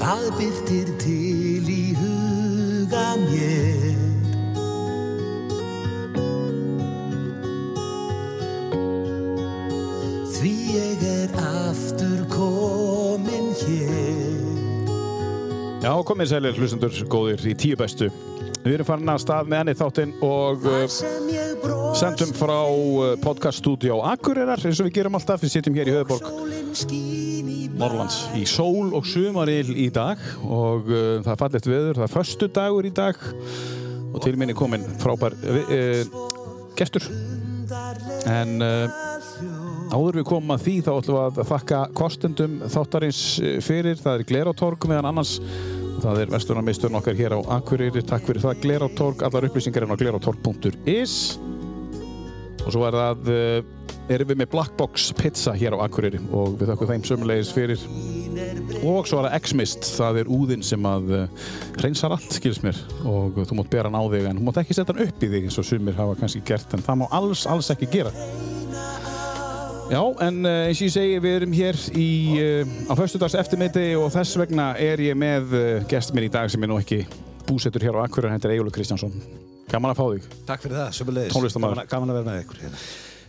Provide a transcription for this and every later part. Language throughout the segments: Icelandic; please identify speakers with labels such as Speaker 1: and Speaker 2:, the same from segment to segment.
Speaker 1: það byrtir til í huga mér Því ég er aftur komin hér
Speaker 2: Já, komið sælir hlustendur góðir í tíu bestu. Við erum farin að stað með henni þáttinn og uh,
Speaker 1: sem ég bros
Speaker 2: sendum
Speaker 3: um
Speaker 2: frá uh, podcaststudió Akureyrar eins og við gerum alltaf. Við sitjum hér í höfuborg
Speaker 1: Sólin skín í blæ
Speaker 2: Norrlands í sól og sumaril í dag og uh, það er fallegt veður, það er förstu dagur í dag og til minni kominn frábær uh, uh, gestur. En uh, áður við komum að því þá ætlum við að þakka kostendum þáttarins uh, fyrir. Það er Glerátorg meðan annars Það er vestunarmisturinn okkar hér á Akureyri. Takk fyrir það, Glerátorg. Allar upplýsingar er á glerátorg.is og svo er það uh, erum við með Black Box Pizza hér á Akureyri og við þakkum þeim sömulegis fyrir og svo er það X-Mist, það er úðinn sem að uh, reynsar allt, skils mér og þú mátt bera hann á þig en þú mátt ekki setja hann upp í þig eins og sumir hafa kannski gert en það má alls, alls ekki gera Já, en uh, eins og ég segi, við erum hér í, uh, á föstudags eftirmiðdi og þess vegna er ég með uh, gest minn í dag sem er nú ekki búsettur hér á Akureyri, hendur Egilur Kristjánsson. Gaman að fá þig.
Speaker 3: Takk fyrir það, sömulegis.
Speaker 2: Tónlistarmaður.
Speaker 3: Gaman, gaman að vera með ykkur hérna.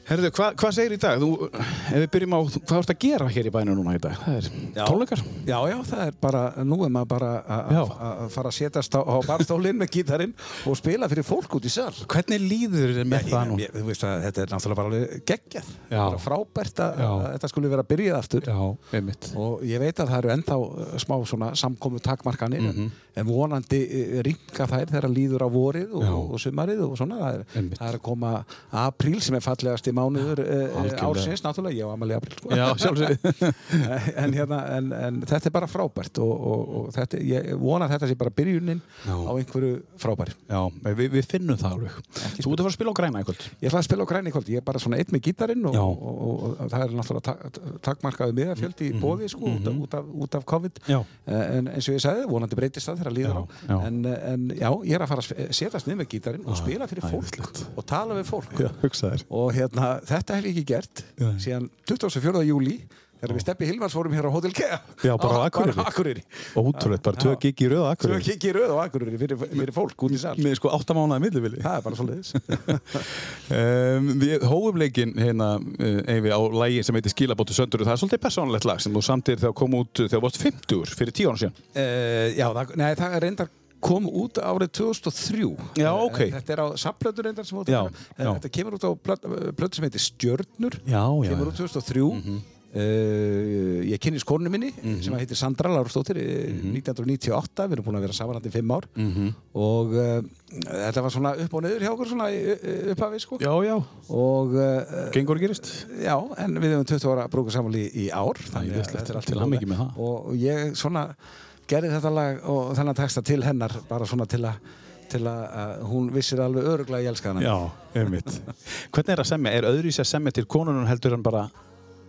Speaker 2: Herðu, hva, hvað segir í dag? Þú, eh, ef við byrjum á, hvað ertu að gera hér í bænum núna í dag? Það er
Speaker 3: Já.
Speaker 2: tónleikar.
Speaker 3: Já, já, það er bara, nú er maður bara að-
Speaker 2: Já.
Speaker 3: að að fara að setjast á, á barstólinn með gítarinn og spila fyrir fólk út í sal.
Speaker 2: Hvernig líður þér með það nú?
Speaker 3: Ég, þú veist að þetta er náttúrulega bara alveg geggjað.
Speaker 2: Já.
Speaker 3: Bara Frábært að,
Speaker 2: Já.
Speaker 3: að þetta skulle vera byrjað aftur.
Speaker 2: Já, einmitt.
Speaker 3: Og ég veit að það eru ennþá eh, smá svona samkomu takmarkanir
Speaker 2: Mhm.
Speaker 3: en vonandi ringa þær þegar líður á vorið og,
Speaker 2: Já.
Speaker 3: og sumarið og svona. Það er,
Speaker 2: Einmitt.
Speaker 3: það er að koma apríl sem er fallegasti mánuður
Speaker 2: Algjörlega.
Speaker 3: eh, ársins náttúrulega. Ég á amali apríl sko.
Speaker 2: Já, sjálfsög.
Speaker 3: en, hérna, en, en þetta er bara frábært og, og, og þetta, ég vona að þetta sé bara byrjunin
Speaker 2: Já.
Speaker 3: á einhverju frábæri
Speaker 2: Já, við, við finnum það alveg. Þú ert að fara að spila á græna eitthvað.
Speaker 3: Ég ætla að spila á græni í kvöld, ég er bara svona einn með gítarinn og,
Speaker 2: Já.
Speaker 3: og, og, og það er náttúrulega ta- ta- takmarkaðu miðafjöldi í bóði sko, út, af, út, af, út af COVID
Speaker 2: Mm-hmm. Já.
Speaker 3: Eh, en eins og ég sagði, vonandi breytist það þegar að líður
Speaker 2: Já,
Speaker 3: á
Speaker 2: já. Ah,
Speaker 3: En, eh, en já, ég er að fara að s- setjast niður með gítarinn og spila fyrir fólk
Speaker 2: æðislegt.
Speaker 3: og tala við fólk
Speaker 2: hugsa þér.
Speaker 3: og hérna, þetta hef ég ekki gert
Speaker 2: Nei.
Speaker 3: síðan 24. júli þegar við Steppi Hilmars fórum hér á Hotel Kea
Speaker 2: Já, bara á Akureyri.
Speaker 3: Akureyri.
Speaker 2: Ótrúleitt, bara tvö
Speaker 3: Já.
Speaker 2: gig í röða
Speaker 3: Svo
Speaker 2: akkur.
Speaker 3: kikki í röð á Akureyri fyrir, fyrir fólk út í sal
Speaker 2: Með sko áttamánaði millivili.
Speaker 3: Það er bara svolítið
Speaker 2: um, við hófum leikinn hérna uh, Eyvi á lægi sem heitir Skilabóttu Söndur það er svolítið persónlegt lag sem þú samtir þegar kom út uh, þegar þú varst 50 fyrir 10 ára síðan
Speaker 3: uh, Já, það, nei, það er reyndar kom út árið 2003
Speaker 2: Já,
Speaker 3: Eh,
Speaker 2: ok.
Speaker 3: Þetta er á samplötu reyndar sem út
Speaker 2: Já, já.
Speaker 3: Þetta kemur út á eh, plötu sem heitir Stjörnur
Speaker 2: Já, já,
Speaker 3: Kemur
Speaker 2: já. Mhm.
Speaker 3: út 2003 Uh, ég kynnis konu minni sem að heitir Sandra Lárstóttir
Speaker 2: Mhm.
Speaker 3: mm 1998, við erum búin að vera samanandi í fimm ár og uh, þetta var svona upp og niður hjá okkur svona í- í- upphafi sko
Speaker 2: Já, já,
Speaker 3: og uh,
Speaker 2: gengur og gerist
Speaker 3: Já, en við hefum 20 ára brúkuð saman í, í ár þannig að
Speaker 2: vitlegt.
Speaker 3: þetta er allt
Speaker 2: Til
Speaker 3: í góðu.
Speaker 2: hamingju með það.
Speaker 3: Og ég svona gerði þetta lag og þennan texta til hennar bara svona til að til að að hún vissir alveg öruglega að ég elska hana
Speaker 2: einmitt Hvernig er að semja? Er öðru í sér semja til konunum heldur en bara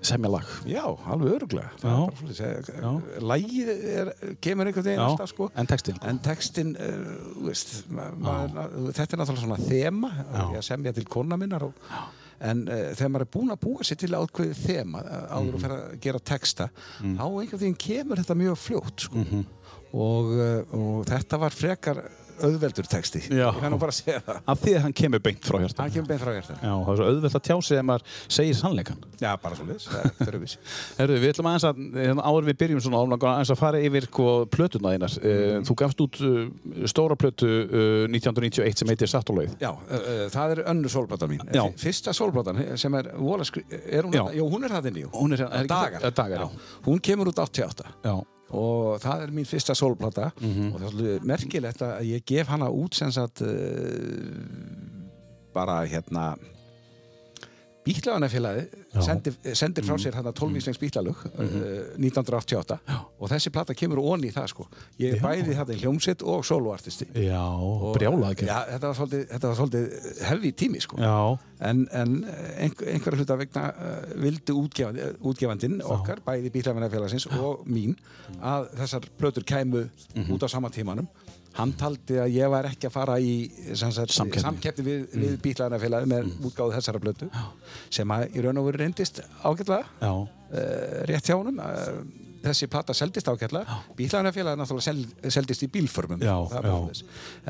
Speaker 2: semja lag?
Speaker 3: Já, alveg öruglega
Speaker 2: Já.
Speaker 3: Það er bara svoleiðis. Eh, Lagið er, kemur einhvern veginn
Speaker 2: Já,
Speaker 3: alltaf sko
Speaker 2: en textinn?
Speaker 3: En textin, uh, veist, ma maður, eh, þetta er náttúrulega svona þema
Speaker 2: Já.
Speaker 3: ég semja til kona minnar og, en uh, þegar maður er búinn að búa sér til ákveðið þema eh, áður
Speaker 2: Mhm.
Speaker 3: og fer að gera texta þá einhvern veginn kemur þetta mjög fljótt sko.
Speaker 2: Mhm.
Speaker 3: og, uh, og þetta var frekar auðveldur texti
Speaker 2: Já.
Speaker 3: ég kann nú bara að segja það
Speaker 2: Af því að hann kemur beint frá hjarta
Speaker 3: hann kemur beint frá hér
Speaker 2: Já, það er svo auðvelt að tjá sig ef maður segir sannleikan
Speaker 3: já, bara svo liðs, það er þurfis
Speaker 2: Herru, við ætlum aðeins að, hérna, áður en við byrjum svona áflang aðeins að fara yfir hvað plötuna þínar.
Speaker 3: Mhm.
Speaker 2: Mm. Þú gafst út uh, stóra plötu uh, 1991 sem heitir Sattulegð.
Speaker 3: Já, uh, uh, það er önnur sólplata mín
Speaker 2: Já.
Speaker 3: Fyrsta sólplatan sem er, vola, skri- eh, er hún,
Speaker 2: Já.
Speaker 3: já. Jú, hún er það inn í
Speaker 2: Hún er- er ekki-
Speaker 3: dagar,
Speaker 2: er Eh, Dagar, já.
Speaker 3: Hún kemur út 88
Speaker 2: Já.
Speaker 3: og það er mín fyrsta sólplata og það er svolítið merkilegt að ég gef hana út sem sagt uh, bara hérna Bíklaðanafélagi
Speaker 2: Já.
Speaker 3: sendir, sendir frá sér þarna 12 íslengs bíklalög uh, 1988 og þessi plata kemur onni í það sko ég er bæði þarna í hljómsett og soloartisti
Speaker 2: Já,
Speaker 3: Og-
Speaker 2: brjálað ekki.
Speaker 3: Já, þetta var svolítið, þetta var svolítið hefði tími sko
Speaker 2: Já.
Speaker 3: en, en eh, einhver, einhverja hluta vegna uh, vildi útgefandi, útgefandinn okkar, bæði bílafennarfélagsins og mín að þessar plötur kæmu
Speaker 2: Mhm.
Speaker 3: út á sama tímanum hann taldi að ég var ekki að fara í sem sagt,
Speaker 2: Samkeppni. Mhm.
Speaker 3: samkeppni við, við bílafennarfélagi með útgáðu þessara plötu sem að í raun og veru reyndist ágætlega
Speaker 2: Já.
Speaker 3: uh, rétt hjá honum uh, þessi plata seldist ákjörlega bílænafélagi náttúrulega sel, seldist í bílförmum
Speaker 2: Já,
Speaker 3: Það var
Speaker 2: já.
Speaker 3: svoleiðis.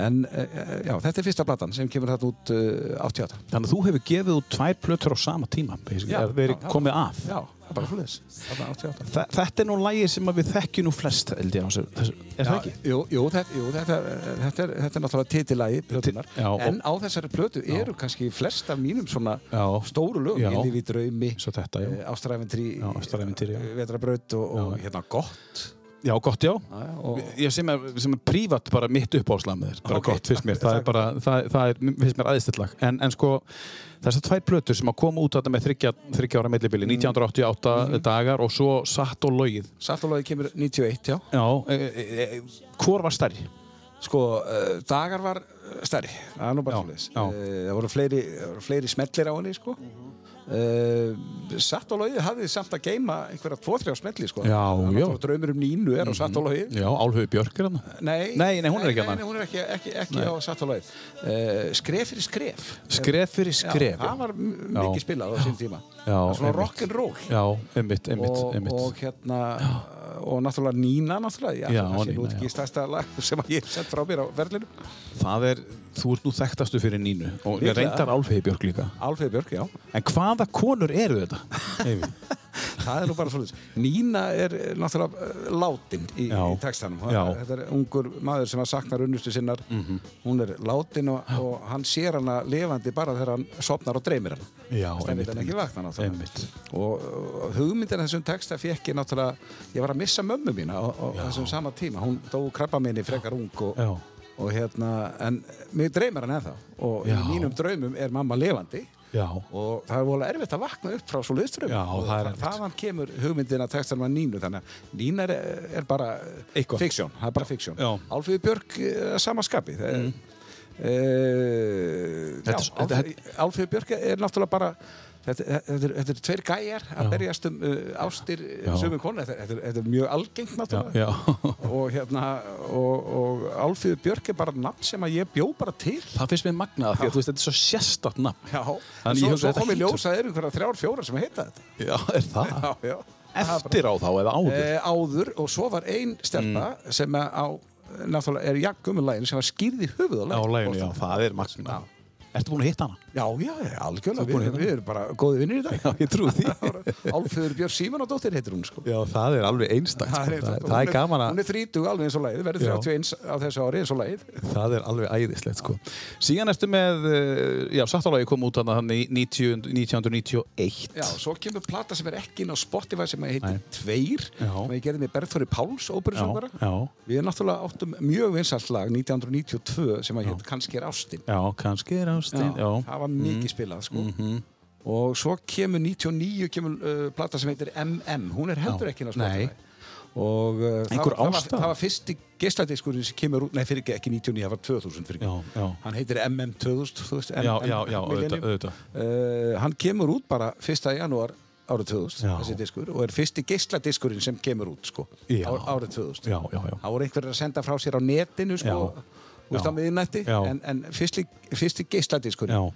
Speaker 3: en eh, já, þetta er fyrsta platan sem kemur þetta út uh, 88
Speaker 2: Þannig að þú hefur gefið út tvær plötur á sama tíma basically,
Speaker 3: Já,
Speaker 2: að verið
Speaker 3: já, já.
Speaker 2: komið að
Speaker 3: já, það er bara flúðis 88
Speaker 2: Þa, Þetta er nú lægið sem að við þekkjum nú flest held ég á þessu, þessu er það
Speaker 3: Já,
Speaker 2: ekki?
Speaker 3: Jú, jú, þetta, jú þetta, er- þetta, er, þetta er náttúrulega titilagi plötunar
Speaker 2: Ti- já, og-
Speaker 3: en á þessari plötu eru kannski flest af mínum svona
Speaker 2: Já.
Speaker 3: stóru lög
Speaker 2: Já.
Speaker 3: Inni við draumi, eh,
Speaker 2: Svo þetta, já.
Speaker 3: ástræfintri
Speaker 2: Já, Ástarævintýri, já.
Speaker 3: vetrabraut eh, og, og
Speaker 2: Já.
Speaker 3: hérna gott
Speaker 2: Já, gott, já
Speaker 3: og,
Speaker 2: Ég sem er, sem er prívat bara mitt uppáhalslag með þér bara
Speaker 3: Ok.
Speaker 2: gott, finnst mér, það er bara það, það er, finnst mér aðeinstillag en, en sko, þessar tvær plötur sem að koma út þetta með þryggja, þryggja ára millibili 1988 dagar og svo satt og lögið
Speaker 3: Sattalógi kemur 91, já
Speaker 2: Já, e, e, e, hvor var stærri?
Speaker 3: Sko, uh, dagar var eh, stærri Það er nú bara
Speaker 2: Já,
Speaker 3: svoleiðis
Speaker 2: já.
Speaker 3: uh, Það voru fleiri, það voru fleiri smellir á henni, sko Uh, satt og logið hafði samt að geima einhverja tvo-þrjá smelli sko.
Speaker 2: Já,
Speaker 3: Það
Speaker 2: já.
Speaker 3: er
Speaker 2: Mhm.
Speaker 3: náttúrulega draumur um nínu er á satt og logið
Speaker 2: Já, Álfhauði Björk er hann
Speaker 3: Nei,
Speaker 2: Nei, nei, hún er ekki
Speaker 3: nei,
Speaker 2: þarna.
Speaker 3: nei, hún er ekki, ekki, ekki á sattalagið. Uh, skref fyrir skref. Eh,
Speaker 2: Skref fyrir skref
Speaker 3: Já, það var m- mikið spilað á sín tíma.
Speaker 2: Já,
Speaker 3: Það er svona
Speaker 2: einmitt.
Speaker 3: rock'n'roll.
Speaker 2: Já, einmitt, einmitt,
Speaker 3: Og,
Speaker 2: einmitt
Speaker 3: og hérna, og náttúrulega Nína náttúrulega, já,
Speaker 2: Já,
Speaker 3: það sé nú
Speaker 2: Nína,
Speaker 3: ekki
Speaker 2: já.
Speaker 3: stærsta lag sem að ég hef sett frá mér á verðlinu.
Speaker 2: Það er, þú ert nú þekktastu fyrir Nínu og
Speaker 3: Líklega.
Speaker 2: reyndar Álfheiði Björk líka
Speaker 3: Alfeið Björk, já,
Speaker 2: En hvaða konur eru þetta? Eyvi?
Speaker 3: það er nú bara svolítið. Nína er eh, náttúrulega eh, látin í,
Speaker 2: Já.
Speaker 3: í textanum. Það-
Speaker 2: Já. Mhm.
Speaker 3: Þetta er ungur maður sem að saknar unnustu sinnar. Hún er látin og, og hann sér hana levandi bara þegar hann sopnar og dreymir hana.
Speaker 2: Já,
Speaker 3: Stefnir hann ekki vakna náttúrulega.
Speaker 2: Einmitt
Speaker 3: og uh, hugmyndin að þessum texta fekk ég náttúrulega, ég var að missa mömmu mína á, á þessum sama tíma, hún dó krabba minni frekar ung og,
Speaker 2: Já,
Speaker 3: og hérna en mig dreymar hann ennþá og
Speaker 2: Já.
Speaker 3: í mínum draumum er mamma levandi
Speaker 2: já,
Speaker 3: og það er vola erfitt að vakna upp frá svo liðströmm
Speaker 2: Já,
Speaker 3: og
Speaker 2: það er
Speaker 3: þa-
Speaker 2: erfitt.
Speaker 3: þaðan kemur hugmyndin að textanum að Nínu þannig að Nína er, er bara eh,
Speaker 2: Eitthvað.
Speaker 3: fiksjón, það er bara fiksjón
Speaker 2: Já. Mm.
Speaker 3: Álfíði Björk eh, að sama skapi það er Uh, já,
Speaker 2: Þetta er- þetta-
Speaker 3: Álfíði Björk er náttúrulega bara þetta, þetta, er, þetta er tveir gæjar að berjast um uh, ástir
Speaker 2: Já.
Speaker 3: sömu konu, þetta, er- þetta, er- þetta er mjög algengt
Speaker 2: já,
Speaker 3: náttúrulega
Speaker 2: já.
Speaker 3: og hérna og, og Álfíði Björk er bara nafn sem að ég bjó bara til
Speaker 2: Það finnst mér magnað af því að þú veist þetta er svo sérstatt nafn
Speaker 3: Já, en
Speaker 2: Þannig ég
Speaker 3: svo,
Speaker 2: hugsa
Speaker 3: svo
Speaker 2: þetta
Speaker 3: komið
Speaker 2: hlýtur-
Speaker 3: ljós að það eru einhverja þrjár, fjórar sem heita þetta
Speaker 2: Já, er það?
Speaker 3: Já, já.
Speaker 2: Eftir á þá eða áður?
Speaker 3: Eh, áður og svo var ein stelpa
Speaker 2: Mm.
Speaker 3: sem að á, náttúrulega er jakkumulaginu sem var skýrði höfuð á
Speaker 2: á
Speaker 3: laginu.
Speaker 2: læginu, já, það er magnað Ertu búin að hitta hana?
Speaker 3: Já, já, já, algjörlega,
Speaker 2: Þú búin að
Speaker 3: við,
Speaker 2: hérna?
Speaker 3: við erum bara góði vinnir í dag.
Speaker 2: ég trú því
Speaker 3: Álföður Björn Símanadóttir heitir hún, sko.
Speaker 2: Já, það er alveg einstakt sko.
Speaker 3: rétt.
Speaker 2: það,
Speaker 3: Hún
Speaker 2: það er gaman
Speaker 3: Hún
Speaker 2: að,
Speaker 3: er 30 alveg eins og lagið, verður
Speaker 2: Já.
Speaker 3: 31 á þessu ári eins og lagið.
Speaker 2: það er alveg æðislegt sko. Síðan ertu með eh, já, sattalagi kom út hann hann í 90 1991
Speaker 3: Já, svo kemur plata sem er ekki inn á Spotify sem heitir
Speaker 2: Nei.
Speaker 3: Tveir,
Speaker 2: Já.
Speaker 3: sem ég gerði með Berðþóri Páls, óperusöngara.
Speaker 2: já,
Speaker 3: Við náttúrulega áttum mjög vinsalt lag 1992 sem að hétt Kannski er ástin.
Speaker 2: já, kannski er ástinn já, Mm. Mhm.
Speaker 3: það var mikið spilað sko. og svo kemur 99 kemur uh, plata sem heitir MM hún er heldur
Speaker 2: Já.
Speaker 3: ekki inn á
Speaker 2: Nei.
Speaker 3: Spotify og uh, það,
Speaker 2: Einhver
Speaker 3: var- það, var,
Speaker 2: ástæða?
Speaker 3: það var fyrsti gestadiskurinn sem kemur út, nei fyrir ekki, ekki 99, það var 2000 fyrir
Speaker 2: já, já,
Speaker 3: hann heitir MM 2000 þú veist,
Speaker 2: já,
Speaker 3: MM
Speaker 2: já, já auðvitað,
Speaker 3: millennium.
Speaker 2: auðvitað.
Speaker 3: uh, hann kemur út bara 1. janúar árið 2000
Speaker 2: Já.
Speaker 3: þessi diskur og er fyrsti geisladiskurinn sem kemur út sko,
Speaker 2: Já.
Speaker 3: á- árið 2000
Speaker 2: já, já, já.
Speaker 3: Það voru einhverjir að senda frá sér á netinu sko,
Speaker 2: Já.
Speaker 3: þú veist
Speaker 2: Já.
Speaker 3: á miðinætti
Speaker 2: Já.
Speaker 3: en, en fyrsti, fyrsti geisladiskur
Speaker 2: Já.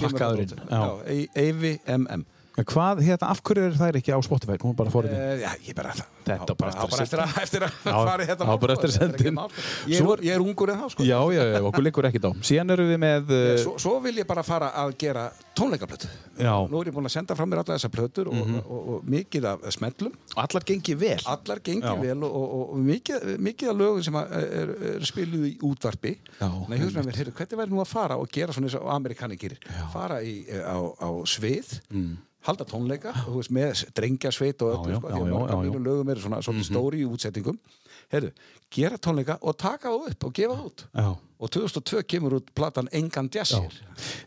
Speaker 2: Plakkaðurinn, já.
Speaker 3: Eyvi MM
Speaker 2: En Hvað, hérna, af hverju er þær ekki á Spotify? Hún er bara
Speaker 3: Eh,
Speaker 2: forrið
Speaker 3: Já, ég bara
Speaker 2: Þetta
Speaker 3: á-
Speaker 2: bara
Speaker 3: á bara
Speaker 2: eftir
Speaker 3: eftir að eftir að
Speaker 2: Já,
Speaker 3: fara í þetta
Speaker 2: á
Speaker 3: mál,
Speaker 2: bara
Speaker 3: sko,
Speaker 2: eftir að
Speaker 3: þetta er
Speaker 2: senda
Speaker 3: ekki
Speaker 2: inn.
Speaker 3: mál, sko. Ég
Speaker 2: Svo-
Speaker 3: er- Ég er ungur en þá sko
Speaker 2: Já, já, já, okkur liggur ekkert á Síðan eru við með
Speaker 3: Eh,
Speaker 2: uh,
Speaker 3: Svo, svo vil ég bara fara að gera tónleikablötu
Speaker 2: Já. Mhm.
Speaker 3: Nú er ég búin að senda frá mér alla þessar plötur og, og, og, og mikið af smellum
Speaker 2: Allar gengi vel
Speaker 3: Allar gengir
Speaker 2: Já.
Speaker 3: vel og, og, og mikið, mikið af lögum sem að er, er spiluð í útvarpi
Speaker 2: Já,
Speaker 3: Nei, ég hugsa með mér, heyrðu, hvernig væri nú að fara og gera svona eins og amerikani gerir Fara í, eh, á, á svið halda tónleika, þú veist, með drengjarsveit og
Speaker 2: Mm. já,
Speaker 3: öllu, sko,
Speaker 2: já,
Speaker 3: því að
Speaker 2: já,
Speaker 3: mörg
Speaker 2: já, Mhm.
Speaker 3: af
Speaker 2: já.
Speaker 3: mínum lögum eru svona, svona stóri í útsettingum heyrðu, gera tónleika og taka þá upp og gefa þá út
Speaker 2: Já
Speaker 3: og 2002 kemur út platan Engan Jazzir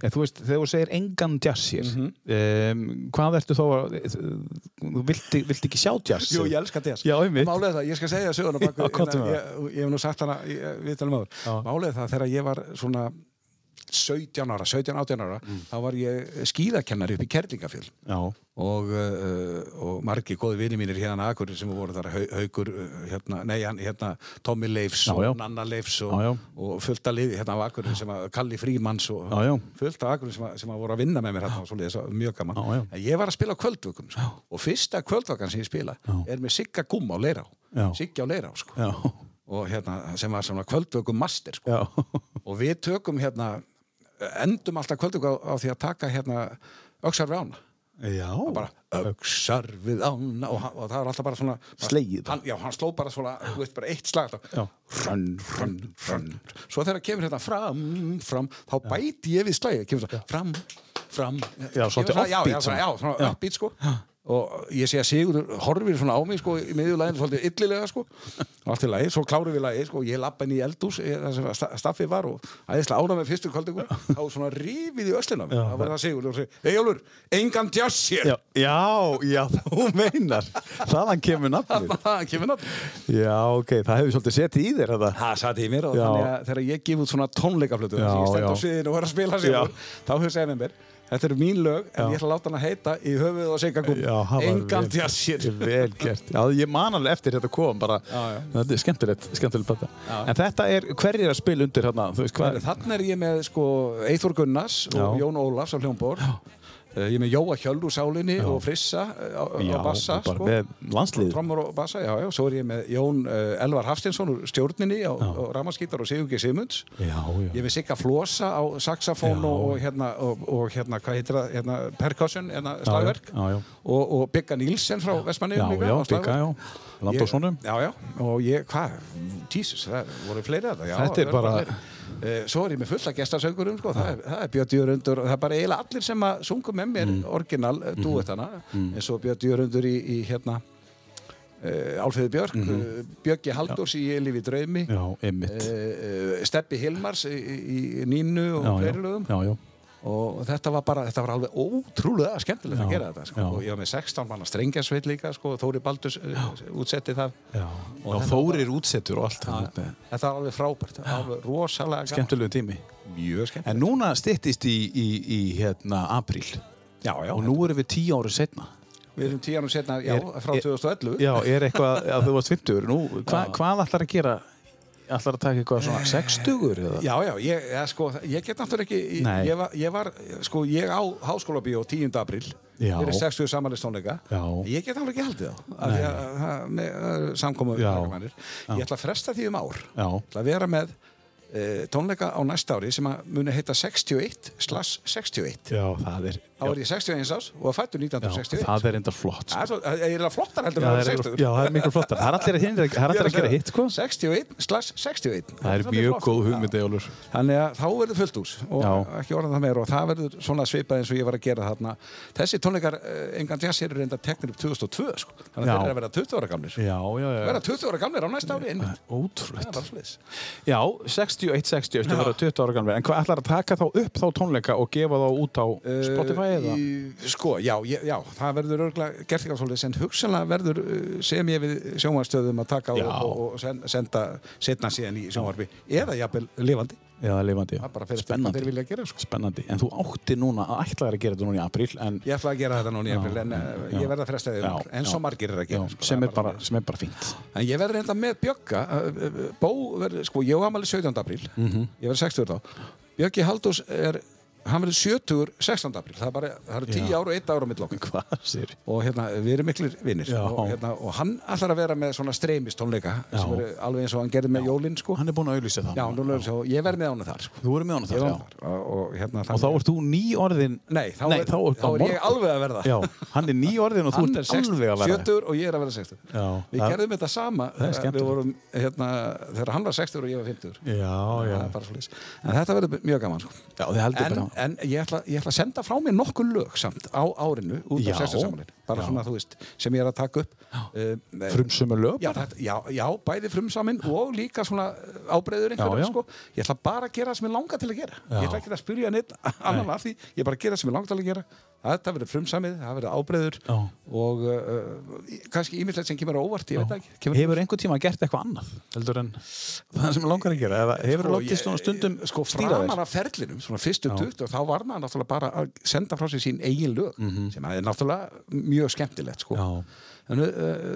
Speaker 2: En þú veist, þegar þú segir engan jazz hér um, Hvað ertu þá að Þú vilti, vilti ekki sjá jazz
Speaker 3: Jú, ég elska jazz
Speaker 2: Já, einmitt.
Speaker 3: Málið er það, ég skal segja það söguna
Speaker 2: Já,
Speaker 3: baku,
Speaker 2: komdu með
Speaker 3: ég, ég hef nú sagt hana, ég- við talum áður
Speaker 2: Já.
Speaker 3: Málið er það, þegar ég var svona 17 ára, 17-18 ára
Speaker 2: Mm.
Speaker 3: þá var ég skíðakennari upp í Kerlingafjöld
Speaker 2: já,
Speaker 3: og, uh, og margir góði vinni mínir hérna akkur sem voru þar Hau- haukur, uh, hérna, nei, hann, hérna Tommy Leifs
Speaker 2: Já, já.
Speaker 3: og Nanna Leifs og,
Speaker 2: Já, já.
Speaker 3: og fullt að liði hérna á akkur sem að Kalli Frímanns og
Speaker 2: Já, já.
Speaker 3: fullt að akkur sem að, sem að voru að vinna með mér hérna og svoleiðis, og mjög gaman
Speaker 2: Já, já.
Speaker 3: en ég var að spila á kvöldvökum sko. og fyrsta kvöldvakan sem ég spila er með Sigga Gumma á Leirá
Speaker 2: Já.
Speaker 3: Sigga á Leirá sko.
Speaker 2: já,
Speaker 3: og hérna sem var svona kvöldvökum master sko
Speaker 2: já,
Speaker 3: og við tökum hérna endum alltaf kvöldum á, á því að taka hérna öxar við ána
Speaker 2: já,
Speaker 3: bara öxar við ána og, hann- og það var alltaf bara svona bara-
Speaker 2: Slegið.
Speaker 3: hann, já, hann sló bara svona, þú veist, bara eitt slag
Speaker 2: Já.
Speaker 3: hrönn, hrönn, hrönn svo þegar kemur hérna fram, fram þá bæti ég við slagið, kemur svona fram, fram
Speaker 2: Já,
Speaker 3: Kemur
Speaker 2: svolítið
Speaker 3: svona- já,
Speaker 2: offbeat
Speaker 3: já, svona, já,
Speaker 2: svona.
Speaker 3: svona
Speaker 2: Já.
Speaker 3: uppbít sko og ég sé að Sigurður horfir svona á mig sko í miðjulæðinu svolítið illilega sko og allt í lagi, svo klárum við lagi sko og ég lappa inn í eldús þar sem að sta- staffið var og æðislega ána með fyrstu kvöldu þá svona rífið í öslina á mér
Speaker 2: Já.
Speaker 3: þá var það Sigurður og segi, Eyjólfur, engan djass hér
Speaker 2: já, já, já, þú meinar þaðan kemur nafnið
Speaker 3: það kemur nátt
Speaker 2: já, ok, það hefur svolítið setið í þér þetta
Speaker 3: það satt í mér og
Speaker 2: Já.
Speaker 3: þannig að þegar ég gef út svona tónleikaflötu þar sem
Speaker 2: Já,
Speaker 3: ég stend á
Speaker 2: já.
Speaker 3: sviðinu og er að spila sér þá hefur segið með mér þetta eru mín lög en
Speaker 2: Já.
Speaker 3: ég ætla að láta hann að heita í höfuð og segja
Speaker 2: Já, það var
Speaker 3: gum engan
Speaker 2: vel-
Speaker 3: djass hér
Speaker 2: Vel gert, já, ég man alveg eftir þetta kom bara,
Speaker 3: Já, já.
Speaker 2: þetta er skemmtilegt, skemmtilegt plata. En þetta er, hverjir er að spila undir hérna, þú veist hvað
Speaker 3: Þannig er ég með sko Eithor Gunnars og
Speaker 2: Já.
Speaker 3: Jón Ólafs á hljómbor Ég er með Jóa Hjöld úr sálinni og Frissa eh, á, á bassa
Speaker 2: bara
Speaker 3: sko.
Speaker 2: með landslið
Speaker 3: Trommur og bassa, já, já, svo er ég með Jón uh, Elvar Hafstinsson úr stjórninni á, á ramaskítar og Sigurgi Simunds
Speaker 2: Já, já,
Speaker 3: Ég er með Sigga Flosa á saxafón
Speaker 2: Já.
Speaker 3: og, og, hérna, og, og hérna, hvað heitir það, hérna, percussion, hérna,
Speaker 2: já,
Speaker 3: slagverk
Speaker 2: já, já.
Speaker 3: Og, og Bigga Nílsen frá Vestmanni
Speaker 2: já, já, bygga, já, land og svonum
Speaker 3: Já, já, og ég, hvað, Jesus, það voru fleiri að það já,
Speaker 2: Þetta er
Speaker 3: það voru
Speaker 2: bara-
Speaker 3: fleiri. Eh, Svo er ég með fulla gestasöngurum, sko, það er, það er Björn Jörundur og það er bara eiginlega allir sem að sungu með mér orginal mm.
Speaker 2: Mm-hmm.
Speaker 3: dúetana eins og Björn Jörundur í, í hérna Uh, Álfeyði Björk, mm Björgi Halldórs í Ég lifi í draumi
Speaker 2: Mm-hmm. Já, einmitt
Speaker 3: uh, Steppi Hilmars í, í í Nínu og
Speaker 2: Já,
Speaker 3: fleiri
Speaker 2: já,
Speaker 3: lögum
Speaker 2: já, já,
Speaker 3: og þetta var bara, þetta var alveg ótrúlega skemmtilegt
Speaker 2: Já,
Speaker 3: að gera þetta sko.
Speaker 2: já.
Speaker 3: og ég var með 16 manna strengjarsveit líka sko, og Þóri Baldus uh, útsetti það
Speaker 2: já. Og Þórir útsettur og allt það er
Speaker 3: þetta var alveg frábært, það var alveg rosalega gaman.
Speaker 2: Skemmtilegu tími
Speaker 3: mjög skemmt
Speaker 2: En núna styttist í, í, í hérna, apríl
Speaker 3: já, já,
Speaker 2: Og nú erum við tíu ári setna
Speaker 3: við erum tíu árum setna, já,
Speaker 2: Er-
Speaker 3: frá
Speaker 2: er-
Speaker 3: 2011
Speaker 2: Já, er eitthvað, að þú varst 50 Nú, hva, hvað ætlar að gera? Ætlar að taka eitthvað svona 60 eða?
Speaker 3: Já, já, ég, ja, sko, ég get náttúrulega ekki,
Speaker 2: Nei.
Speaker 3: ég var, ég var, sko, ég á háskólabíó 10. apríl,
Speaker 2: Já.
Speaker 3: fyrir 60 samanlistónleika,
Speaker 2: Já.
Speaker 3: ég get náttúrulega ekki haldið á, af því að það- með uh, samkomu
Speaker 2: Já.
Speaker 3: takmarkanir. ég ætla að fresta því um ár,
Speaker 2: Já.
Speaker 3: ég ætla að vera með uh, tónleika á næsta ári sem að muni heita 61 slash 61,
Speaker 2: Já, það er
Speaker 3: þá er ég 61 ás og fættu
Speaker 2: já,
Speaker 3: 1961.
Speaker 2: Það er enda flott sko.
Speaker 3: Það er svo- það er eiginlega flottar heldur
Speaker 2: já,
Speaker 3: en að
Speaker 2: það
Speaker 3: vera
Speaker 2: er,
Speaker 3: 60.
Speaker 2: já, það er miklu flottar Það er allir að, hinra, það er allir að gera hitt sko.
Speaker 3: 61 slash 61
Speaker 2: Það er
Speaker 3: svolítið
Speaker 2: mjög
Speaker 3: flott.
Speaker 2: góð
Speaker 3: Já.
Speaker 2: hugmyndi, Jólur
Speaker 3: Þannig að þá verður fullt hús og
Speaker 2: Já.
Speaker 3: ekki orðan það meira og það verður svona svipað eins og ég var að gera þarna. Þessi tónleikar, eh, engan jazz eru reynda teknir upp 2002 sko, þannig að
Speaker 2: Já.
Speaker 3: þeir eru að vera 20 ára gamlir.
Speaker 2: Já, já, já
Speaker 3: Verða 20 ára gamlir á næsta ári einmitt. Það er
Speaker 2: Ótrúlegt
Speaker 3: bara sliðis.
Speaker 2: Já, 61, 60, þú verður 20 ára gamlega En hvað ætlar að taka þá upp þá tónleika og gefa þá út á Eh, Spotify eða?
Speaker 3: Sko, já, ég- já, það verður örgulega gert ekki á svolítið, en hugsanlega verður eh, sem ég við sjónvarstöðum að taka
Speaker 2: Já.
Speaker 3: og, og, og sen, senda setna síðan í sjónvarpi eða jafnvel lifandi.
Speaker 2: Já, það er lifandi já.
Speaker 3: Það bara fyrir spennandi.
Speaker 2: Spennandi,
Speaker 3: Þeir vilja gera sko.
Speaker 2: spennandi En þú átti núna, ætlaðir að gera þetta núna í apríl En
Speaker 3: Ég ætla að gera þetta núna í april en eh, ég verð að fresta því
Speaker 2: Já,
Speaker 3: um ár, en
Speaker 2: já.
Speaker 3: svo margir er að
Speaker 2: já,
Speaker 3: gera sko,
Speaker 2: sem,
Speaker 3: það
Speaker 2: er bara, sem er bara fínt
Speaker 3: En ég verður reynda með Bjögga uh, uh, Bó verður, sko, ég á amali 17. apríl
Speaker 2: Mhm.
Speaker 3: Ég verður 60 þá Bjöggi Haldós er, hann verður 70 16. apríl, það er bara, það eru 10
Speaker 2: Já.
Speaker 3: ár og 1 ár á millokum
Speaker 2: Hvað sér?
Speaker 3: og hérna, við erum miklir vinnir
Speaker 2: Já.
Speaker 3: og, hérna, og hann ætlar að vera með svona streymistónleika sem
Speaker 2: Já.
Speaker 3: eru alveg eins og hann gerði með Jólin sko.
Speaker 2: Hann er búin að auðlýsa það
Speaker 3: Já, nú lögur svo, ég verð með honum þar sko.
Speaker 2: Þú verður með honum
Speaker 3: Ég
Speaker 2: það,
Speaker 3: verð
Speaker 2: já
Speaker 3: honum þar og, og, hérna,
Speaker 2: Og þá
Speaker 3: þannig-
Speaker 2: ert þú ný orðin
Speaker 3: Nei, þá,
Speaker 2: Nei,
Speaker 3: er,
Speaker 2: þá er-
Speaker 3: þá
Speaker 2: á
Speaker 3: er ég
Speaker 2: morgun.
Speaker 3: alveg að verða
Speaker 2: Já, hann er ný orðin og þú
Speaker 3: hann er
Speaker 2: ert
Speaker 3: 60,
Speaker 2: alveg að vera
Speaker 3: 70 og ég er að vera 60
Speaker 2: Já,
Speaker 3: við
Speaker 2: það-
Speaker 3: gerðum þetta sama
Speaker 2: er
Speaker 3: þegar
Speaker 2: skemmtilegt.
Speaker 3: við vorum, hérna, þegar hann var 60 og ég var 50
Speaker 2: Já, já
Speaker 3: Það er bara svoleiðis. en þetta verður mjög gaman sko.
Speaker 2: Já, þið heldur
Speaker 3: en,
Speaker 2: bara
Speaker 3: en ég, ætla, ég ætla að senda frá mér nokkur lög samt á árinu út
Speaker 2: Já.
Speaker 3: af 60 samanlinn bara
Speaker 2: Já.
Speaker 3: svona þú veist sem ég er að taka upp um,
Speaker 2: Frumsömu lög
Speaker 3: Já, þetta, já, já, bæði frumsamin og líka svona ábreyður
Speaker 2: Já, já.
Speaker 3: einhverjum sko. Ég ætla bara að gera það sem ég langar til að gera. Ég ætla ekki að spyrja neitt annan af því, ég bara að gera það sem ég langar til að gera. þetta verður frumsamið, það verður ábreyður
Speaker 2: Já.
Speaker 3: og uh, uh, kannski ímyndilegt sem kemur á óvart, ég veit það ekki kemur,
Speaker 2: Hefur einhvern tíma gert eitthvað annað heldur en það sem langar að gera eða hefur
Speaker 3: Sko,
Speaker 2: látið
Speaker 3: ég-
Speaker 2: svona stundum
Speaker 3: sko
Speaker 2: stýra
Speaker 3: framan
Speaker 2: þér
Speaker 3: af ferlinum, svona fyrstu
Speaker 2: Já.
Speaker 3: 20 þá var maður náttúrulega bara að senda frá sér sín eigin lög, sem er náttúrulega mjög skemmtilegt sko
Speaker 2: Mhm. Já.
Speaker 3: en uh,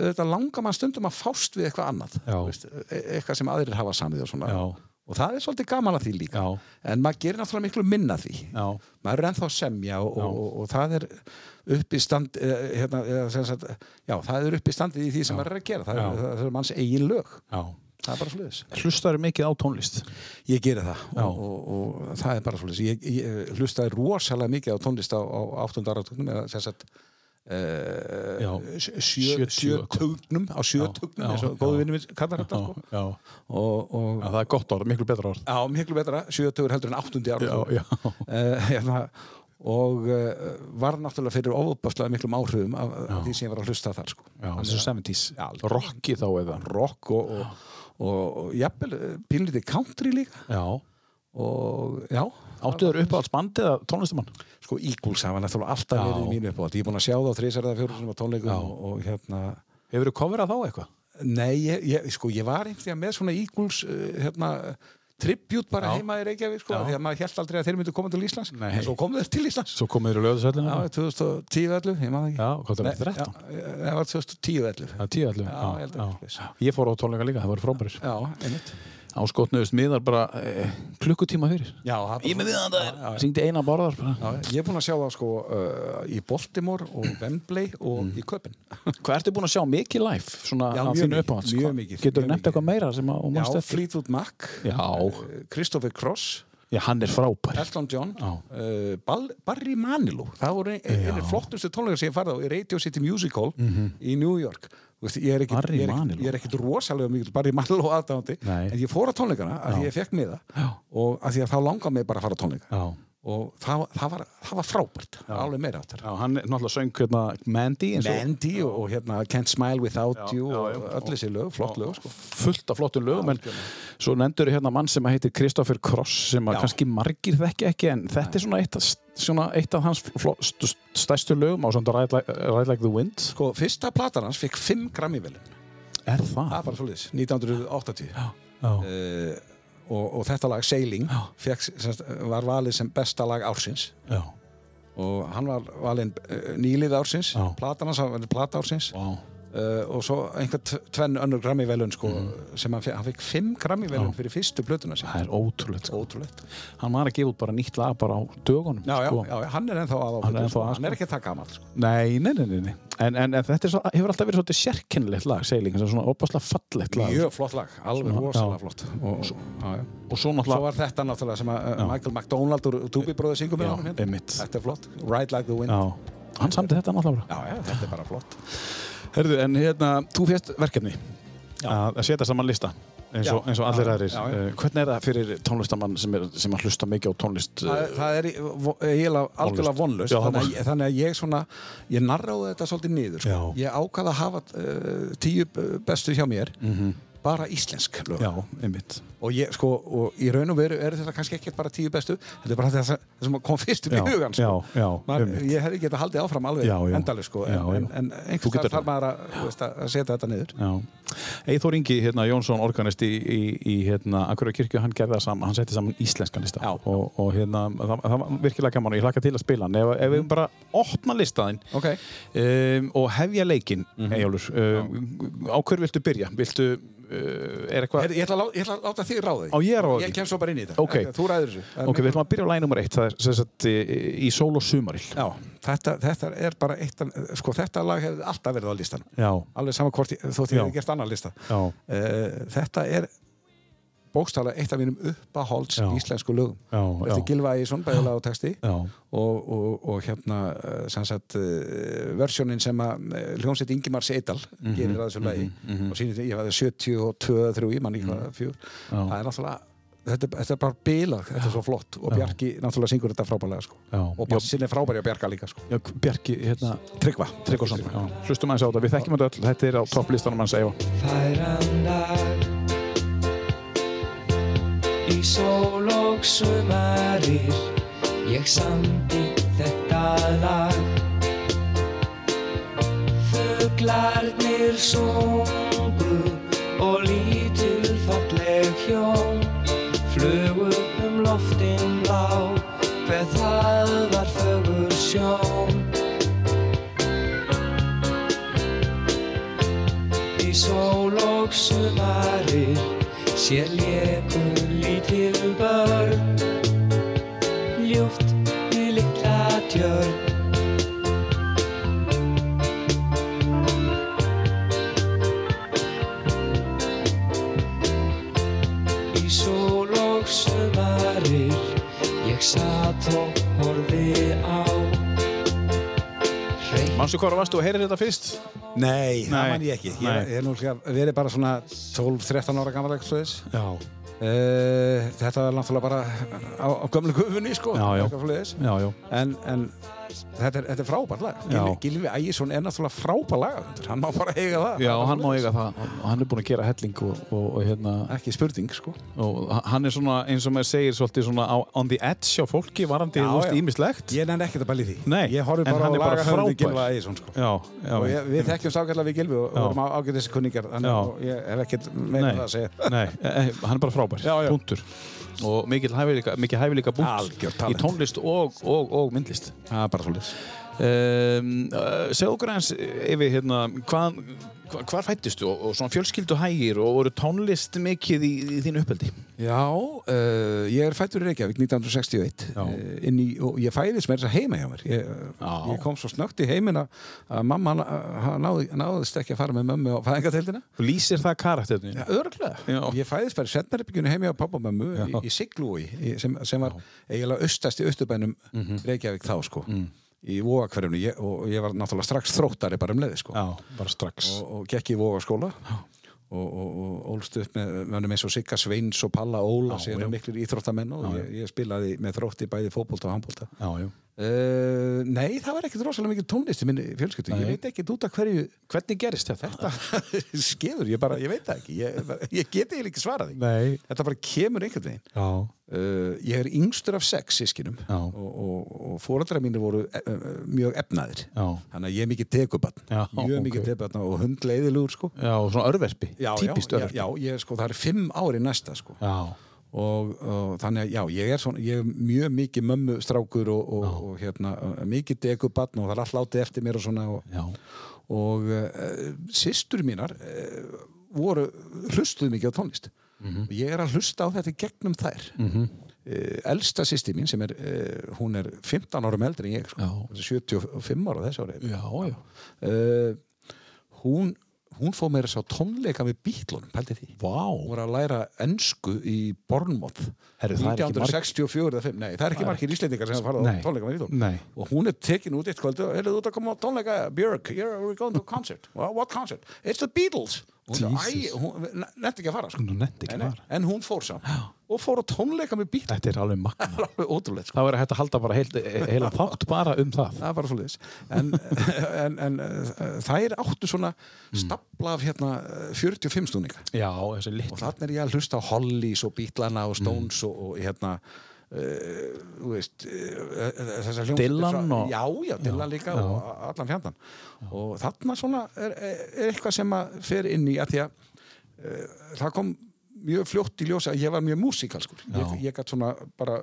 Speaker 3: þetta langar maður stundum að fást við eitthvað annað,
Speaker 2: Já.
Speaker 3: veist, e- eitthvað sem aðrir hafa samið og svona
Speaker 2: Já.
Speaker 3: og það er svolítið gaman að því líka
Speaker 2: Já.
Speaker 3: en maður gerir náttúrulega miklu minna af því
Speaker 2: Já.
Speaker 3: maður er ennþá að semja og, og, og, og það er upp í stand eh, hérna, eða sem sagt, já, það er upp í standið í því sem maður er að gera það,
Speaker 2: Já.
Speaker 3: er, það er manns eigin lög
Speaker 2: Já.
Speaker 3: það er bara sliðis
Speaker 2: Hlustaru mikið á tónlist
Speaker 3: ég geri það
Speaker 2: Já.
Speaker 3: og, og, og, það er bara sliðis ég, ég eh, hlustaði rosalega mikið á tónlist á, á 8. áratögnum eða sem sagt
Speaker 2: Já.
Speaker 3: eh, sjö-
Speaker 2: 70
Speaker 3: sjö-
Speaker 2: og
Speaker 3: sjötugnum á sjötugnum
Speaker 2: Já.
Speaker 3: eins og
Speaker 2: Já.
Speaker 3: góðu vinnum kallar þetta sko.
Speaker 2: Já.
Speaker 3: og, og
Speaker 2: Já, það er gott orð, miklu betra orð
Speaker 3: Já, miklu betra, 70 heldur en 8. ára
Speaker 2: Já, já.
Speaker 3: hérna, og uh, var náttúrulega fyrir ofubaslega miklum áhrifum af já. því sem ég var að hlusta þar sko.
Speaker 2: Já, þessu 70s
Speaker 3: Já, algjörlega.
Speaker 2: Rocki þá eða
Speaker 3: rock og, og, og, og jafnvel eh, pínlítið country líka
Speaker 2: Já
Speaker 3: og já,
Speaker 2: Áttu þér uppáhalds bandið að tónlistumann?
Speaker 3: sko Eagles hafa náttúrulega alltaf
Speaker 2: Já.
Speaker 3: verið í mínu uppátt, ég er búin að sjá það á þrísar eða fjórum sem á tónleikum
Speaker 2: Já.
Speaker 3: og, og hérna
Speaker 2: Hefur þú coverað þá eitthvað?
Speaker 3: nei, ég, ég, sko ég var einhvern veginn með svona Eagles uh, hérna tribut bara
Speaker 2: Já.
Speaker 3: heima í Reykjavík sko,
Speaker 2: Já.
Speaker 3: því að maður held aldrei að þeir myndu koma til Íslands
Speaker 2: Nei.
Speaker 3: en svo komu þeir til Íslands
Speaker 2: Svo komið þér í löðusöllinu?
Speaker 3: Já, 2010 11, ég maður ekki.
Speaker 2: Já, hvað það
Speaker 3: Nei,
Speaker 2: er þetta?
Speaker 3: já, Það var 2010 11.
Speaker 2: Það er tíu allir.
Speaker 3: Já, ég held að það sé
Speaker 2: já. Ég fór á tónleika líka, það var frábærir.
Speaker 3: Já, einmitt.
Speaker 2: Áskotnuðust miðar bara eh, klukkutíma fyrir.
Speaker 3: Já, það bara-
Speaker 2: Ég með við það er. Syngdi eina borðar bara.
Speaker 3: Já, ég er búinn að sjá það sko uh, í Baltimore og Wembley og
Speaker 2: Mm.
Speaker 3: í Köpen.
Speaker 2: Hvað ertu búin að sjá mikið live? Svona
Speaker 3: Já,
Speaker 2: af
Speaker 3: mjög
Speaker 2: þínu
Speaker 3: mikið,
Speaker 2: uppáhalds?
Speaker 3: mjög
Speaker 2: Hvað-
Speaker 3: mikið,
Speaker 2: Getur
Speaker 3: mjög
Speaker 2: þú nefnt
Speaker 3: mikið.
Speaker 2: eitthvað meira sem að og
Speaker 3: Já,
Speaker 2: manst eftir?
Speaker 3: Fleetwood Mac,
Speaker 2: Já,
Speaker 3: uh, Christopher Cross,
Speaker 2: já, hann er frábær.
Speaker 3: Elton John,
Speaker 2: Já.
Speaker 3: uh, Bal Barry Manilow. Það voru ein- einir flottustu tónleikar sem ég farið á í Radio City Musical í New York. Þú Veist, ég, er ekkit,
Speaker 2: Mhm. Barry
Speaker 3: ég, er ekkit,
Speaker 2: Manilow.
Speaker 3: ég er ekkit rosalega mikil Barry Manilow aðdándi
Speaker 2: Nei.
Speaker 3: en ég fór á tónleikana að því ég fekk miða og að því að þá langaði mig bara að fara á tónleika
Speaker 2: Já.
Speaker 3: og það, það, var, það var frábært alveg meira áttar
Speaker 2: Já, hann er náttúrulega söng hérna Mandy eins og
Speaker 3: Mandy og, og hérna Can't Smile Without
Speaker 2: Já,
Speaker 3: You
Speaker 2: já,
Speaker 3: og
Speaker 2: já.
Speaker 3: öll þessi lög, flott lög sko.
Speaker 2: fullt af flottum lögum en svo nendur hérna mann sem að heitir Kristoffer Cross sem að
Speaker 3: Já.
Speaker 2: kannski margir þekki ekki en þetta er svona eitt af, svona eitt af hans flott, stærstu lögum á svona Ride Like, Ride like the Wind
Speaker 3: sko, fyrsta platan hans fekk 5 grammi velin
Speaker 2: Er það?
Speaker 3: það er bara svolítið, 1980 uh,
Speaker 2: Já,
Speaker 3: og, og þetta lag Sailing fekk, semst, var valið sem besta lag ársins
Speaker 2: já,
Speaker 3: og hann var valinn uh, nýlið ársins,
Speaker 2: Já.
Speaker 3: platan hans var plata ársins
Speaker 2: já,
Speaker 3: uh, og svo einhvern t- tvenn önnur grammi velun sko,
Speaker 2: Mhm.
Speaker 3: sem hann fekk, hann fekk 5 grammi velun fyrir fyrstu plötuna sem
Speaker 2: það er ótrúlegt sko.
Speaker 3: ótrúlegt
Speaker 2: Hann var að gefa út bara nýtt lag bara á dögunum
Speaker 3: já, já,
Speaker 2: sko.
Speaker 3: já, hann er ennþá aðáfættur
Speaker 2: Hann er ennþá
Speaker 3: sko.
Speaker 2: að,
Speaker 3: hann er ekki það gammal sko.
Speaker 2: Nei, nei, nei, nei, nei. En, en, en þetta er svo, hefur alltaf verið svolítið sérkennilegt lag segling, svona opaslega fallegt lag
Speaker 3: mjög flott lag, alveg
Speaker 2: Svona,
Speaker 3: rosalega
Speaker 2: já.
Speaker 3: flott og, svo, já, já.
Speaker 2: og svo
Speaker 3: svo
Speaker 2: náttúrulega
Speaker 3: var þetta náttúrulega sem að uh, Michael McDonald úr Tubi bróðið syngum
Speaker 2: Já,
Speaker 3: með honum hérna.
Speaker 2: einmitt.
Speaker 3: þetta er flott, Ride Like the Wind já.
Speaker 2: Já, hann samdi þetta náttúrulega bara
Speaker 3: já, þetta er bara flott
Speaker 2: Herðu, en hérna, þú fjast verkefni að að setja saman lista eins og,
Speaker 3: Já.
Speaker 2: eins og allir
Speaker 3: Já,
Speaker 2: aðrir.
Speaker 3: já, já.
Speaker 2: Eh, Hvernig er það fyrir tónlistamann sem, er, sem að hlusta mikið á tónlist?
Speaker 3: það,
Speaker 2: eh,
Speaker 3: er- það er í- vo- eiginlega algjörlega vonlust
Speaker 2: Já, það
Speaker 3: þannig, að
Speaker 2: var-
Speaker 3: ég- þannig að ég svona, ég narráði þetta svolítið niður sko.
Speaker 2: Já.
Speaker 3: ég ákvað að hafa uh, tíu eh, bestu hjá mér bara íslensk lög
Speaker 2: Mhm. Já, einmitt.
Speaker 3: og ég sko, og í raun og veru eru þetta kannski ekkert bara tíu bestu, þetta er bara það sem- það sem kom fyrst upp í
Speaker 2: Já,
Speaker 3: hugan sko.
Speaker 2: já, já,
Speaker 3: maður,
Speaker 2: einmitt.
Speaker 3: ég hefði getað haldið áfram alveg
Speaker 2: Já, já.
Speaker 3: endaleg sko, en,
Speaker 2: Já, já.
Speaker 3: en, en
Speaker 2: Þú
Speaker 3: einhvers
Speaker 2: getur
Speaker 3: þar þarf maður að, þú veist, að setja þetta niður
Speaker 2: Já. Eithor Ingi, hérna, Jónsson organist í, í, í hérna, Akureyri kirkju, hann gerði það saman, hann setti saman íslenskan lista
Speaker 3: Já.
Speaker 2: og, og hérna, það, það var virkilega gaman og ég hlakka til að spila hann. Ef, ef við bara opna listaðinn
Speaker 3: Mhm. ok, Mhm.
Speaker 2: um, og hefja leikinn, mm um, á hverju viltu byrja? Viltu, uh, er eitthvað...
Speaker 3: Heyrðu, ég, ætla að lá- ég ætla að láta þig ráði
Speaker 2: Á, ég er á því.
Speaker 3: ég kem svo bara inn í þetta,
Speaker 2: Ok.
Speaker 3: þú ræður þessu Það er
Speaker 2: Ok, við ætlum að byrja á lægi nummer eitt, það er sem sagt í, í sól og sumaril.
Speaker 3: mjög- já, þetta, þetta er bara eitt af- sko, þetta lag hefði alltaf verið á listan
Speaker 2: Já.
Speaker 3: alveg saman hvort, ég- þótt ég
Speaker 2: Já.
Speaker 3: hefði gert annan lista
Speaker 2: Já.
Speaker 3: uh, þetta er bókstala eitt af mínum uppahólds
Speaker 2: Já.
Speaker 3: íslensku lögum
Speaker 2: Já,
Speaker 3: þetta
Speaker 2: já.
Speaker 3: er Gilva Ægisson, bæðilega á texti
Speaker 2: Já.
Speaker 3: og, og, og hérna eh, sem sagt, uh, versjónin sem að uh, hljónsett Ingimar Seidal
Speaker 2: Mhm,
Speaker 3: gerir að þessu lagi og sínir ég var 72, 3, ég mann ekki hvað
Speaker 2: Mhm.
Speaker 3: fjör það er náttúrulega Þetta, þetta er bara bilað, þetta er svo flott og Bjarki náttúrulega syngur þetta frábælega sko.
Speaker 2: Já.
Speaker 3: og bassin er frábæri á Bjarka líka sko.
Speaker 2: Já, Bjarki, hérna,
Speaker 3: Tryggva,
Speaker 2: Tryggvason. Já. Hlustum aðeins á þetta, við þekkjum þetta öll, þetta er á topplistanum hans Eva.
Speaker 4: færandar Í sól og sumarir Ég samdi þetta lag Fuglarnir sungu og lítil falleg hjón Flugu um loftin lá, hver það var fögur sjón Í sól og sumari sér lékum lítil börn Ljúft í litla tjörn í sól og sumarir ég satt og horfi á hreitt
Speaker 2: Manstu hvað varstu að heyra þetta fyrst?
Speaker 3: Nei, það
Speaker 2: Nei.
Speaker 3: man ég ekki.
Speaker 2: Nei.
Speaker 3: Ég, ég er nú líka verið bara svona 12-13 ára gammal eitthvað þess.
Speaker 2: Já.
Speaker 3: Uh, þetta var náttúrulega bara á, á gömlu gufunni, sko.
Speaker 2: Já, já.
Speaker 3: Eitthvað svoleiðis.
Speaker 2: Já, já.
Speaker 3: En, en þetta er, þetta er frábært lag.
Speaker 2: Já.
Speaker 3: Gylfi- Gylfi Ægisson er náttúrulega frábært lag. Hann má bara eiga það.
Speaker 2: Já, hann má eiga það og hann er búin að gera helling og, og, og, hérna,
Speaker 3: Ekki spurning, sko.
Speaker 2: og hann er svona eins og maður segir svolítið svona á, on the edge á fólki varandi
Speaker 3: Já,
Speaker 2: þú veist
Speaker 3: já.
Speaker 2: ímislegt
Speaker 3: Ég nenni ekkert að bæli því.
Speaker 2: Nei,
Speaker 3: Ég horfi
Speaker 2: en
Speaker 3: bara á
Speaker 2: hann er bara
Speaker 3: lagahöfundi
Speaker 2: frábær.
Speaker 3: Gylfa Ægisson, sko.
Speaker 2: Já, já,
Speaker 3: og ég, við þekkjum sákjallega við Gylfi og
Speaker 2: Já.
Speaker 3: vorum á ágætis kunningar. Þannig
Speaker 2: Já.
Speaker 3: að ég hef ekkert meina
Speaker 2: nei,
Speaker 3: það að segja.
Speaker 2: nei, e, e, hann er bara frábær,
Speaker 3: Já, já.
Speaker 2: punktur og mikil hæfileika, mikil hæfileika búnt
Speaker 3: Algjört talent.
Speaker 2: í tónlist og, og, og myndlist
Speaker 3: Það er bara svolítið.
Speaker 2: um, uh, segðu okkur eins yfir hérna, hvað hva, hvar fættist og, og svona fjölskyldu hægir og voru tónlist mikið í, í þínu uppeldi
Speaker 3: Já, uh, ég er fættur í Reykjavík 1961
Speaker 2: Já.
Speaker 3: uh, inn í, og ég fæðist með þess að heima hjá mér ég,
Speaker 2: Já.
Speaker 3: ég kom svo snöggt í heiminn að- að mamma na- ha- náði, náðist ekki að fara með mömmu á fæðingateildina
Speaker 2: lýsir það karakterinu?
Speaker 3: Örglega,
Speaker 2: Já.
Speaker 3: ég fæðist bara í setnarbyggjunu heima hjá pappa og mömmu í, í Siglúi í- sem, sem var eiginlega austast í austubænum
Speaker 2: Mhm.
Speaker 3: Reykjavík þá sko
Speaker 2: Mm.
Speaker 3: í Vóakverjunu ég, og ég var náttúrulega strax þróttari bara um leiði sko
Speaker 2: Já, bara strax
Speaker 3: og, og gekk í Vógaskóla og, og, og ólst upp með mönnum eins og Sigga Sveins og Palla Óla sem eru miklir íþróttamenn og ég, ég spilaði með þrótti bæði fótbolta og handbolta
Speaker 2: Já, já.
Speaker 3: uh, Nei, það var ekkert rosalega mikið tónlist í minni fjölskyldu, ég veit ekkert út af hverju
Speaker 2: Hvernig gerist þetta?
Speaker 3: skeður, ég bara, ég veit það ekki ég, ég geti eiginlega ekki svarað því
Speaker 2: Nei
Speaker 3: þetta bara kemur einhvern veginn
Speaker 2: Já,
Speaker 3: Uh, ég er yngstur af sex sískinum
Speaker 2: Já.
Speaker 3: og, og, og fóreldra mínir voru e e mjög efnaðir
Speaker 2: Já.
Speaker 3: þannig að ég er mikið tekubann
Speaker 2: Já,
Speaker 3: mjög mikið
Speaker 2: ok.
Speaker 3: tekubann og hundleiðilugur sko
Speaker 2: já og svona örverpi,
Speaker 3: já,
Speaker 2: típist
Speaker 3: já, já,
Speaker 2: örverpi
Speaker 3: já, ég, sko, það er fimm ári næsta sko.
Speaker 2: já.
Speaker 3: og, og þannig að já, ég er, svona, ég er mjög mikið mömmu strákur og, og, og hérna, mikið dekubatn og það er allt látið eftir mér og svona og,
Speaker 2: Já.
Speaker 3: og uh, systur mínar uh, voru hlustuð mikið á tónlist
Speaker 2: Mhm.
Speaker 3: og ég er að hlusta á þetta í gegnum þær mm -hmm. elsta systir mín sem er uh, hún er 15 árum eldri en ég sko.
Speaker 2: Já.
Speaker 3: Hún er 75 ára þessi ári
Speaker 2: Já, já.
Speaker 3: uh, hún, hún fóð mér þess að segja á tónleika með bítlunum, pældi því
Speaker 2: Vá,
Speaker 3: voru að læra ensku í Bornmoth
Speaker 2: Herru, það er ekki marg-
Speaker 3: 1964 eða 5 Nei, það er ekki margir íslendingar sem hafa farið
Speaker 2: Nei.
Speaker 3: á tónleika með Vítum
Speaker 2: Nei.
Speaker 3: og hún er tekin út eitt kvöldu og heyrðu þú ert að koma á tónleika Björk, here we're going to a concert well, what concert? It's the Beatles og hún sagði, æ,
Speaker 2: Jesus.
Speaker 3: hún nefndi ekki að fara sko.
Speaker 2: Hún nennti ekki að
Speaker 3: Nei, nei,
Speaker 2: fara.
Speaker 3: en hún fór samt og fór á tónleika með Beatles
Speaker 2: þetta er alveg magna
Speaker 3: það er alveg ótrúlega
Speaker 2: Það var hægt að halda bara heil, heila þátt bara um það
Speaker 3: það var svolítið en, en, en uh, þær áttu svona stapla af hérna uh, 45 stúninga
Speaker 2: Já, þessi
Speaker 3: og
Speaker 2: litla
Speaker 3: þannig er ég að hlusta á Hollies og Beatlana og Stones
Speaker 2: Mm.
Speaker 3: og, og hérna uh, þú veist, uh, þessar hljómsveitir
Speaker 2: Dylan
Speaker 3: frá-
Speaker 2: og-
Speaker 3: já, já, Dylan líka og a- allan fjandan og þarna svona er, er eitthvað sem að fer inn í að því að uh, það kom mjög fljótt í ljósa að ég var mjög músikalskur ég,
Speaker 2: Já.
Speaker 3: ég gætt svona bara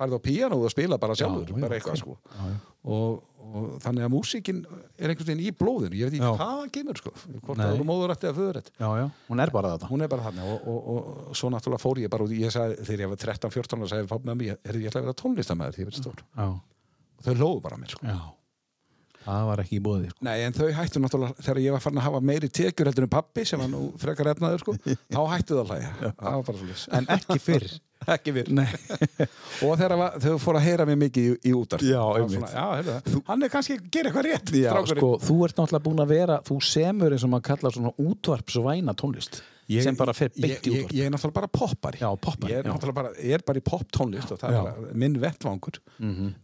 Speaker 3: farið á píano og spila bara sjálfur,
Speaker 2: Já, já,
Speaker 3: bara eitthvað
Speaker 2: ok.
Speaker 3: sko
Speaker 2: Já, já.
Speaker 3: og, og þannig að músikin er einhvern veginn í blóðinu, ég veit
Speaker 2: Já.
Speaker 3: ekki hvað hann kemur sko, hvort
Speaker 2: Nei.
Speaker 3: það eru móðurætti eða föðurætti
Speaker 2: Já, já, hún er bara þetta
Speaker 3: hún er bara þannig og, og, og, og svo náttúrulega fór ég bara út í- ég sagði, þegar ég var 13-14 og sagði pappa með mér, er ég ætla að vera tónlistamæður þegar ég verið stór
Speaker 2: Já,
Speaker 3: og þau lóðu bara að mér sko
Speaker 2: Mm. já Það var ekki í bóði sko.
Speaker 3: Nei, en þau hættu náttúrulega, þegar ég var farin að hafa meiri tekjur heldur en pappi sem var nú frekar efnaður sko, þá hættu það að hlæja það var bara svolítið
Speaker 2: En ekki fyrr
Speaker 3: ekki við og þegar var, þau fóru að heyra mér mikið í, í útar
Speaker 2: Já, einmitt.
Speaker 3: svona, já, heyrðu það. hann er kannski að gera eitthvað rétt
Speaker 2: Já,
Speaker 3: strákurinn.
Speaker 2: sko, þú ert náttúrulega búin að vera Þú semur eins og maður kallar svona útvarpsvæna tónlist Sem bara fer
Speaker 3: ég,
Speaker 2: beint í
Speaker 3: ég,
Speaker 2: útvarp
Speaker 3: ég er náttúrulega bara poppari
Speaker 2: Já, poppari,
Speaker 3: ég er
Speaker 2: já.
Speaker 3: náttúrulega bara, ég er bara í poptónlist og það
Speaker 2: Já.
Speaker 3: er bara minn vettvangur uh,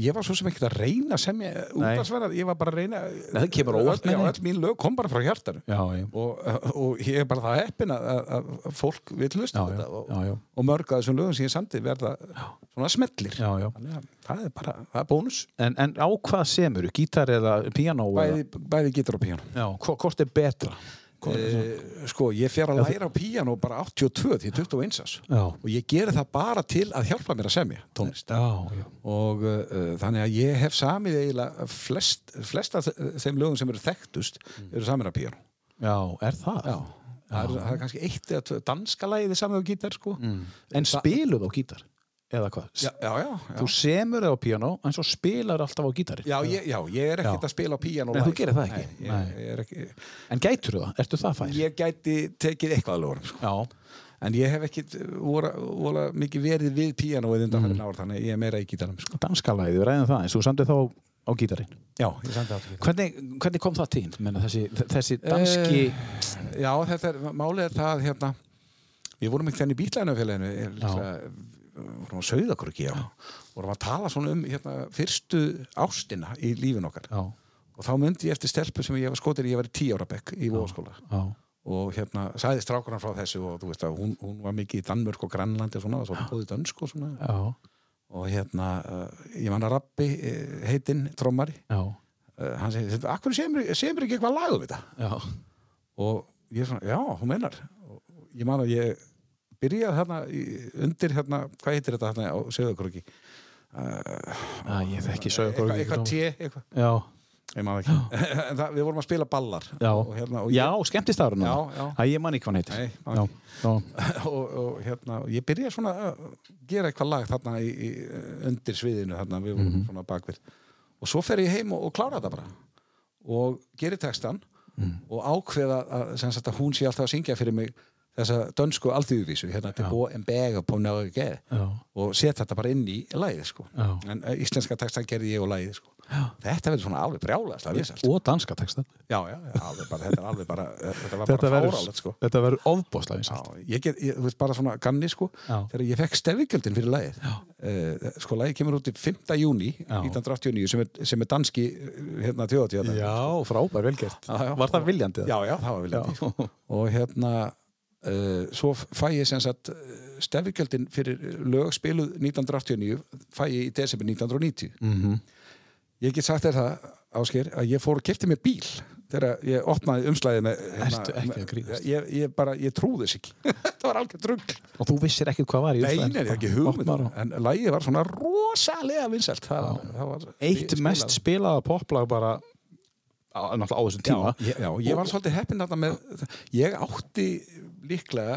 Speaker 3: ég var svo sem ekkert að reyna sem ég
Speaker 2: Nei.
Speaker 3: útvarsverðar, ég var bara að reyna
Speaker 2: Nei, það kemur á óvart,
Speaker 3: öll, já,
Speaker 2: meina ég.
Speaker 3: öll mín lög kom bara frá hjartanu
Speaker 2: Já, já
Speaker 3: og, og ég er bara það heppin að, að, að fólk vil hlusta á
Speaker 2: Já, já,
Speaker 3: þetta og,
Speaker 2: já, já.
Speaker 3: og mörg mörg að þessum lögum sem ég samti verða svona smellir
Speaker 2: Já, já.
Speaker 3: Þannig að það er bara, það er bónus
Speaker 2: En, en á hvað semur, gítar eða piano?
Speaker 3: bæði, bæði getur á píano
Speaker 2: Já, hvo- hvort er betra? Hvort er svona-
Speaker 3: e, sko, ég fer að læra á píano bara 82 því 21 árs
Speaker 2: Já.
Speaker 3: og ég geri það bara til að hjálpa mér að semja tónlist
Speaker 2: Já, já.
Speaker 3: og uh, uh, þannig að ég hef samið eiginlega flest, flest af þe- þeim lögum sem eru þekktust
Speaker 2: Mm.
Speaker 3: eru samin að píano
Speaker 2: Já, er það?
Speaker 3: Það, er, það er kannski eitt eða tvö danska lagið er samið á gítar sko
Speaker 2: Mm. En spiluð á gítar? Eða hvað?
Speaker 3: já, já, já, já.
Speaker 2: Þú semur það á piano, en svo spilar alltaf á gítari.
Speaker 3: Já, ég, já, ég er ekkert
Speaker 2: Já.
Speaker 3: að spila á píano
Speaker 2: Nei, þú
Speaker 3: live.
Speaker 2: gerir það ekki.
Speaker 3: Nei,
Speaker 2: Nei.
Speaker 3: ég, ég, er ekki
Speaker 2: En gætur það? Ertu það fær?
Speaker 3: ég gæti tekið eitthvað að lögurum sko.
Speaker 2: Já,
Speaker 3: En ég hef ekkit vola, vola mikið verið við píanóið undan
Speaker 2: Mm.
Speaker 3: fyrir náður þannig að ég er meira í gítarum sko.
Speaker 2: danskalæði, við ræðum það, en þú samdið þá á gítarinn.
Speaker 3: Já, ég samt aftur
Speaker 2: Hvernig, hvernig kom það til? Menna, þessi, þessi
Speaker 3: Eh.
Speaker 2: danski...
Speaker 3: Já, þetta er, málið er það hérna Við vorum ekkert henni í bílænafélaginu hérna, vorum að sauða okkur ekki já. vorum að tala svona um hérna, fyrstu ástina í lífin okkar
Speaker 2: Já,
Speaker 3: og þá myndi ég eftir stelpu sem ég var skotir ég var í tíu ára bekk í vóðaskóla
Speaker 2: já,
Speaker 3: og hérna sæði strákurna frá þessu og þú veist að hún, hún var mikið í Danmörk og Grænlandi og svona, og svo bóðið dönsk og svona
Speaker 2: já,
Speaker 3: og hérna, uh, ég man að Rappi uh, heitinn, trommari
Speaker 2: já,
Speaker 3: uh, hann segir, akkur semur, semur ekki eitthvað lag um þetta
Speaker 2: já,
Speaker 3: og ég svona, já, hún meinar og ég man að ég byrjaði hérna í, undir hérna, hvað heitir þetta hérna á Söðakröki
Speaker 2: Æ, ég þekki
Speaker 3: eitthvað,
Speaker 2: sögur
Speaker 3: eitthvað té, eitthvað,
Speaker 2: Já,
Speaker 3: ég man það ekki En það, við vorum að spila ballar
Speaker 2: já,
Speaker 3: og hérna, og
Speaker 2: já,
Speaker 3: ég,
Speaker 2: skemmtist árun
Speaker 3: Já, já.
Speaker 2: Æ, ég man ekki hvað hann heitir
Speaker 3: Nei, man
Speaker 2: já, já,
Speaker 3: og, og hérna, og ég byrjaði svona að gera eitthvað lag þarna í, í, undir sviðinu, þarna við vorum
Speaker 2: Mhm.
Speaker 3: svona bakvið og svo fer ég heim og, og klára þetta bara og geri textan
Speaker 2: Mhm.
Speaker 3: og ákveða að, sem sagt að hún sé alltaf að syngja fyrir mig þessa dönsku alþjóðvísu, hérna til bó en bega på náðu geð
Speaker 2: já,
Speaker 3: og setja þetta bara inn í lagið sko.
Speaker 2: Já.
Speaker 3: en eh, íslenska textan gerði ég og lagið sko. þetta verður svona alveg brjálaðast að vissast
Speaker 2: og danska texta
Speaker 3: já, já, alveg bara, þetta er alveg bara eh, þetta var
Speaker 2: Þetta
Speaker 3: bara
Speaker 2: verður,
Speaker 3: fárálegt sko.
Speaker 2: þetta verður ofbóðslega vinsælt.
Speaker 3: Já, ég get, ég, þú veist, bara svona ganni sko
Speaker 2: Já.
Speaker 3: þegar ég fekk stefingjöldin fyrir lagið uh, sko lagið kemur út í 5. júni
Speaker 2: Já.
Speaker 3: 1989 sem er, sem er danski eh, hérna þjóðatíð
Speaker 2: Já, frábær, velgert Var það viljandi?
Speaker 3: já, já, það var viljandi sko. og hérna uh, svo fæ ég sem sagt stefingjöldin fyrir lög spiluð 1989 fæ ég í desember 1990
Speaker 2: Mhm.
Speaker 3: ég get sagt þér það Ásker, að ég fór og kefti mér bíl þegar ég opnaði umslæðið með
Speaker 2: Ertu ekki að grínast?
Speaker 3: ég, ég bara, ég trúði þess ekki þetta var algjör drugg
Speaker 2: Og þú vissir ekkert hvað var í
Speaker 3: Nei,
Speaker 2: umslaginu?
Speaker 3: nei, ekki
Speaker 2: Opnar
Speaker 3: hugmynd
Speaker 2: og-
Speaker 3: En lægið var svona rosalega vinsælt það, var- það var
Speaker 2: Eitt
Speaker 3: spilað.
Speaker 2: mest spilaða poplag bara á, náttúrulega á þessum tíma
Speaker 3: já, já, ég var svolítið heppinn þarna með Ég átti líklega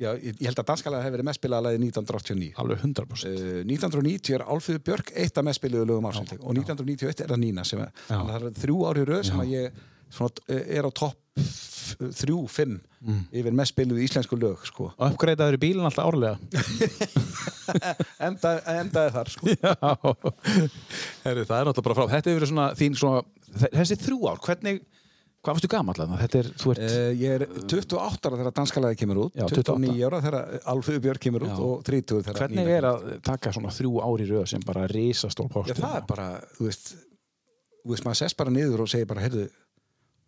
Speaker 3: já, Ég ég held að danskalega hefur verið mest spilaða lægið 1989
Speaker 2: Alveg 100%
Speaker 3: Uh, 1990 er Álfríður Björk eitt af mest spiluðu lögum ársins og 1991 er það Nína sem er,
Speaker 2: Já.
Speaker 3: þannig að það er þrjú ári röð sem að ég svona, eh, er á topp f- þrjú, fimm
Speaker 2: Mm.
Speaker 3: yfir mest spiluðu íslensku lög sko.
Speaker 2: Og uppgreitaður í bílinn alltaf árlega
Speaker 3: Enda, endaði þar sko.
Speaker 2: Já Herri, Það er náttúrulega bara frá Þetta hefur verið svona þín svona þe- Þessi þrjú ár, hvernig Hvað varstu gamall að Þetta er, þú ert
Speaker 3: Uh, ég er 28 ára þegar danskalaði kemur út
Speaker 2: Já,
Speaker 3: 29 ára þegar Alföðu Björk kemur út
Speaker 2: Já.
Speaker 3: og 30 þegar
Speaker 2: Hvernig
Speaker 3: Nína
Speaker 2: er að taka svona þrjú ár í röð sem bara risastór
Speaker 3: kemur. Já,
Speaker 2: postur?
Speaker 3: það er bara, þú veist þú veist, maður sest bara niður og segir bara heyrðu,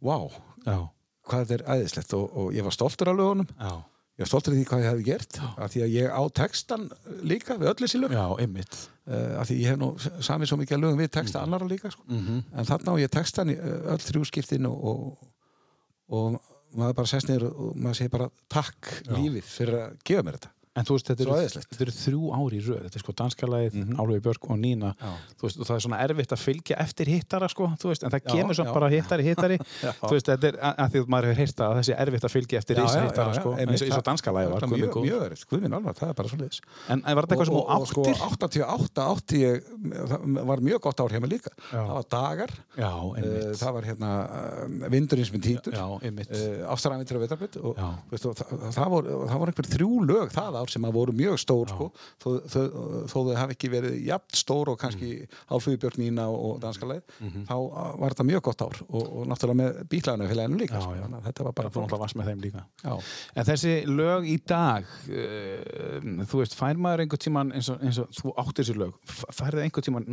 Speaker 3: wow,
Speaker 2: Já,
Speaker 3: hvað þetta er æðislegt og, og ég var stoltur af lögunum
Speaker 2: já,
Speaker 3: ég var stoltur af því hvað ég hefði gert af því að ég á textan líka við öllu sílum uh,
Speaker 2: já, einmitt
Speaker 3: Eh, af því ég hef nú samið svo mikið að lögum við
Speaker 2: Mhm.
Speaker 3: texta annara líka, sko. en þarna á ég textan í, uh, öll þrjú skiptin og, og, og maður bara sest niður og maður segir bara takk lífið fyrir að gefa mér þetta
Speaker 2: En þú veist, þetta
Speaker 3: Svo
Speaker 2: eru,
Speaker 3: æðislegt.
Speaker 2: þetta eru þrjú ári í röð, þetta er sko danskalæðið, mm Björk og Nína, þú veist, og það er svona erfitt að fylgja eftir hittara, sko, þú veist, en það kemur svo
Speaker 3: já.
Speaker 2: bara hittari, hittari, þú veist, þetta er að að því að maður hefur heyrt það að þessi er erfitt að fylgja eftir risa hittara, sko, eins og- eins og danskalæðið var, guð minn
Speaker 3: mjög,
Speaker 2: góður.
Speaker 3: mjög erist, guðminn alveg, það er bara svo leiðis
Speaker 2: En en var þetta eitthvað sem hún
Speaker 3: sko,
Speaker 2: áttir?
Speaker 3: 88 átti ég það var mjög gott ár hjá mig líka það var dagar,
Speaker 2: Já,
Speaker 3: uh,
Speaker 2: einmitt,
Speaker 3: það var hérna eh, vindurinn sem er títur
Speaker 2: já, einmitt,
Speaker 3: Uh, ástæðanvittur og vetarbytt og,
Speaker 2: Já.
Speaker 3: veist, og það, það, voru, það voru einhver þrjú lög það ár sem að voru mjög stór sko, þó, þó, þó þau hafi ekki verið jafn stór og kannski mm. Álfugubjörn Nína og danska leið
Speaker 2: Mhm.
Speaker 3: þá uh, var þetta mjög gott ár og, og náttúrulega með bílæðinu félaginu líka
Speaker 2: Já,
Speaker 3: sko,
Speaker 2: já.
Speaker 3: þannig að þetta var
Speaker 2: bara
Speaker 3: bara
Speaker 2: þú náttúrulega varst með þeim líka.
Speaker 3: Já.
Speaker 2: En þessi lög í dag, uh, þú veist, fær maður einhver tíman eins og, eins og þú áttir þessi lög, færði einhver tíman,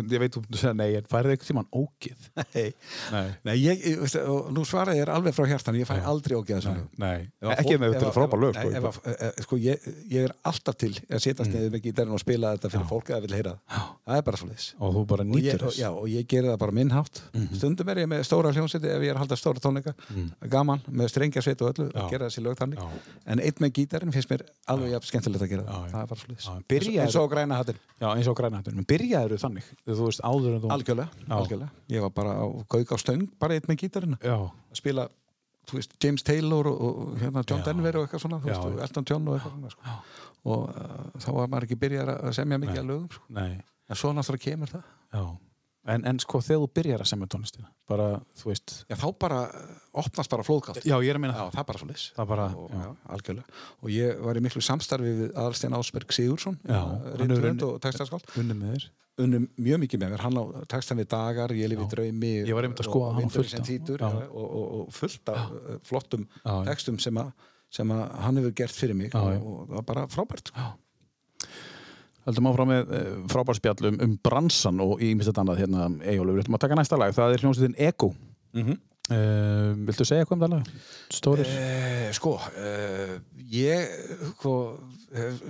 Speaker 2: ég veit þú myndir segja nei, en færði einhver tíman ógið?
Speaker 3: Nei,
Speaker 2: Nei.
Speaker 3: nei ég, ég, veist, og nú svara ég er alveg frá hjartan, ég fæ aldrei ógeða þessu lög.
Speaker 2: Nei,
Speaker 3: Ef að
Speaker 2: ekki
Speaker 3: fólk-
Speaker 2: með
Speaker 3: ef
Speaker 2: þetta
Speaker 3: að-
Speaker 2: er frábær lög
Speaker 3: Nei,
Speaker 2: sko,
Speaker 3: ef að- e- e- sko ég, ég er alltaf til að setast mm. niður með gítarinn og spila þetta fyrir fólk að vil heyra það það er bara svolítið
Speaker 2: og þú bara
Speaker 3: og ég,
Speaker 2: nýtur
Speaker 3: og,
Speaker 2: þess Mhm.
Speaker 3: já, og ég geri það bara minnhátt mm stundum er ég með stóra hljónseti ef ég er að halda stóra tónleika gaman, með strengja sveit og öllu
Speaker 2: Já.
Speaker 3: að gera þessi lög þannig
Speaker 2: Já.
Speaker 3: en einn með gítarinn finnst mér alveg jafn skemmtilegt að gera
Speaker 2: Já,
Speaker 3: það
Speaker 2: já.
Speaker 3: það er bara svolítið
Speaker 2: Já,
Speaker 3: eins,
Speaker 2: byrjaðu-
Speaker 3: eins og á græna hattin
Speaker 2: Já, eins og grænhættur, menn byrjaður þannig þú veist áður en þú
Speaker 3: algjörlega,
Speaker 2: Já.
Speaker 3: algjörlega ég var bara á gauk á stöng bara einn með gítarinn
Speaker 2: Já,
Speaker 3: að spila þú veist, James Taylor og, og hérna John
Speaker 2: Já.
Speaker 3: Denver og eitthvað svona þú
Speaker 2: Já,
Speaker 3: veist, og
Speaker 2: já.
Speaker 3: Elton John og eitthvað svona sko. og uh, þá var maður ekki byrjar að semja mikið
Speaker 2: Nei.
Speaker 3: að lögum sko.
Speaker 2: nei,
Speaker 3: en svo náttúrulega kemur það
Speaker 2: já En, en sko þegar þú byrjar að semja tónlistina bara, þú veist
Speaker 3: já, þá bara uh, opnast bara flóðgátt
Speaker 2: Já, ég er að minna
Speaker 3: Já, það er bara svolítið
Speaker 2: Það bara,
Speaker 3: og,
Speaker 2: já.
Speaker 3: já, algjörlega. og ég var í miklu samstarfi við Aðalstein Ásberg Sigursson
Speaker 2: Já, hann er
Speaker 3: reyndrönd
Speaker 2: unni-
Speaker 3: og textaskáld
Speaker 2: unni með þér
Speaker 3: unnum mjög mikið með mér, hann á textan við dagar ég lifi
Speaker 2: Já.
Speaker 3: draumi
Speaker 2: Ég var einmitt að skoða
Speaker 3: og
Speaker 2: hann á
Speaker 3: Vindurinn
Speaker 2: fullt
Speaker 3: sem
Speaker 2: af-
Speaker 3: þýtur uh,
Speaker 2: Já.
Speaker 3: og, og, og fullt af uh, flottum
Speaker 2: Já, já.
Speaker 3: textum sem, a, sem að hann hefur gert fyrir mig
Speaker 2: Já, já.
Speaker 3: og, og það var bara frábært já.
Speaker 2: Haldum áfram með frábárspjall um, um bransan og í minnst þetta annað hérna Eyjólfur, við ætlum að taka næsta lag, það er hljómsveitin Ego mm Viltu segja eitthvað um það lag? Stórir?
Speaker 3: Mhm. Eh, sko, eh, ég sko, eh,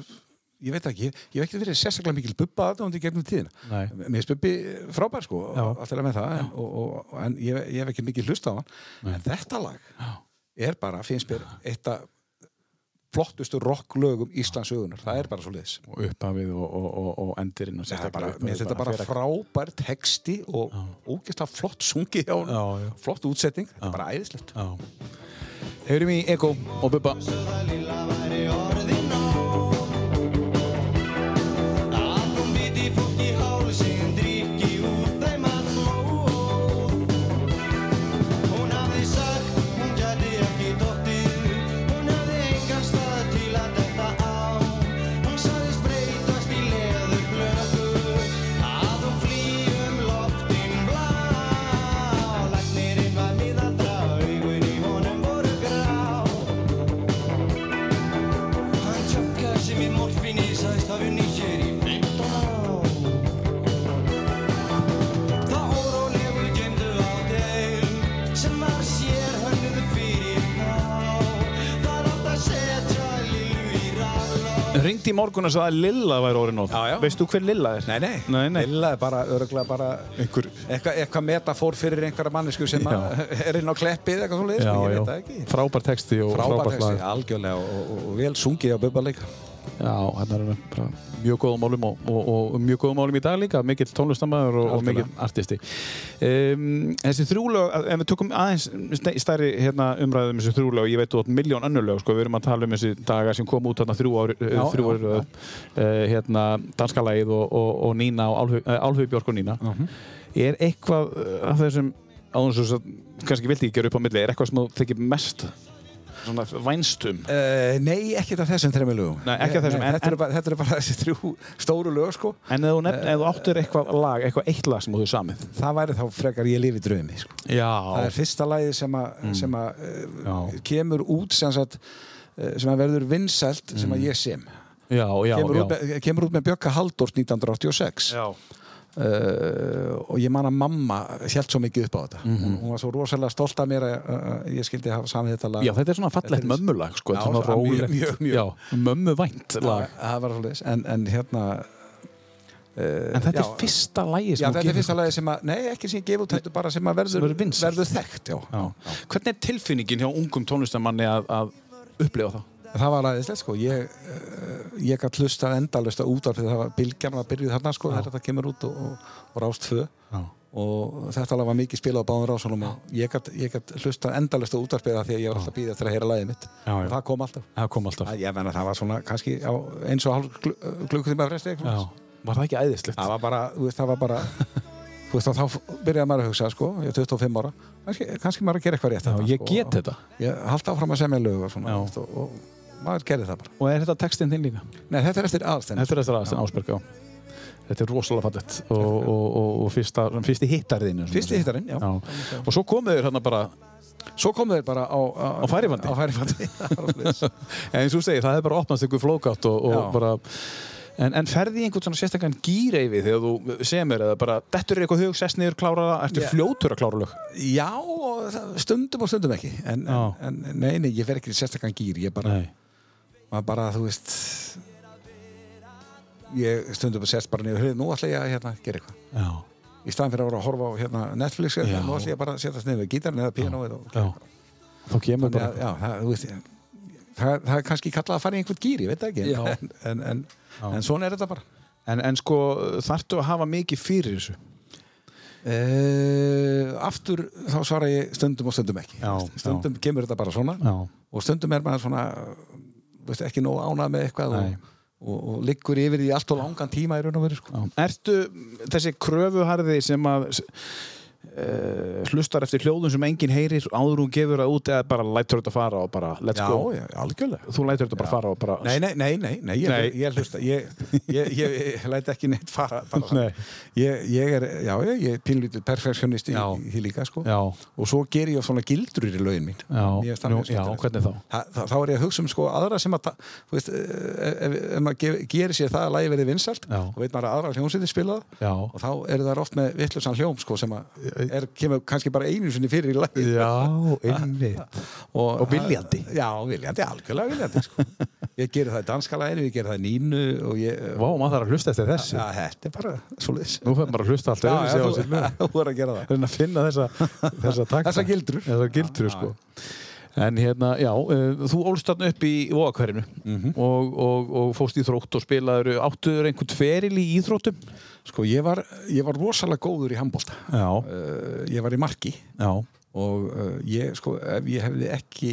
Speaker 3: ég veit ekki, ég hef ekki verið sérstaklega mikil bubba aðdóndi gegnum tíðina
Speaker 2: Nei.
Speaker 3: mér finnst bubbi frábær sko
Speaker 2: Já.
Speaker 3: alltaf með það, en, og, og, en ég, ég hef ekki mikil hlust á hann, en þetta lag er bara, finnst mér, eitt af flottustu rocklögum Íslandsögunar, það er bara svo liðs
Speaker 2: og upphafið og, og, og, og endirinn og
Speaker 3: þetta er
Speaker 2: sérstaklega
Speaker 3: bara,
Speaker 2: upphafið
Speaker 3: mér finnst þetta bara
Speaker 2: fer að-
Speaker 3: frábær texti og ógeðslega flott sungi hjá hann,
Speaker 2: Já, já.
Speaker 3: flott útsetting þetta er bara æðislegt
Speaker 2: Já. Heyrum í Ego og Bubba
Speaker 4: um
Speaker 2: Ringdi í morgun og sagði að Lilla væri orðin of
Speaker 3: Já, já.
Speaker 2: Veist þú hver Lilla er?
Speaker 3: Nei, nei,
Speaker 2: Nei, nei.
Speaker 3: Lilla er bara öruglega bara
Speaker 2: Einhver-
Speaker 3: eitthvað eitthva metafór fyrir einhverja mannesku sem
Speaker 2: Já.
Speaker 3: að er inn á kleppið eitthvað svona
Speaker 2: Já,
Speaker 3: ég veit
Speaker 2: já.
Speaker 3: það ekki
Speaker 2: Frábær texti og
Speaker 3: Frábær
Speaker 2: frábært
Speaker 3: texti,
Speaker 2: lag
Speaker 3: algjörlega og, og, og vel sungið á Bubba líka
Speaker 2: Já, hérna erum við bara mjög góðum málum og, og, og mjög góðum málum í dag líka mikill tónlistamæður og, og mikill artisti um, Þessi þrjúlög ef við tökum aðeins ste- stærri hérna, umræðum þessi þrjúlög, ég veit þú átt miljón önnurlög sko, við erum að tala um þessi daga sem kom út hérna, þrjú ári, já, þrjú
Speaker 3: já,
Speaker 2: ári já, hérna, danskalagið og, og, og Nína og Álfug- eh, Álfug Björk og Nína Er eitthvað eh, af þessum áðan svo kannski vildi ekki gera upp á milli, er eitthvað sem þú tekir mest svona um? vænstum
Speaker 3: uh, Nei, ekki þetta þessum þremi lögum
Speaker 2: Nei, ekki af þessum, en-
Speaker 3: þetta, eru bara, þetta eru bara þessi þrjú stóru lög sko
Speaker 2: En ef þú, nefn, ef þú áttir eitthvað lag, eitthvað eitt lag sem þú hefur samið
Speaker 3: það væri þá frekar ég lifi draumi sko. það
Speaker 2: Já,
Speaker 3: er fyrsta lagið sem að sem að,
Speaker 2: Já.
Speaker 3: uh, kemur út sem, sagt, uh, sem að verður vinsælt sem að ég sem
Speaker 2: já, já,
Speaker 3: kemur,
Speaker 2: já.
Speaker 3: Út, með- kemur út með Björka Halldórs 1986
Speaker 2: já.
Speaker 3: uh, og ég man að mamma held svo mikið upp á þetta hún, hún var svo rosalega stolt af mér að, að, að ég skildi hafa samið þetta lag
Speaker 2: Já, þetta er svona fallegt
Speaker 3: Þetta er-
Speaker 2: mömmulag sko,
Speaker 3: Já,
Speaker 2: þetta er svona
Speaker 3: það- mjög-
Speaker 2: rólegt
Speaker 3: mjög- mjög.
Speaker 2: Já, mömmuvænt lag
Speaker 3: það, það var svolítið en, en hérna
Speaker 2: En þetta
Speaker 3: eh, já.
Speaker 2: er fyrsta lagi
Speaker 3: já,
Speaker 2: sem
Speaker 3: þetta er fyrsta lagi sem að nei ekki sem ég gef út þetta bara sem að verður,
Speaker 2: verður vinsælt.
Speaker 3: verður þekkt já.
Speaker 2: já. Hvernig er tilfinningin hjá ungum tónlistamanni að, að upplifa það?
Speaker 3: það var aðeinslega sko ég, uh, ég gætt hlusta endalust á útvarfið það var bylgjan var byrjuð þarna sko þegar þetta kemur út og, og, og rást föð
Speaker 2: Já,
Speaker 3: og þetta lag var mikið spilað á báðum rásunum og ég gat, ég gat hlustað endalust á útvarpið af því að ég var alltaf býðið eftir að heyra lagið mitt
Speaker 2: Já, já.
Speaker 3: og það kom alltaf
Speaker 2: það kom alltaf
Speaker 3: Það, ég menna það var svona kannski á eins og hálf glu- eh, klukkutíma fresti eitthvað.
Speaker 2: já. Var það ekki æðislegt?
Speaker 3: Það var bara, þú veist, það var bara þú veist, og þá byrjaði maður að hugsa sko, ég er 25 ára, kannski, kannski maður að gera eitthvað rétt
Speaker 2: Já,
Speaker 3: þarna,
Speaker 2: ég
Speaker 3: sko,
Speaker 2: get þetta
Speaker 3: og Ég haldi áfram að semja lög og svona,
Speaker 2: Já.
Speaker 3: þú veist, og, og maður gerði það bara.
Speaker 2: Og er þetta textinn þinn líka?
Speaker 3: Nei, þetta er eftir aðstænd.
Speaker 2: Þetta er eftir aðeins en Ásberg, já Þetta er rosalega fallegt og, og, og, og fyrsta, fyrsti hittarðinu
Speaker 3: Fyrsti hittarinn, já.
Speaker 2: já. Og svo komuðu þér hérna bara
Speaker 3: Svo komu þeir bara á, á,
Speaker 2: Á færibandi?
Speaker 3: Á færibandi, það var svoleiðis.
Speaker 2: En eins og þú segir, það hefur bara opnast einhver flókátt og, og
Speaker 3: Já.
Speaker 2: bara En, en ferði í einhvern svona sérstakann gýreifi þegar þú semur eða bara dettur þér eitthvað hug, sest niður, klára það, ertu
Speaker 3: Já.
Speaker 2: fljótur að klára lög?
Speaker 3: Já, og það- stundum og stundum ekki en,
Speaker 2: Já.
Speaker 3: en, en nei, nei, ég fer ekki í sérstakann gýr ég bara,
Speaker 2: Nei.
Speaker 3: maður bara, þú veist ég stundum að sest bara niður höfð, nú ætla ég að hérna, gera eitthvað
Speaker 2: já,
Speaker 3: í staðan fyrir að voru að horfa á hérna, Netflix
Speaker 2: Já.
Speaker 3: hérna, nú ætla ég bara að setja niður við gítarinn eða píanóið og
Speaker 2: já. Þá kemur
Speaker 3: Þannig
Speaker 2: bara
Speaker 3: að, já, það, þú veist, ég- það, það er kannski kallað að fara í einhvern gýr, ég veit það ekki
Speaker 2: Já.
Speaker 3: en, en, en, en svona er þetta bara
Speaker 2: En, en sko, þarftu að hafa mikið fyrir þessu?
Speaker 3: Uh, aftur þá svara ég stundum og stundum ekki
Speaker 2: Já,
Speaker 3: stundum kemur þetta bara svona
Speaker 2: Já.
Speaker 3: og stundum er maður svona veist, ekki nóg ánað með eitthvað
Speaker 2: Nei.
Speaker 3: og, og, og liggur yfir í allt og langan tíma í raun og veru sko.
Speaker 2: Ertu þessi kröfuharði sem að uh, hlustar eftir hljóðum sem enginn heyrir áður hún gefur það út eða bara lætur þetta fara og bara let's
Speaker 3: Já,
Speaker 2: go?
Speaker 3: já, algjörlega
Speaker 2: Þú lætur þetta bara fara og bara...
Speaker 3: Sko. Nei, nei, nei, nei, nei, ég,
Speaker 2: Nei.
Speaker 3: ég hlusta ég, ég, ég, ég læt ekki neitt fara bara,
Speaker 2: Nei.
Speaker 3: ég, ég er, já, ég, ég er pínlítið perfektionist í,
Speaker 2: Já.
Speaker 3: í því líka sko.
Speaker 2: Já,
Speaker 3: og svo ger ég svona gildrur í lögin mín
Speaker 2: já,
Speaker 3: Mér finnst það
Speaker 2: nú,
Speaker 3: mjög
Speaker 2: já,
Speaker 3: skemmtilegt.
Speaker 2: hvernig þá?
Speaker 3: Þa, þá, þá er ég að hugsa um sko aðra sem að ta- þú veist, eh, ef, ef maður ge- gerir sér það að lagi verið vinsalt
Speaker 2: Já.
Speaker 3: og veit maður að aðra hljómsveitir spila það
Speaker 2: Já.
Speaker 3: og þá eru það oft með vittlusan hljóm sko sem að er, kemur kannski bara einu sinni fyrir í lagi
Speaker 2: Já, einmitt.
Speaker 3: og,
Speaker 2: og viljandi.
Speaker 3: Já, viljandi, algjörlega viljandi sko. ég gerir það í danska laginu, ég gerir það í nínu og ég eh,
Speaker 2: Vá, maður þarf að hlusta eftir þessu.
Speaker 3: Já, þetta er bara svoleiðis
Speaker 2: Nú fyrir maður að hlusta allt
Speaker 3: Já,
Speaker 2: öðru
Speaker 3: já,
Speaker 2: sér á
Speaker 3: þú,
Speaker 2: sér lög.
Speaker 3: þú er að gera það
Speaker 2: Reyna að finna þessa, þessa takta.
Speaker 3: Þessar gildrur.
Speaker 2: Þessar gildrur, sko. En hérna, já, uh, þú ólst þarna upp í Vóakverfinu
Speaker 3: Mhm.
Speaker 2: og, og, og fóst í þrótt og spilaður, áttuður einhvern tveril í íþróttum?
Speaker 3: Sko, ég var, ég var rosalega góður í handbólta
Speaker 2: Já,
Speaker 3: uh, ég var í marki
Speaker 2: já,
Speaker 3: og uh, ég sko ef ég hefði ekki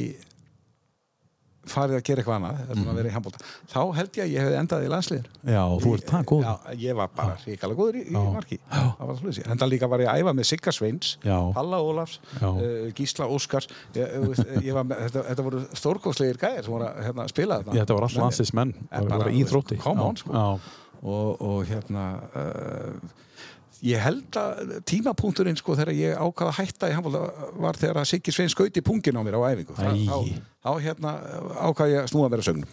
Speaker 3: farið að gera eitthvað annað mm
Speaker 2: Mhm.
Speaker 3: -hmm. verið í handbólta þá held ég að ég hefði endað í landsliðin
Speaker 2: já, þú ert það góð.
Speaker 3: Já, ég var bara hrikalega góður í, í marki það var svolítið, en það líka var ég að æfa með Sigga Sveins
Speaker 2: Já.
Speaker 3: Palla Ólafs,
Speaker 2: Já.
Speaker 3: uh, Gísla Óskars ég, ég, veist, ég var með, þetta, þetta voru stórkoslegir gæðir sem voru að hérna, spila þetta
Speaker 2: Þetta var allt
Speaker 3: Menn-
Speaker 2: landsins menn,
Speaker 3: En
Speaker 2: það var
Speaker 3: bara,
Speaker 2: í íþrótti.
Speaker 3: come
Speaker 2: Já,
Speaker 3: on, sko.
Speaker 2: Já,
Speaker 3: og, og hérna uh, ég held að tímapunkturinn sko þegar ég ákvaða hætta í handbólta var þegar að Siggi Svein skauti pungin á mér á æfingu Þa-
Speaker 2: Æi.
Speaker 3: þá, þá hérna ákvaða ég að snúa mér að sögnum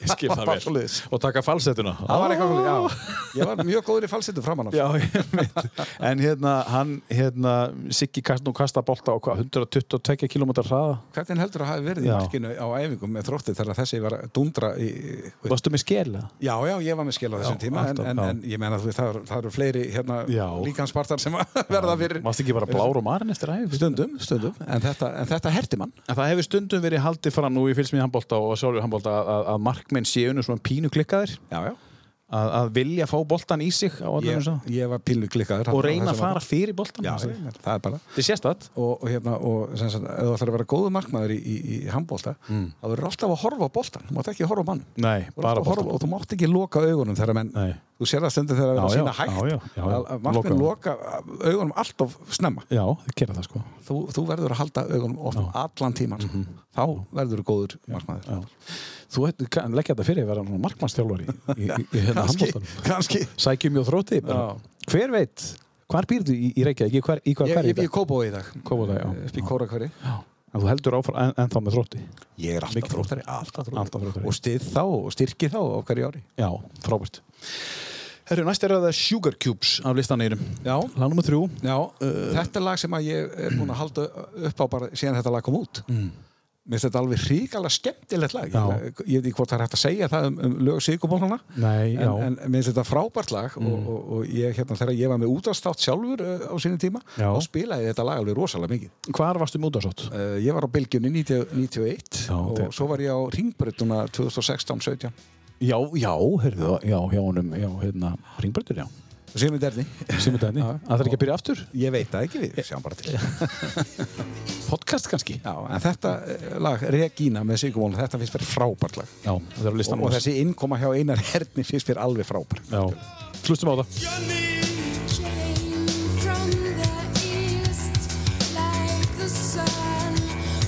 Speaker 2: ég skil það
Speaker 3: Bara
Speaker 2: vel.
Speaker 3: svoleiðis.
Speaker 2: Og taka falsettuna.
Speaker 3: það var eitthvað svoleiðis, já ég var mjög góður í falsettu framan af
Speaker 2: Já, ég veit. En hérna, hann, hérna, Siggi kast nú kasta bolta á hvað, 122 km hraða?
Speaker 3: hvernig heldur að hafi verið í
Speaker 2: Já.
Speaker 3: markinu á æfingum með þrótti þegar þessi var að dundra í, í,
Speaker 2: Varstu með skela?
Speaker 3: já, já, ég var með skil á
Speaker 2: Já,
Speaker 3: þessum tíma en,
Speaker 2: alltaf,
Speaker 3: en,
Speaker 2: já.
Speaker 3: en ég menna þú veist, það eru- það eru fleiri hérna,
Speaker 2: Já.
Speaker 3: líkanspartar sem að verða fyrir
Speaker 2: Varstu ekki bara blár og marinn eftir æfingu?
Speaker 3: stundum, stundum en þetta, en þetta herti mann
Speaker 2: En það hefur stundum verið haldið fram nú í fylgsmíð handbólta og sjálfur handbólta að, að, að markmenn séu nú svona pínu klikkaðir
Speaker 3: já, já
Speaker 2: að, að vilja fá boltan í sig á allir
Speaker 3: ég,
Speaker 2: eins
Speaker 3: ég var pílu klikkaður
Speaker 2: og reyna að fara fyrir boltan
Speaker 3: já, ég- það er bara
Speaker 2: Þetta er sérstætt
Speaker 3: og, og hérna, og sem sagt, ef þú ætlar að vera góðu markmaður í, í, í handbólta þá verður alltaf að horfa á boltan, þú mátt ekki horfa á mann
Speaker 2: Nei, bara boltan
Speaker 3: og þú mátt ekki loka augunum þegar menn,
Speaker 2: Nei.
Speaker 3: þú sér það stundum þegar það er að
Speaker 2: Já,
Speaker 3: sína
Speaker 2: já,
Speaker 3: hægt
Speaker 2: já, já, já, já.
Speaker 3: að- að markmenn loka augunum alltof snemma
Speaker 2: Já, þau gera það sko
Speaker 3: þú, þú verður að halda augunum opnum allan tíman sko. þá verður þú góður markmaður
Speaker 2: já. Þú hefði kann leggja þetta fyrir að vera markmannstjálfari í, í, í hérna
Speaker 3: kannski,
Speaker 2: handbóltan
Speaker 3: kannski
Speaker 2: Sækjum mjög þrótti bara.
Speaker 3: Já.
Speaker 2: Hver veit, hvar býrðu í, í Reykjavík, í hver, í hver
Speaker 3: ég,
Speaker 2: hverju
Speaker 3: ég býði kópói í dag
Speaker 2: Kópavogi, já.
Speaker 3: Ég býð Kórakverfi.
Speaker 2: En þú heldur áfram en, ennþá með þrótti
Speaker 3: ég er alltaf
Speaker 2: Mikið
Speaker 3: þróttari, alltaf þróttari.
Speaker 2: Alltaf þróttari.
Speaker 3: og stið þá og styrki þá á hverju ári
Speaker 2: Já, frábært Herru, næst er það Sugar Cubes af listanýrum
Speaker 3: Já.
Speaker 2: Lag nummer þrjú
Speaker 3: Já, uh, þetta er lag sem að ég er búin að halda upp á bara síðan þetta lag kom út mm. Mér finnst þetta alveg ríkala skemmtilegt lag
Speaker 2: Já.
Speaker 3: ég, ég veit ekki hvort það er hægt að segja það um, um lög Sigurmólana
Speaker 2: Nei,
Speaker 3: en,
Speaker 2: já. Mm.
Speaker 3: en mér finnst þetta frábært lag og, og, og ég, hérna, þegar ég var með útastátt sjálfur uh, á sínum tíma
Speaker 2: Já.
Speaker 3: þá spilaði ég þetta lag alveg rosalega mikið
Speaker 2: Hvar varstu mútasótt?
Speaker 3: uh, Ég var á Belgjunni 90 91
Speaker 2: Já,
Speaker 3: og
Speaker 2: þetta-
Speaker 3: svo var ég á Ringbrutuna 2016-17
Speaker 2: Já, já, heyrðu það, já, hjá honum, já, hérna, Ringbröður, já.
Speaker 3: Sigmund Erni
Speaker 2: Sem er dæni. Að það er ekki að byrja aftur?
Speaker 3: Ég veit það ekki við, sjáum bara til
Speaker 2: Podcast kannski?
Speaker 3: Já, en þetta eh, lag, Regína með Sigurmólana þetta finnst verið frábært lag
Speaker 2: Já, það er á
Speaker 3: og,
Speaker 2: listanum.
Speaker 3: og þessi innkoma hjá Einar Herni finnst mér alveg frábær
Speaker 2: Já, hlustum á það.
Speaker 5: Shining from the east like the sun,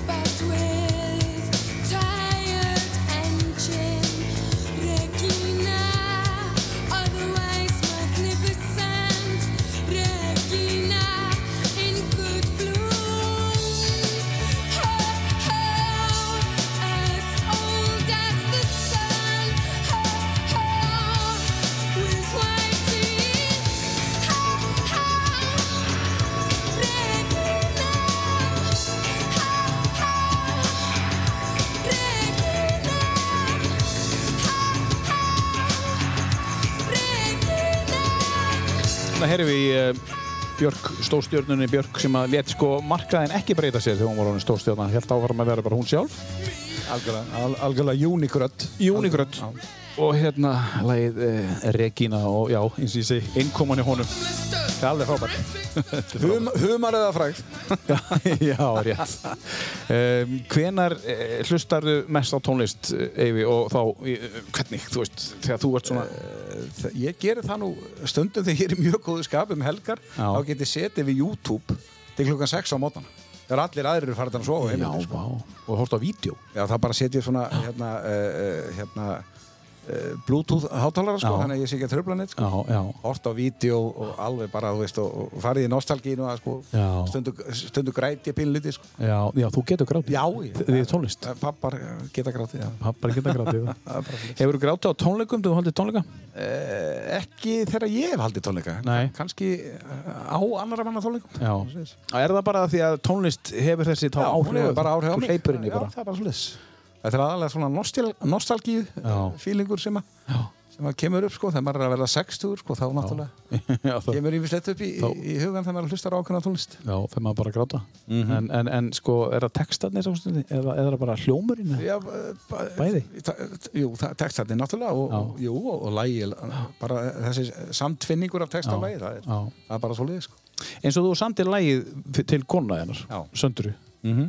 Speaker 5: but with tired engine. Regina, otherwise magnificent. Regina in good blue. As old as the sun, with white teeth,
Speaker 2: Þarna heyrðum við uh, Björk, stóðstjörnunni Björk sem að let sko markaðin ekki breyta sér þegar hún var honum stóðstjörna. Helt áfram að vera bara hún sjálf.
Speaker 3: Algjörlega, al algjörlega unikrödd.
Speaker 2: Júnigrönd. Og hérna lagið uh, Regína og já, eins og ég segi, innkoman í honum. Það er alveg frábært.
Speaker 3: Hum, humar eða frægð.
Speaker 2: já, rétt. Um, hvenar uh, hlustarðu mest á tónlist, eh, Eyvi, og þá, eh, hvernig, þú veist, þegar þú ert svona...
Speaker 3: Þa- Ég gerir það nú stundum þegar ég er í mjög góðu skap um helgar.
Speaker 2: Já.
Speaker 3: Þá get ég setið við YouTube til klukkan 6 á mótana. Þegar allir aðrir eru farin að sofa heimildi. sko.
Speaker 2: vá. Og hórst á vídeo.
Speaker 3: Já, það bara setjum svona hérna, uh, uh, hérna uh, Bluetooth hátalara sko,
Speaker 2: Já.
Speaker 3: þannig að ég sé ekki að tröfla neitt
Speaker 2: Já,
Speaker 3: sko.
Speaker 2: já.
Speaker 3: Hort á vídeo og alveg bara, þú veist, og, og farið í nostalgínu að sko,
Speaker 2: Já.
Speaker 3: stundu, stundu græti ég pínliti sko.
Speaker 2: Já, já, þú getur grátið.
Speaker 3: Já, ég-
Speaker 2: ég. Þið er tónlist.
Speaker 3: Pappar eh, geta grátið, já.
Speaker 2: Pappar geta grátið.
Speaker 3: Það er bara svoleiðis.
Speaker 2: Hefur þú grátið á tónleikum, þú haldið tónleika?
Speaker 3: Eh, ekki þegar ég hef haldið tónleika.
Speaker 2: Nei.
Speaker 3: Kanski eh, á annara manna tónleikum.
Speaker 2: Já. Er það bara því að tónlist hefur þessi þá
Speaker 3: Já,
Speaker 2: áhrif?
Speaker 3: hún hefur bara áhrif á
Speaker 2: Þú hleypur inn í bara.
Speaker 3: Já, það er bara svolítið. Þetta er aðalega svona nostal, nostalgíu
Speaker 2: Já.
Speaker 3: fílingur sem, að- sem að kemur upp sko, þegar maður er að verða 60 sko, þá náttúrulega
Speaker 2: já, það,
Speaker 3: kemur yfirleitt upp í, í, í hugan þegar maður hlustar á ákveðna tónlist.
Speaker 2: já, þegar maður bara gráta. en, en, en sko, er það textarnir samstundi? Er, það- er það bara hljómurinn?
Speaker 3: Já, eh, ba-
Speaker 2: Bæði?
Speaker 3: ta- eh, Jú, það- textarnir náttúrulega og,
Speaker 2: Já.
Speaker 3: og, jú, og, og lægi, bara eh, þessi samtvinningur af texta
Speaker 2: Já.
Speaker 3: og lægi, það er,
Speaker 2: Já.
Speaker 3: það er bara svolítið sko.
Speaker 2: Eins og þú samtir lægið f- til konna hennar,
Speaker 3: Já.
Speaker 2: söndru. Mm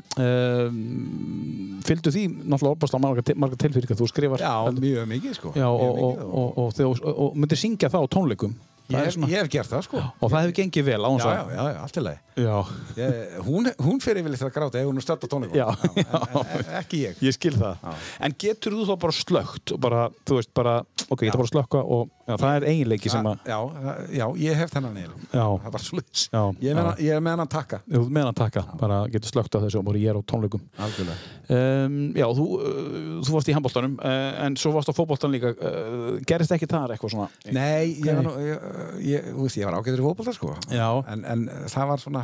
Speaker 2: fylgdu því náttúrulega opast á marga, marga tilfyrir þú skrifar
Speaker 3: Já,
Speaker 2: heldur-
Speaker 3: mjög mikið sko.
Speaker 2: Já,
Speaker 3: Mjög
Speaker 2: og, og,
Speaker 3: mikið,
Speaker 2: og, og, og, og, og myndir syngja það á tónleikum
Speaker 3: ég,
Speaker 2: Það er
Speaker 3: hef, ég hef gert það sko.
Speaker 2: og það hefur gengið vel á hans
Speaker 3: Já, já, já, já, allt í lagi.
Speaker 2: já.
Speaker 3: Ég, eh, hún, hún fer yfirleitt að gráta ef hún er stödd á tónleikum.
Speaker 2: Já, já.
Speaker 3: en- en- Ekki ég.
Speaker 2: ég skil það en getur þú þá bara slögt og bara, þú veist, bara, ok, ég
Speaker 3: Já.
Speaker 2: ætla bara að slökka og já, það er eiginleiki sem að
Speaker 3: Já, já, já, ég hef þennan eiginlega.
Speaker 2: Já.
Speaker 3: Það var svolítið.
Speaker 2: Já,
Speaker 3: Ég er
Speaker 2: já.
Speaker 3: með hann- ég er með hann að taka.
Speaker 2: þú meðan að taka, bara getur slögt á þessu og bara ég er á tónleikum
Speaker 3: Algjörlega.
Speaker 2: um, já, þú, uh, þú varst í handbóltanum uh, en svo varst á fótbóltan líka uh, gerist ekki þar eitthvað svona
Speaker 3: Nei, ég var, nú, ég, eh, ég, þú veist, ég var ágætur í fótbolta sko.
Speaker 2: Já.
Speaker 3: En, en það var svona,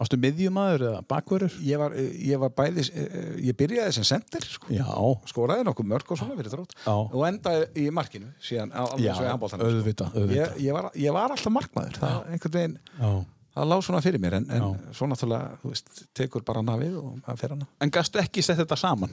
Speaker 2: varstu miðjumæður eða bakverður
Speaker 3: ég var, ég var bæði, eh, ég byrjaði sem sendir sko.
Speaker 2: já,
Speaker 3: Skoraði nokkuð mörg og svona fyrir þrótt.
Speaker 2: Já.
Speaker 3: Og endaði í markinu síðan á alveg
Speaker 2: já,
Speaker 3: svo í handbóltanum.
Speaker 2: auðvitað,
Speaker 3: Ég,
Speaker 2: auðvitað.
Speaker 3: ég, var, ég var alltaf markmaður. Það var einhvern veginn,
Speaker 2: Já.
Speaker 3: það lág svona fyrir mér en, en
Speaker 2: Já.
Speaker 3: svo náttúrulega, þú veist, tekur bara nafið og maður fer hana.
Speaker 2: en gastu ekki sett þetta saman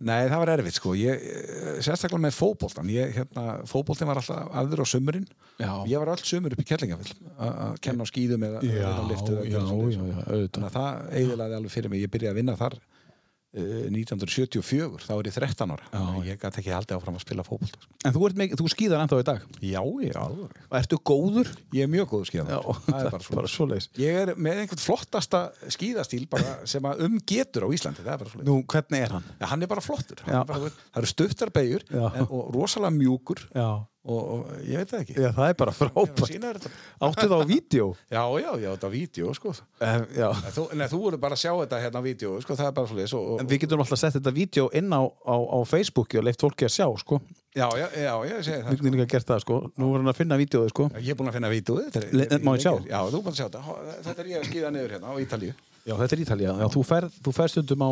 Speaker 3: Nei, það var erfitt sko ég, eh, sérstaklega með fótboltan ég, hérna, fótboltin var alltaf aður á sömurinn
Speaker 2: Já.
Speaker 3: ég var öll sömur upp í kellingafell að kenna á skýðum eða, eða liftu eða
Speaker 2: já,
Speaker 3: gera svoleiðis.
Speaker 2: já, já, auðvitað
Speaker 3: þannig að það eiginlega alveg fyrir mig ég byrjaði að vinna þar uh, 1974, þá er ég 13 ára já. ég gæti ekki haldið áfram að spila fótbolt sko.
Speaker 2: En þú, ert með, þú skýðar ennþá í dag.
Speaker 3: Já, já, alveg
Speaker 2: Ertu góður?
Speaker 3: Ég er mjög góð skíðan
Speaker 2: það er bara
Speaker 3: svo
Speaker 2: svoleiðis.
Speaker 3: Ég er með einhvern flottasta skíðastíl bara sem að um getur á Íslandi það er bara svo
Speaker 2: Nú, hvernig er hann?
Speaker 3: Já, hann er bara flottur Hann
Speaker 2: Já.
Speaker 3: er bara, það eru stuttar beigur
Speaker 2: Já.
Speaker 3: en, og rosalega mjúkur
Speaker 2: Já.
Speaker 3: og, og ég veit það ekki
Speaker 2: Já, það er bara
Speaker 3: Ég er að
Speaker 2: frábært.
Speaker 3: sýna þér þetta.
Speaker 2: Áttu það á vídeo?
Speaker 3: já, já, já, þetta er vídeo sko.
Speaker 2: Um, já.
Speaker 3: En þú, nei, þú voru bara að sjá þetta hérna á vídeo sko, það er bara svolítið og,
Speaker 2: En
Speaker 3: og,
Speaker 2: við getum alltaf sett þetta vídeo inn á, á, á Facebooki og leift fólki að sjá, sko.
Speaker 3: já, já, já, ég segi
Speaker 2: Við
Speaker 3: það
Speaker 2: getum líka gert það, sko. Nú er hann að finna vídeoið, sko.
Speaker 3: ég er búin að finna vídeoið þetta er-
Speaker 2: Le- má ég sjá?
Speaker 3: Já, þú er búin að sjá þetta Hó, þetta er ég að skýða niður hérna á Ítalíu
Speaker 2: Já, þetta er Ítalía. Já, þú ferð, þú ferð stundum á...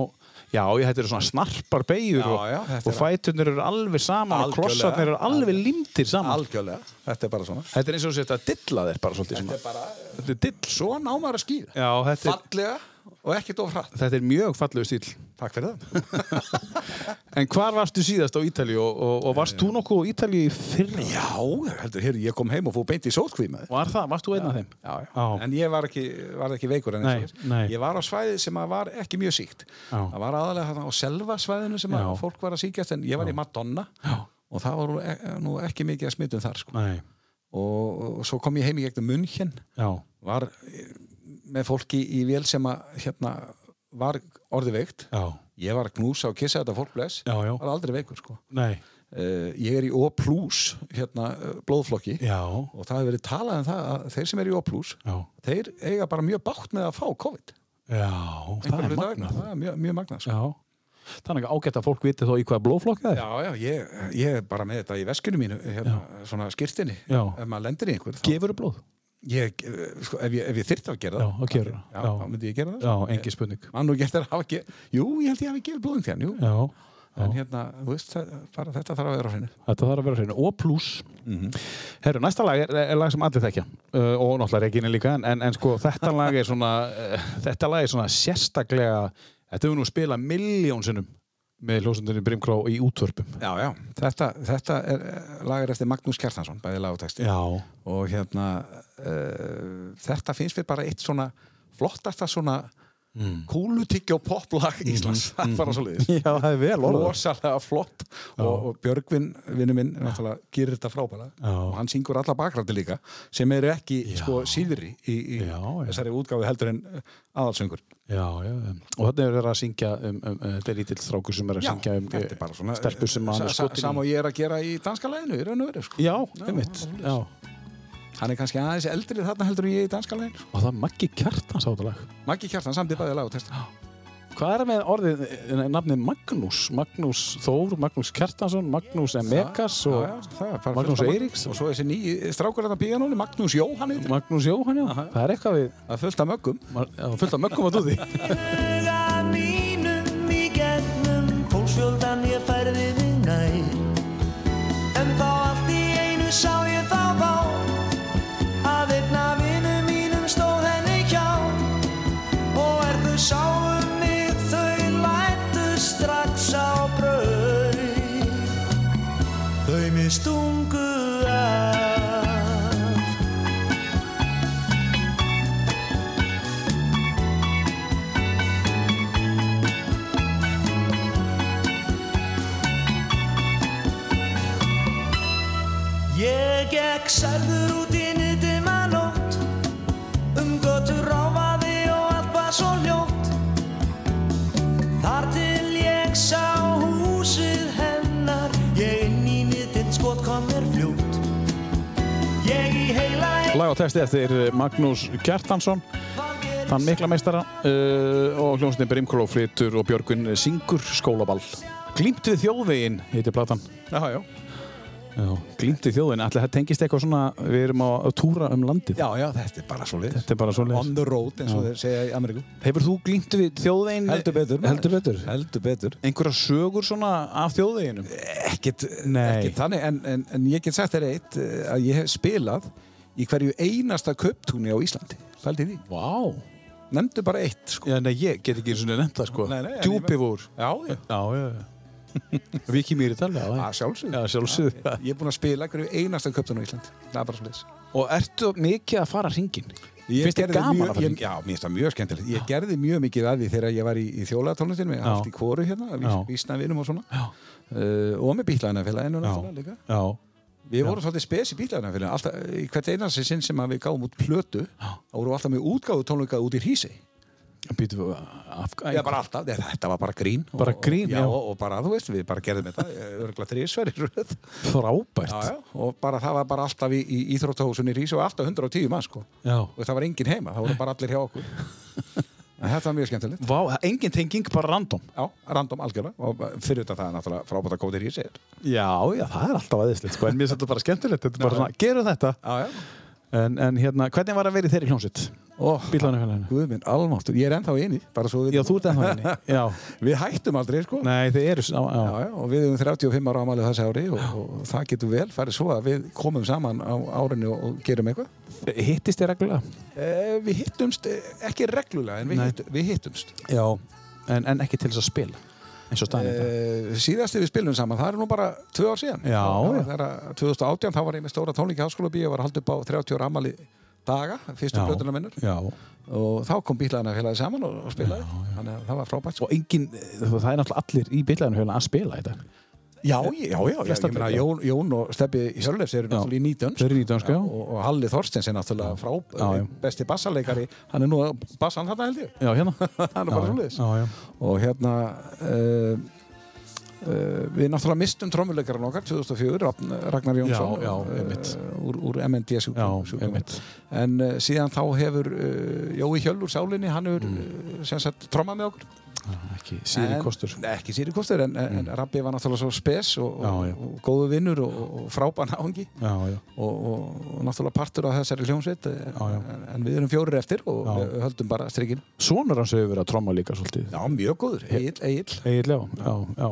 Speaker 2: Já, ég, þetta eru svona snarpar beigur
Speaker 3: Já,
Speaker 2: og,
Speaker 3: já, þetta
Speaker 2: og
Speaker 3: er-
Speaker 2: fæturnir eru alveg saman og
Speaker 3: Algjörlega.
Speaker 2: klossarnir eru alveg limtir saman.
Speaker 3: algjörlega, þetta er bara svona
Speaker 2: Þetta er eins og þetta að dilla þér bara svolítið. svona.
Speaker 3: þetta er bara,
Speaker 2: Þetta er dill. sko.
Speaker 3: svo námaður að skýða
Speaker 2: Já, þetta er,
Speaker 3: fallega og ekki dof hratt
Speaker 2: þetta er mjög fallegu stíl.
Speaker 3: takk fyrir það
Speaker 2: En hvar varstu síðast á Ítali og, og, og varst þú nokkuð á Ítali í fyrra?
Speaker 3: já, heldur, hér, ég kom heim og fór beint í sótkvímaði
Speaker 2: Var það? Varst þú einn af þeim?
Speaker 3: já, já.
Speaker 2: Já.
Speaker 3: en ég var ekki, var ekki veikur en eins og
Speaker 2: Nei, nei.
Speaker 3: er. ég var á svæði sem að var ekki mjög síkt
Speaker 2: Já.
Speaker 3: það var aðalega þarna á selva svæðinu sem að
Speaker 2: Já.
Speaker 3: fólk var að síkjast en ég var í Madonna já. og það var nú e- nú ekki mikið að smittum þar sko.
Speaker 2: Nei.
Speaker 3: og, og svo kom ég heim í gegnum munn
Speaker 2: Já.
Speaker 3: var eh, með fólki í vél sem að hérna, var orðið veikt
Speaker 2: Já.
Speaker 3: ég var að knúsa og kissa þetta fólk bless
Speaker 2: Já, já.
Speaker 3: var aldrei veikur sko.
Speaker 2: Nei.
Speaker 3: uh, ég er í O plus hérna, eh, blóðflokki
Speaker 2: Já.
Speaker 3: og það hefur verið talað um það að þeir sem er í O plus
Speaker 2: Já.
Speaker 3: þeir eiga bara mjög bátt með að fá COVID
Speaker 2: Já. Það
Speaker 3: Einhverra
Speaker 2: er
Speaker 3: hluta vegna.
Speaker 2: magnað.
Speaker 3: það er mjög, mjög magnað sko.
Speaker 2: Já. Þannig að ágætt að fólk viti þá í hvaða blóðflokk það er.
Speaker 3: já, já, ég, ég er bara með þetta í veskinu mínu hérna, svona skirtinni
Speaker 2: Já.
Speaker 3: ef maður lendir í einhver þá,
Speaker 2: Gefur þú blóð?
Speaker 3: ég, eh, sko, ef ég, ef ég þyrfti að gera
Speaker 2: Já,
Speaker 3: það
Speaker 2: þá gerirðu það.
Speaker 3: já,
Speaker 2: Já.
Speaker 3: þá myndi ég gera það
Speaker 2: Já, engin spurning.
Speaker 3: mann og gert þær að hafa ge- jú, ég held ég hafi gefið blóðum þér jú,
Speaker 2: Já.
Speaker 3: en hérna, þú veist, það- bara þetta þarf að vera á hreinu
Speaker 2: Þetta þarf að vera hreinu. Og pluss. Mhm. Herru, næsta lag er, er lag sem allir þekkja. Uh, og náttúrulega Regínu líka. En, en, en sko, þetta lag er svona, uh, þetta lag er svona sérstaklega, þetta hefur nú spilað miljón sinnum með hljósundunni Brimklá í útvörpum.
Speaker 3: Já, já, þetta, þetta er eh, lagar eftir Magnús Kjartansson, bæði lagutexti
Speaker 2: Já.
Speaker 3: og hérna uh, þetta finnst við bara eitt svona flottasta svona mm. kúlutyggja og poplag
Speaker 2: Mm-hmm.
Speaker 3: Íslands það fara svo liðis
Speaker 2: Já, það er vel
Speaker 3: rosalega flott og, og Björgvin, vinnu minn, náttúrulega gerir þetta frábæla
Speaker 2: Já.
Speaker 3: og hann syngur alla bakrætti líka sem eru ekki sko síðri í, í
Speaker 2: Já, já.
Speaker 3: þessari útgáfi heldur en uh, aðalsöngur
Speaker 2: Já, já. um, Og þarna er verið að syngja um, um, um þetta er lítill strákur sem er uh, að syngja um
Speaker 3: þetta er bara svona eh,
Speaker 2: stelpur sem hann er skotin í.
Speaker 3: Sam og ég er að gera í danska læginu, í raun og verið sko.
Speaker 2: Já, einmitt. Já.
Speaker 3: Hann er kannski aðeins eldri þarna heldur en ég í danska læginu
Speaker 2: Og það er Maggi Kjartans átalag.
Speaker 3: Maggi Kjartan samt í bæði lag og texta
Speaker 2: Hvað er með orðið, eh, nafnið Magnús? Magnús Þór, Magnús Kjartansson, Magnús Megas og
Speaker 3: Já, já, það er bara
Speaker 2: Magnús
Speaker 3: fullt af-
Speaker 2: Eiríks.
Speaker 3: Og svo þessi nýji strákur þetta píanóni, Magnús Jóhann heitir hann.
Speaker 2: Magnús Jóhann, já. Það er eitthvað við,
Speaker 3: Það er fullt af möggum
Speaker 2: ma- já, fullt af möggum að dúði.
Speaker 6: huga mínum í gegnum fólksfjöldan ég færði mig nær En þá allt í einu sá ég þá vá að einna vinum mínum stóð henni hjá og er þau sáum mig þau lætu strax á brauð þau mig stungu af Ég gekk særður út í nýttima nótt Um götur ráfaði og allt var svo hljótt Þar til ég sá húsið hennar Ég inn í nýttinn skot kom mér fljótt Ég í heila einn
Speaker 2: Lag og texti eftir eh, Magnús Kjartansson, þann mikla meistara uh, og hljómsnið Brimkóló flytur og Björgun syngur skólaball. Glýmt við þjóðvegin, heitir platan.
Speaker 3: Já, já,
Speaker 2: Já, glýmt við þjóðvegin. Ætli það tengist eitthvað svona, við erum á, á túra um landið.
Speaker 3: já, já, þetta er bara svo lið
Speaker 2: Þetta er bara
Speaker 3: On
Speaker 2: svoleiðis.
Speaker 3: the road eins og þeir segja í Ameríku
Speaker 2: Hefur þú glýmt við þjóðvegin?
Speaker 3: Heldur betur maður.
Speaker 2: Heldur betur.
Speaker 3: Heldur betur
Speaker 2: Einhverja sögur svona af þjóðveginum?
Speaker 3: Ekkit,
Speaker 2: Eh, Nei.
Speaker 3: ekkit þannig en, en, en ég get sagt þér eitt eh, að ég hef spilað í hverju einasta kauptúni á Íslandi Fældi því
Speaker 2: Vá.
Speaker 3: Nefndu bara eitt sko.
Speaker 2: Já, nei, ég get ekki eins og nefnt það, sko.
Speaker 3: Nei, nei, en ég-
Speaker 2: Djúpivór.
Speaker 3: Já, já
Speaker 2: Já, já, já. Viki mýri tala, já.
Speaker 3: Að sjálfsögðu.
Speaker 2: Já, sjálfsögðu.
Speaker 3: Ég er búinn að spila í hverju einasta kauptúni á Íslandi Það er bara svo liðs
Speaker 2: Og ertu mikið að fara hringin? Finnst þér gaman að fara
Speaker 3: ég,
Speaker 2: hringin?
Speaker 3: Já, mér finnst það mjög skemmtilegt Ég gerði mjög mikið að því þegar ég var í, í þjólaðatónlistinu með
Speaker 2: Já.
Speaker 3: allt í kóru hérna, vís,
Speaker 2: Já.
Speaker 3: vísnavinum og svona uh, og með bílæðinafélaginu náttúrulega líka
Speaker 2: já.
Speaker 3: Við vorum svolítið spes í bílæðinafélaginu alltaf, í hvert einansi sinn sem að við gáum út plötu þá vorum við alltaf með útgáðu tónleika út í hrísi
Speaker 2: Býtum við af...
Speaker 3: Já, bara alltaf, Nei, þetta var bara grín og-
Speaker 2: Bara grín,
Speaker 3: já,
Speaker 2: já.
Speaker 3: Og, og bara, þú veist, við bara gerðum þetta eh, örgulega þrísverri röð
Speaker 2: Frábært.
Speaker 3: já, já. og bara það var bara alltaf í, í íþróttahúsunni í hrísi og alltaf 110 mann sko
Speaker 2: Já.
Speaker 3: og það var enginn heima, það voru bara allir hjá okkur en þetta var mjög skemmtilegt
Speaker 2: Vá, engin tenging, bara random.
Speaker 3: já, random algjörlega og eh, fyrir þetta það er náttúrulega frábært að kóðir í sér
Speaker 2: Já, já, það er alltaf aðeinslegt, sko. En mér finnst þetta bara skemmtilegt. Þetta er bara svona, gerum þetta.
Speaker 3: já, já
Speaker 2: En, en hérna, hvernig var að vera í þeirri hljómsitt?
Speaker 3: oh,
Speaker 2: Bílánafélaginu.
Speaker 3: Guð minn, almáttur, ég er ennþá inni bara svo við,
Speaker 2: Já, þú ert ennþá henni. Já.
Speaker 3: við hættum aldrei sko
Speaker 2: Nei, þið eru... Já, já.
Speaker 3: Já, já, og við erum 35 ára ámalið þessi ári og, og það getur vel farið svo að við komum saman á árinu og, og gerum eitthvað
Speaker 2: Hittist þið reglulega?
Speaker 3: e, Við hittumst, eh, ekki reglulega en við,
Speaker 2: Nei.
Speaker 3: hitt, við hittumst
Speaker 2: Já. En, en ekki til þess að spila? Eins og staðin þetta.
Speaker 3: e, Síðasti við spilum saman, það er nú bara tvö ár síðan
Speaker 2: Já, já.
Speaker 3: Það er að 2018, þá var ég með stóra tónleiki háskóla bíu og var haldið upp á 30 ára ámalið daga, fyrstu
Speaker 2: Já.
Speaker 3: blötuna minnur
Speaker 2: Já.
Speaker 3: og þá kom bílæðina félagið saman og, og spilaði þannig að það var frábært sko.
Speaker 2: og engin, það er náttúrulega allir í byrlaðinu að spila þetta
Speaker 3: Já, já, já, já,
Speaker 2: Flestar
Speaker 3: ég meina
Speaker 2: bílar.
Speaker 3: Jón, Jón og Steppi Hjörlefs eru náttúrulega í nýtönsk
Speaker 2: Þau eru í sko. nýdönsk, já.
Speaker 3: og, og Halli Þorstins er náttúrulega frá
Speaker 2: Já, já.
Speaker 3: besti bassarleikari, hann er nú að- bassan þarna held ég
Speaker 2: já, hérna Já,
Speaker 3: Hann er bara
Speaker 2: já,
Speaker 3: svoleiðis.
Speaker 2: já, já.
Speaker 3: og hérna uh, uh, við náttúrulega mistum trommuleikaran okkar 2004, Rafn- Ragnar Jónsson
Speaker 2: Já, já,
Speaker 3: eh,
Speaker 2: einmitt.
Speaker 3: úr, úr MND sjúkdóm-
Speaker 2: Já,
Speaker 3: sjúkdómi.
Speaker 2: einmitt.
Speaker 3: eh, en uh, síðan þá hefur uh, Jói Hjöll úr sálinni, hann hefur mm. sem eh, sagt trommað með okkur
Speaker 2: ekki síri kostur sko.
Speaker 3: En- Ekki síri kostur, en, en mm. Rabbi var náttúrulega svo spes og, og,
Speaker 2: Já, já.
Speaker 3: og góðu vinnur og, og frábæn áhengi
Speaker 2: já, já,
Speaker 3: og, og, og náttúrulega partur af þessari hljómsveit eh,
Speaker 2: Já, já.
Speaker 3: En, en við erum fjórir eftir og
Speaker 2: Já.
Speaker 3: við höldum bara strikinu
Speaker 2: sonur hans hefur verið að tromma líka svolítið
Speaker 3: Já, mjög góður, Egil, Egil
Speaker 2: Egil, já, já, já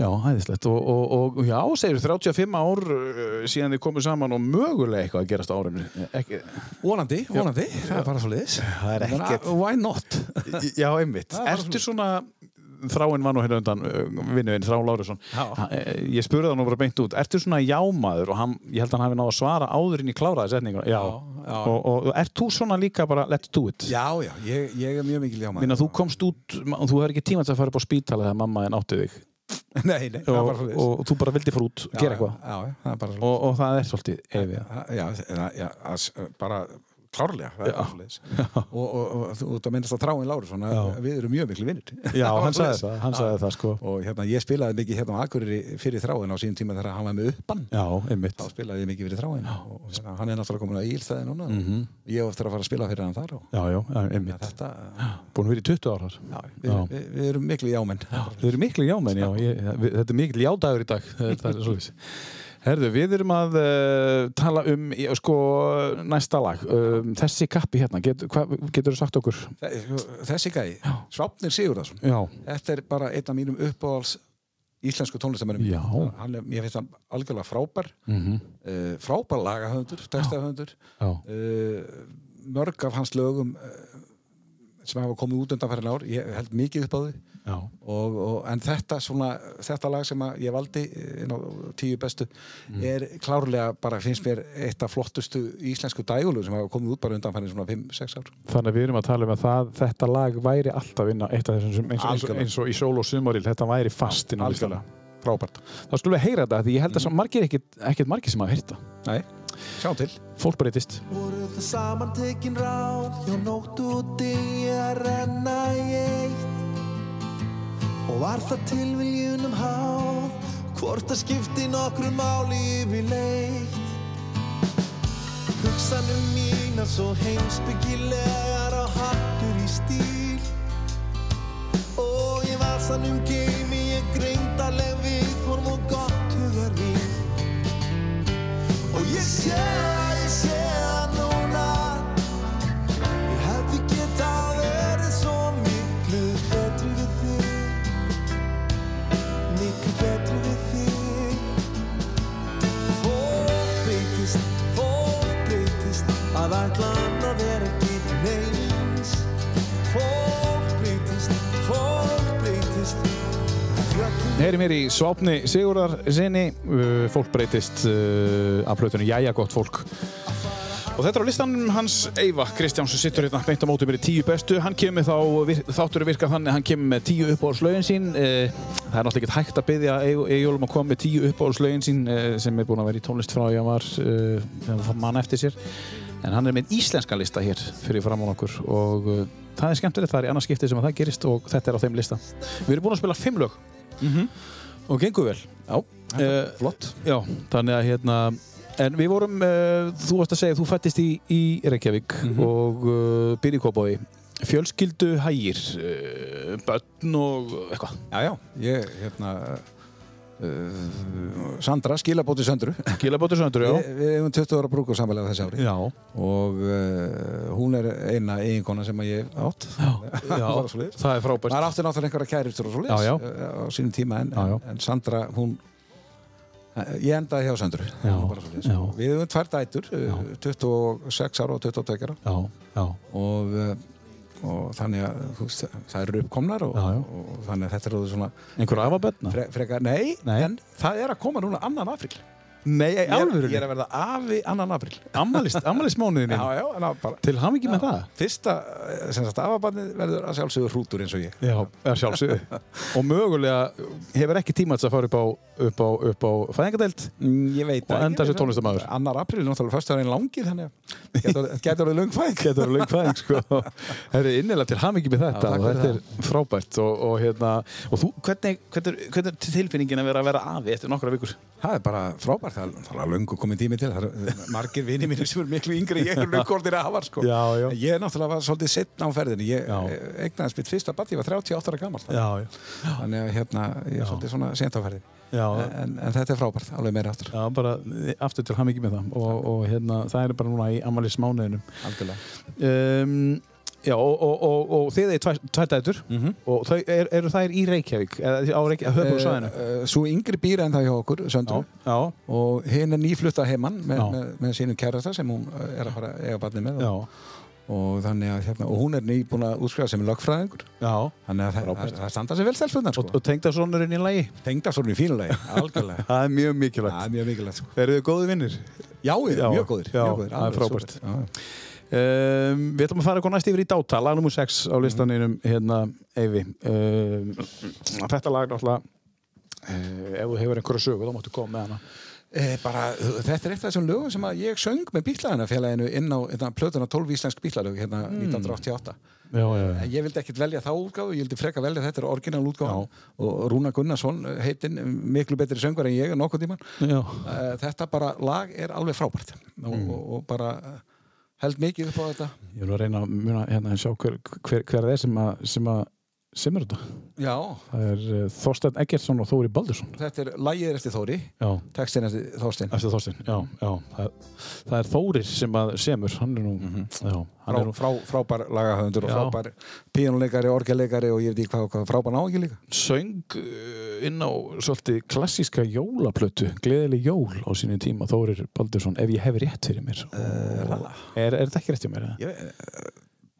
Speaker 2: Já, hæðislegt og, og, og já, segir 35 ár uh, síðan þið komu saman og mögulega eitthvað að gerast á árinu ekki,
Speaker 3: Vonandi, vonandi, það er bara svo liðis Það
Speaker 2: er ekkert.
Speaker 3: Why not?
Speaker 2: Já, einmitt
Speaker 3: Það var
Speaker 2: Ertu svona þráinn var nú hérna undan vinnuinn, Þrá Lárusson
Speaker 3: Já.
Speaker 2: Ha- eh, ég spurði hann nú bara beint út ertu svona jámaður og hann, ég held að hann hafi náð að svara áður inn í kláraði setninguna já.
Speaker 3: Já, já.
Speaker 2: Og, og, og ert þú svona líka bara let's do it
Speaker 3: Já, já, ég, ég er mjög mikil jámaður
Speaker 2: Minna, þú komst út, ma- þú hefur ekki tíma til að fara upp á spítala þegar mamma þinn átti þig
Speaker 3: Nei, nei, það er
Speaker 2: og,
Speaker 3: bara svo
Speaker 2: og þú bara vildi fara út og gera eitthvað
Speaker 3: Já, já, það er bara svo
Speaker 2: og, og það er svolítið efi
Speaker 3: Það- Já, já, já að s- bara klárlega það er bara svoleiðis. og, og, og þú ert að minnast að Tráin Lárusson að
Speaker 2: Já.
Speaker 3: við erum mjög miklu vinnir
Speaker 2: Já, hann sagði það, hann sagði það sko
Speaker 3: og hérna ég spilaði mikið hérna á Akureyri fyrir Þráin á sínum tíma þegar hann var með uppann
Speaker 2: Já, einmitt
Speaker 3: þá spilaði ég mikið fyrir Þráin og hérna, hann er náttúrulega komin að Ílþæði núna mm -hmm. ég hef eftir að fara að spila fyrir hann þar og
Speaker 2: Já, já, já, Mhm. einmitt
Speaker 3: þetta,
Speaker 2: Búin að vera í 20 árar
Speaker 3: já, við,
Speaker 2: Já.
Speaker 3: Við, við erum miklu jámenn
Speaker 2: Þau eru miklu jámenn, já, ég, við, þetta er mikil jádagur í dag, það er- það er svolítið. Herðu, við erum að uh, tala um, já, sko, næsta lag, um, þessi kappi hérna, get, hva, getur þú sagt okkur?
Speaker 3: sko, þessi gæi, Svapnir Sigurðarsson
Speaker 2: Já,
Speaker 3: Þetta er bara einn af mínum uppáhals íslensku tónlistamönnum
Speaker 2: Já.
Speaker 3: hann er, Ég finnst hann algjörlega frábær mm
Speaker 2: Mhm.
Speaker 3: -hmm. frábær lagahöfundur, textahöfundur
Speaker 2: já,
Speaker 3: uh, mörg af hans lögum uh, sem hafa komið út undanfærin ár ég held mikið upp á því
Speaker 2: já,
Speaker 3: og, og, en þetta, svona, þetta lag sem að ég valdi eh, inn á tíu bestu er klárlega bara finnst mér eitt af flottustu íslensku dægulu sem hafa komið út bara undanfærin svona 5-6 ár
Speaker 2: þannig að við erum að tala um að það, þetta lag væri alltaf inn á eitt af þessum, sem- eins og, eins og,
Speaker 3: Algjörlega.
Speaker 2: eins og í sól og sumaril, þetta væri fast inn á listanum.
Speaker 3: frábært
Speaker 2: Þá skulum við heyra þetta, því ég held að mm. margir ekkit, ekkit margir sem hafa heyrt það.
Speaker 3: Nei, sjá til
Speaker 2: Fólk breytist.
Speaker 6: voru það saman tekin ráð hjá nótt úti að renna í eitt og var það tilviljunum háð hvort að skipti nokkru máli yfirleitt hugsanum mína svo heimsbyggilegar á hattur í stíl og í vasanum um geimi ég greindaleg viðform og gott hugarvíl Og ég sé það, ég sé það núna Ég hefði getað verið svo miklu betri við þig Miklu betri við þig Fólk breytist, fólk breytist Að ætla annað er ekki til neins Fólk breytist, fólk breytist Fjöllum
Speaker 2: Heyrim hér í Svápni Sigurðar sinni, uh, fólk breytist uh, af plötunni Jæja gott fólk. Og þetta er á listanum hans Eyva Kristján sem sittur hérna beint á móti mér í tíu bestu. Hann kemur þá, vir, þáttur er virkað þannig, að hann kemur með tíu uppáhaldslaugin sín. Uh, það er náttúrulega ekkert hægt að byggja Eyjólum um að koma með tíu uppáhaldslaugin sín uh, sem er búin að vera í tónlist frá því að hann var, uh, þegar hann mann eftir sér. En hann er með íslenska lista hér fyrir fram á okkur og uh, það er skemmtilegt, það er í annars skipti sem að það gerist og þetta er á þeim lista. Við erum búin að spila fimm lög og gengur vel.
Speaker 3: Já,
Speaker 2: Eh,
Speaker 3: flott
Speaker 2: Já, þannig að hérna En við vorum, uh, þú varst að segja, þú fættist í, í Reykjavík og uh, byrjið kópaði Fjölskyldu hægir, uh, börn og eitthvað
Speaker 3: Já, já, ég, hérna uh, Sandra, skilabóti Söndru
Speaker 2: Gilabóttur söndur, já
Speaker 3: Við við eigum 20 ára brúku samanlega þessi ári
Speaker 2: Já,
Speaker 3: og uh, hún er eina eiginkona sem að ég hef átt
Speaker 2: já
Speaker 3: Bara svoleiðis.
Speaker 2: það er frábært
Speaker 3: maður átti náttúrulega einhverja kæriftur og svo
Speaker 2: Já, já.
Speaker 3: á sínum tíma en,
Speaker 2: Já, já.
Speaker 3: en Sandra, hún eh, ég endaði hjá Söndru
Speaker 2: Já,
Speaker 3: Bara svoleiðis.
Speaker 2: já.
Speaker 3: við höfum tvær dætur eh, 26 ára og 22 ára
Speaker 2: Já, já,
Speaker 3: og, eh, og þannig að þú veist, það eru uppkomnar og,
Speaker 2: Já, já.
Speaker 3: og þannig að þetta eru svona
Speaker 2: einhver afabötna
Speaker 3: Fre, frekar, nei,
Speaker 2: Nei.
Speaker 3: en það er að koma núna annan afril
Speaker 2: Nei,
Speaker 3: ég, er- ég er að verða afi annan afril
Speaker 2: Ammalist, ammalismánuðin
Speaker 3: já, já, en það bara
Speaker 2: Til hamingi með það
Speaker 3: fyrsta, eh, sem sagt, afabarnið verður að sjálfsögur hrútur eins og ég
Speaker 2: Já, er sjálfsögðu Og mögulega hefur ekki tíma til að fara upp á, upp á, upp á fæðingadeild
Speaker 3: ég veit
Speaker 2: Og enda sem tónlistarmaður.
Speaker 3: annar april er náttúrulega fyrsta árin langir þannig að getur, getur orðið lungfæk
Speaker 2: þetta var löngfæðing sko. það er innilega til hamingi með þetta
Speaker 3: Já, takk
Speaker 2: og þetta
Speaker 3: fyrir
Speaker 2: er frábært og, og, hérna, og þú, hvernig, hvernig, hvernig er tilfinningin að vera að vera afi eftir nokkra vikur?
Speaker 3: það er bara afar, það er- það er löngu komið tími til það er margir vinni mínir sem eru miklu yngri en ég eru löngu orðir afar sko.
Speaker 2: Já, já.
Speaker 3: En ég er náttúrulega var svolítið setna á ferðinni ég
Speaker 2: Já.
Speaker 3: eh, eignaðist mitt fyrsta barn, ég var 38 ára gammal
Speaker 2: já,
Speaker 3: þannig að hérna, ég er svolítið svona sent á ferðinni
Speaker 2: já, já,
Speaker 3: en, en þetta er frábært, alveg meira aftur
Speaker 2: já bara aftur til hamingi með það og, og hérna, það er bara núna í amalins mánuðinum
Speaker 3: algjörlega
Speaker 2: um, Já, og, og, og, og þið er tvætætur mm -hmm. og þau, er, eru þær í Reykjavík eða á Reykjavík, höfbruksvæðinu
Speaker 3: Mhm. Eh, eh, Sú yngri býr en það hjá okkur, Söndru
Speaker 2: já,
Speaker 3: og hinn er nýflutta heimann með,
Speaker 2: Já.
Speaker 3: með, með sínum kærasta sem hún eh, er að fara að eiga barni með
Speaker 2: já,
Speaker 3: og, og þannig að hérna, og hún er nýbúin að útskrifa sem lögfræðingur
Speaker 2: já
Speaker 3: þannig að það,
Speaker 2: Frábært.
Speaker 3: það standa sér vel stelpunnar
Speaker 2: og,
Speaker 3: sko.
Speaker 2: og tengda sonurinn í lagi
Speaker 3: tengda svona í fínulegi, algjörlega
Speaker 2: það er mjög mikilvægt
Speaker 3: það er mjög mikilvægt sko.
Speaker 2: Eru þið góði vinnir?
Speaker 3: já, já,
Speaker 2: Já,
Speaker 3: mjög góðir,
Speaker 2: já,
Speaker 3: mjög góðir
Speaker 2: það er
Speaker 3: alveg
Speaker 2: frábært.
Speaker 3: súper. Já, já.
Speaker 2: Um, við ætlum að fara eitthvað næst yfir í dáta lag nr. 6 á listaninum hérna Eyvi um, Þetta lag náttúrulega uh, ef þú hefur einhverja sögu þá máttu koma með hana
Speaker 3: Eh, bara, uh, þetta er eitt af þessum lögum sem að ég söng með bíklaðina félaginu inn á hérna, plötuna 12 íslensk bíklalög hérna 1988
Speaker 2: Já, já,
Speaker 3: En ég vildi ekkert velja þá útgáfu, ég vildi freka velja þetta er orginal útgáfu og Rúna Gunnarsson eh, heitinn, miklu betri söngur en ég nokkuð tíman
Speaker 2: já,
Speaker 3: þetta bara lag er alveg frábært og, og, og bara eh, held mikið upp á þetta
Speaker 2: Ég vil að reyna að muna hérna en sjá hver, hver, hver það er sem að sem að sem er þetta
Speaker 3: já,
Speaker 2: Það er uh, Þorstein Eggertsson og Þóri Baldursson
Speaker 3: þetta er lagið er eftir Þóri
Speaker 2: Já,
Speaker 3: textin eftir Þórstein
Speaker 2: eftir Þorstein Já, já, það, það er Þórir sem að semur hann er nú, já, hann
Speaker 3: frá,
Speaker 2: er nú
Speaker 3: frá, frábær lagahöfundur og
Speaker 2: Já.
Speaker 3: frábær píjónuleikari, orgelleikari og ég veit ekki hvað, og hvað frábær náðingi líka
Speaker 2: söng uh, inn á svolítið klassíska jólaplötu Gleðileg jól á sínu tíma Þórir Baldursson, ef ég hef rétt fyrir mér Og- er, er þetta ekki rétt fyrir mér? Ég,
Speaker 3: ég,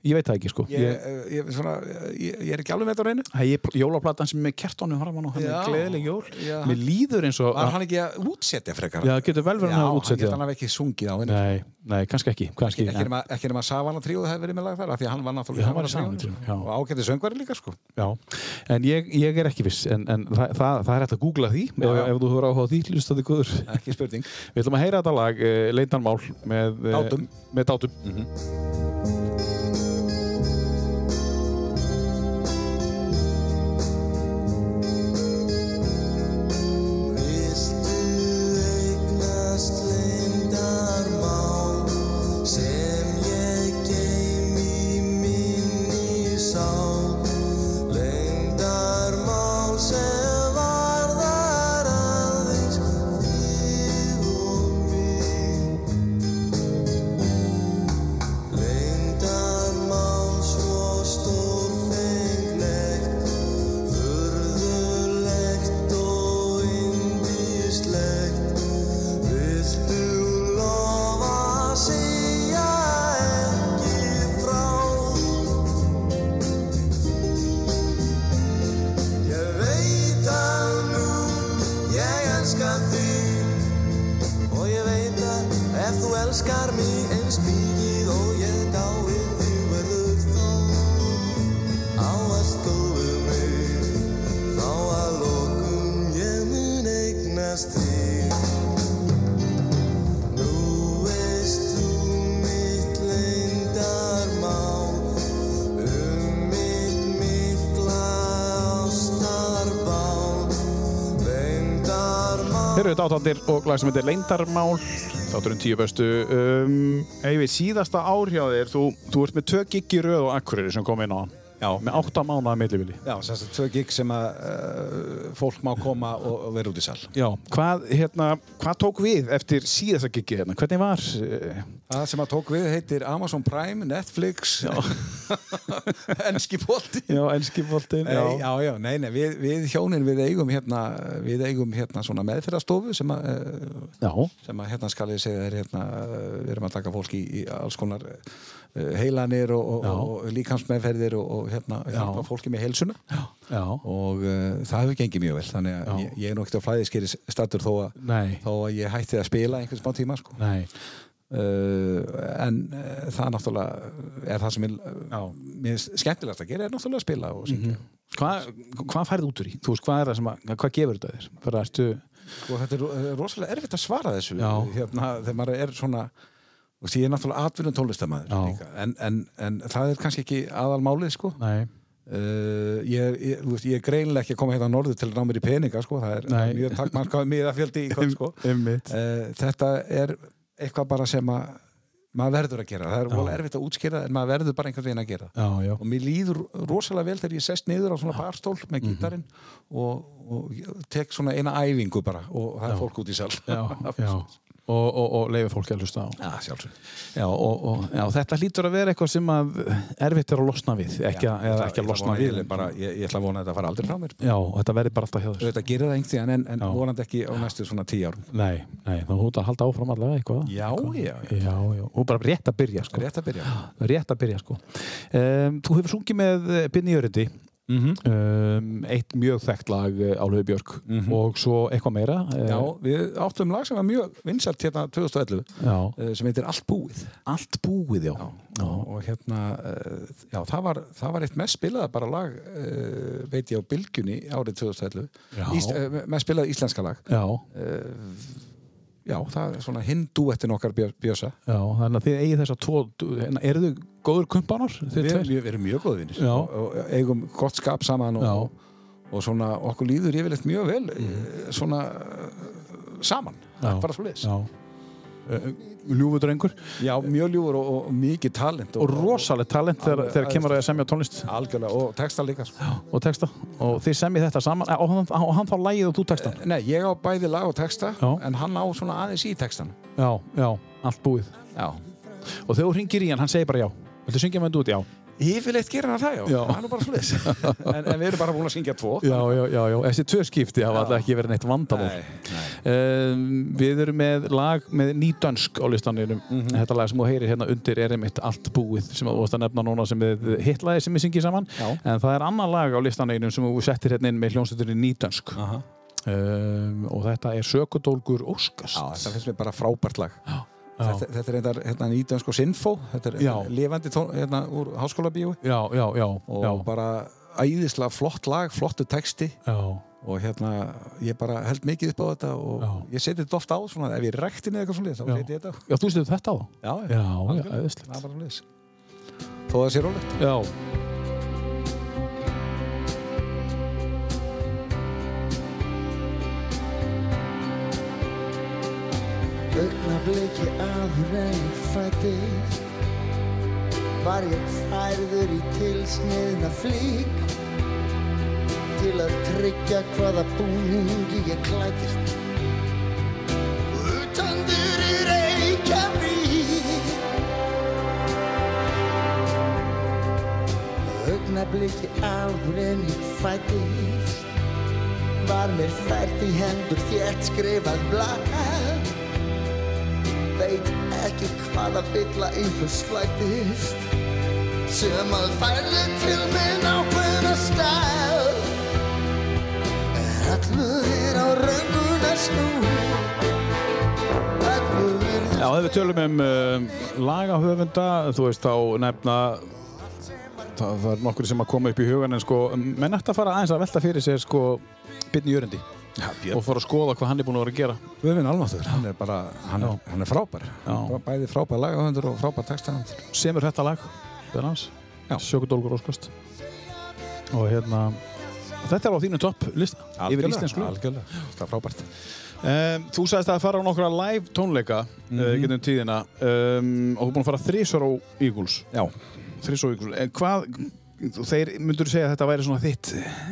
Speaker 2: ég veit það ekki sko
Speaker 3: ég,
Speaker 2: ég,
Speaker 3: ég, ég, svona, ég, ég er ekki alveg með þetta á reynu
Speaker 2: Hei, ég, Jólaplatan sem er með kertónum framan og hann
Speaker 3: Já.
Speaker 2: er gleðileg jól
Speaker 3: Já.
Speaker 2: Mér líður eins og
Speaker 3: var hann ekki að útsetja frekar
Speaker 2: Já, getur vel verið hann að
Speaker 3: hann
Speaker 2: útsetja
Speaker 3: getur hann
Speaker 2: það
Speaker 3: hafi ekki sungið á henni
Speaker 2: Nei, nei, kannski ekki, kannski,
Speaker 3: ekki
Speaker 2: en,
Speaker 3: nema, ekki nema Savana tríóð hefði verið með lag þar af því að hann var
Speaker 2: Já,
Speaker 3: náttúrulega
Speaker 2: hann var í Savana
Speaker 3: tríóinu. sko.
Speaker 2: tríóinu, já.
Speaker 3: og ágætti söngvari líka sko
Speaker 2: já, en ég, ég er ekki viss en, en það, það, það er hægt að googla því ef,
Speaker 3: já.
Speaker 2: ef þú hefur áhuga á því, hlustaði góður
Speaker 3: ekki spurning
Speaker 2: Við ætlum að heyra þetta lag, uh, Leitanmál með, eh,
Speaker 3: Dátum.
Speaker 2: með dátum
Speaker 7: elskar mig eins mikið og ég dáið þig verður þá á allt góðu mig þá að lokum ég mun eignast þig Nú veist þú mitt leyndarmál um mitt mikla ástarbál leyndarmál
Speaker 2: Þeir eru dátandir og lag sem heitir Leindarmál Þátturinn tíu bestu um, Eyvi, síðasta ár hjá þér þú, þú ert með tvö gigg í röð og akkuriri sem kom inn á Já. með átta mánuða millivili
Speaker 3: já, þess að tvö gig sem að uh, fólk má koma og, og vera út í sal
Speaker 2: Já, hvað, hérna, hvað tók við eftir síðasta giggi hérna? Hvernig var? eh,
Speaker 3: það sem að tók við heitir Amazon Prime, Netflix ennski bólti
Speaker 2: Já, enskifoltin
Speaker 3: Já. já, já, nei, nei, við, við hjónin við eigum hérna, við eigum hérna svona meðferðarstofu sem að eh,
Speaker 2: Já,
Speaker 3: sem að hérna skal ég segja er hérna eh, við erum að taka fólk í, í alls konar eh, heilanir og, og,
Speaker 2: Já.
Speaker 3: og, og líkamsmeðferðir og, og hérna hjálpa fólki með heilsuna já.
Speaker 2: já.
Speaker 3: og uh, það hefur gengið mjög vel þannig að
Speaker 2: Já.
Speaker 3: ég, ég er nú ekkert á flæðiskeri stattur þó að,
Speaker 2: Nei.
Speaker 3: þó að ég hætti að spila einhvern smá tíma sko.
Speaker 2: Nei,
Speaker 3: uh, en uh, það náttúrulega er það sem er,
Speaker 2: Já. Mhm.
Speaker 3: mér er skemmtilegast að gera er náttúrulega að spila og syngja
Speaker 2: hvað hva færðu út úr í? Þú veist, hvað er það sem að, hvað gefur þetta þér? Bara ertu,
Speaker 3: og þetta er ro- eh, rosalega erfitt að svara þessu
Speaker 2: Já.
Speaker 3: hérna, þegar maður er svona og því ég er náttúrulega atvinnum
Speaker 2: Já.
Speaker 3: tólestamæður en, en, en það er kannski ekki aðalmálið sko
Speaker 2: nei,
Speaker 3: Uh, ég, ég, þú veist, ég er greinilega ekki að koma hérna á norður til að ná mér í peninga sko. það er
Speaker 2: Nei.
Speaker 3: mjög takkmarkað miðafjöldi í kvöld sko.
Speaker 2: Einmitt.
Speaker 3: uh, þetta er eitthvað bara sem að maður verður að gera, það er vola erfitt að útskýra en maður verður bara einhvern veginn að gera
Speaker 2: Já, já.
Speaker 3: og mér líður rosalega vel þegar ég sest niður á svona barstól
Speaker 2: Mhm.
Speaker 3: með gítarinn og, og ég tek svona eina æfingu bara og það er fólk út í sal
Speaker 2: Já, já. Og, og, og leiði fólki að hlusta á.
Speaker 3: Já, sjálfsög
Speaker 2: Já, og, og já, þetta hlýtur að vera eitthvað sem að erfitt er að losna við, ekki, að, eða ekki að losna við.
Speaker 3: ég, bara, ég, ég ætla að vona að þetta fara aldrei frá mér
Speaker 2: Já, og þetta verði bara alltaf hjá þér.
Speaker 3: þetta gerir það einhvern en, en vonandi ekki á næstu svona tíu árum
Speaker 2: Nei, nei, þá hún að halda áfram allavega eitthvað.
Speaker 3: Já, já, já.
Speaker 2: Já, já, hún bara rétt að byrja, sko.
Speaker 3: rétt að byrja
Speaker 2: rétt að byrja sko um, Þú hefur sungið með eh, Binni Jörindi um, eitt mjög þekkt lag Álöfi Björk og svo eitthvað meira eh,
Speaker 3: Já, við áttum lag sem var mjög vinsalt hérna 2011
Speaker 2: já.
Speaker 3: eh, sem heitir Allt búið
Speaker 2: Allt búið, já, já.
Speaker 3: og hérna eh, já, það, var, það var eitt mest spilaða bara lag uh, veit ég á Bylgjunni árið 2011
Speaker 2: Já.
Speaker 3: Ís, uh, mest spilaða íslenska lag
Speaker 2: Já,
Speaker 3: já, það er svona hinn dúettin okkar Björ- Bjösa
Speaker 2: já, þannig að þið eigið þess að tvo, eru þið góður kumpanar? Þið
Speaker 3: við,
Speaker 2: tveir?
Speaker 3: við erum mjög góð vinnir
Speaker 2: Já.
Speaker 3: og, og eigum gott skap saman
Speaker 2: Já.
Speaker 3: og, og svona okkur líður yfirleitt mjög vel mm. svona eh, saman, það er bara svo
Speaker 2: Mhm. Já Eh, Ljúfudrengur
Speaker 3: Já, mjög ljúfur og, og mikið talent
Speaker 2: og rosalega talent þegar, þegar kemur að semja tónlist
Speaker 3: algjörlega og texta líka sko.
Speaker 2: og texta og þið semjið þetta saman eh, og hann, og hann þá lægið og þú textan
Speaker 3: Nei, ég á bæði lag og texta
Speaker 2: Já.
Speaker 3: en hann á svona aðeins í textan
Speaker 2: Já, já, allt búið
Speaker 3: Já
Speaker 2: og þegar þú hringir í hann, hann segir bara já Viltu syngja með þetta út? Já
Speaker 3: Yfirleitt gerir hann það, já,
Speaker 2: Já.
Speaker 3: það er nú bara sliðis en, en við erum bara búin að syngja tvo
Speaker 2: Já, já, já, já, þessi tvö skipti hafa alltaf ekki verið neitt vandamál
Speaker 3: Nei,
Speaker 2: um, Við erum með lag með nýdönsk á listaninum
Speaker 3: Mhm.
Speaker 2: Þetta lag sem þú heyrir hérna undir er einmitt allt búið sem þú vorst að nefna núna sem við hitlaði sem við syngjum saman
Speaker 3: Já.
Speaker 2: en það er annað lag á listaninum sem þú settir hérna inn með hljónsutinni nýdönsk
Speaker 3: Aha.
Speaker 2: um, og þetta er Sökudólgur Óskast
Speaker 3: já þetta finnst mér bara frábært lag Þetta, þetta er einnig hérna, nýtjum sko Sinfo þetta er
Speaker 2: Já.
Speaker 3: hérna, lifandi tón, hérna, úr háskóla bíói
Speaker 2: Já, já, já,
Speaker 3: og
Speaker 2: já,
Speaker 3: bara æðislega flott lag, flottu texti
Speaker 2: já,
Speaker 3: og hérna, ég bara held mikið upp á þetta og
Speaker 2: Já.
Speaker 3: ég seti þetta oft á svona, ef ég rekti niður eitthvað svona þá
Speaker 2: Já.
Speaker 3: seti ég þetta á
Speaker 2: já, þú styrir þetta á það?
Speaker 3: Já,
Speaker 2: Já, já,
Speaker 3: algjörlega.
Speaker 2: æðislegt.
Speaker 3: Það er bara svoleiðis. Þó það sé rólegt
Speaker 2: Já
Speaker 8: augnabliki áður en ég fættist var ég færður í tilsniðna flík til að tryggja hvaða búningi ég klættist utandur í Reykjavík augnabliki áður en ég fættist var mér fært í hendur þétt skrifað blað veit ekki hvað að bylla einhver slættist sem að færði til minn ákveðna stað er allur er á raunguna snú allur er
Speaker 2: Já, ef við tölum um uh, lagahöfunda, þú veist, þá nefna það, það er nokkur sem að koma upp í hugan en sko, menn ætti að fara aðeins að velta fyrir sér sko, Byrni Jörendi
Speaker 3: Já,
Speaker 2: og fara að skoða hvað hann er búin að vera að gera
Speaker 3: Guðvin Almáttur, hann er bara hann er, hann er frábær,
Speaker 2: Já.
Speaker 3: bæði frábær lagahöndur og frábær textahöndur
Speaker 2: semur þetta lag, þetta er
Speaker 3: Já.
Speaker 2: hans Sjökudólgur Óskast og hérna þetta er á þínu topp lista yfir íslensku lög.
Speaker 3: Algjörlega, það er frábært
Speaker 2: um, Þú sagðist að fara á nokkra live tónleika mm
Speaker 3: Mhm.
Speaker 2: getum tíðina um, og þú er búin að fara þrísar á Eagles
Speaker 3: Já,
Speaker 2: Þrisvar ykkur. En hvað, þeir myndur segja að þetta væri svona þitt,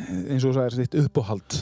Speaker 2: eins og þú sagðir, þitt uppáhald.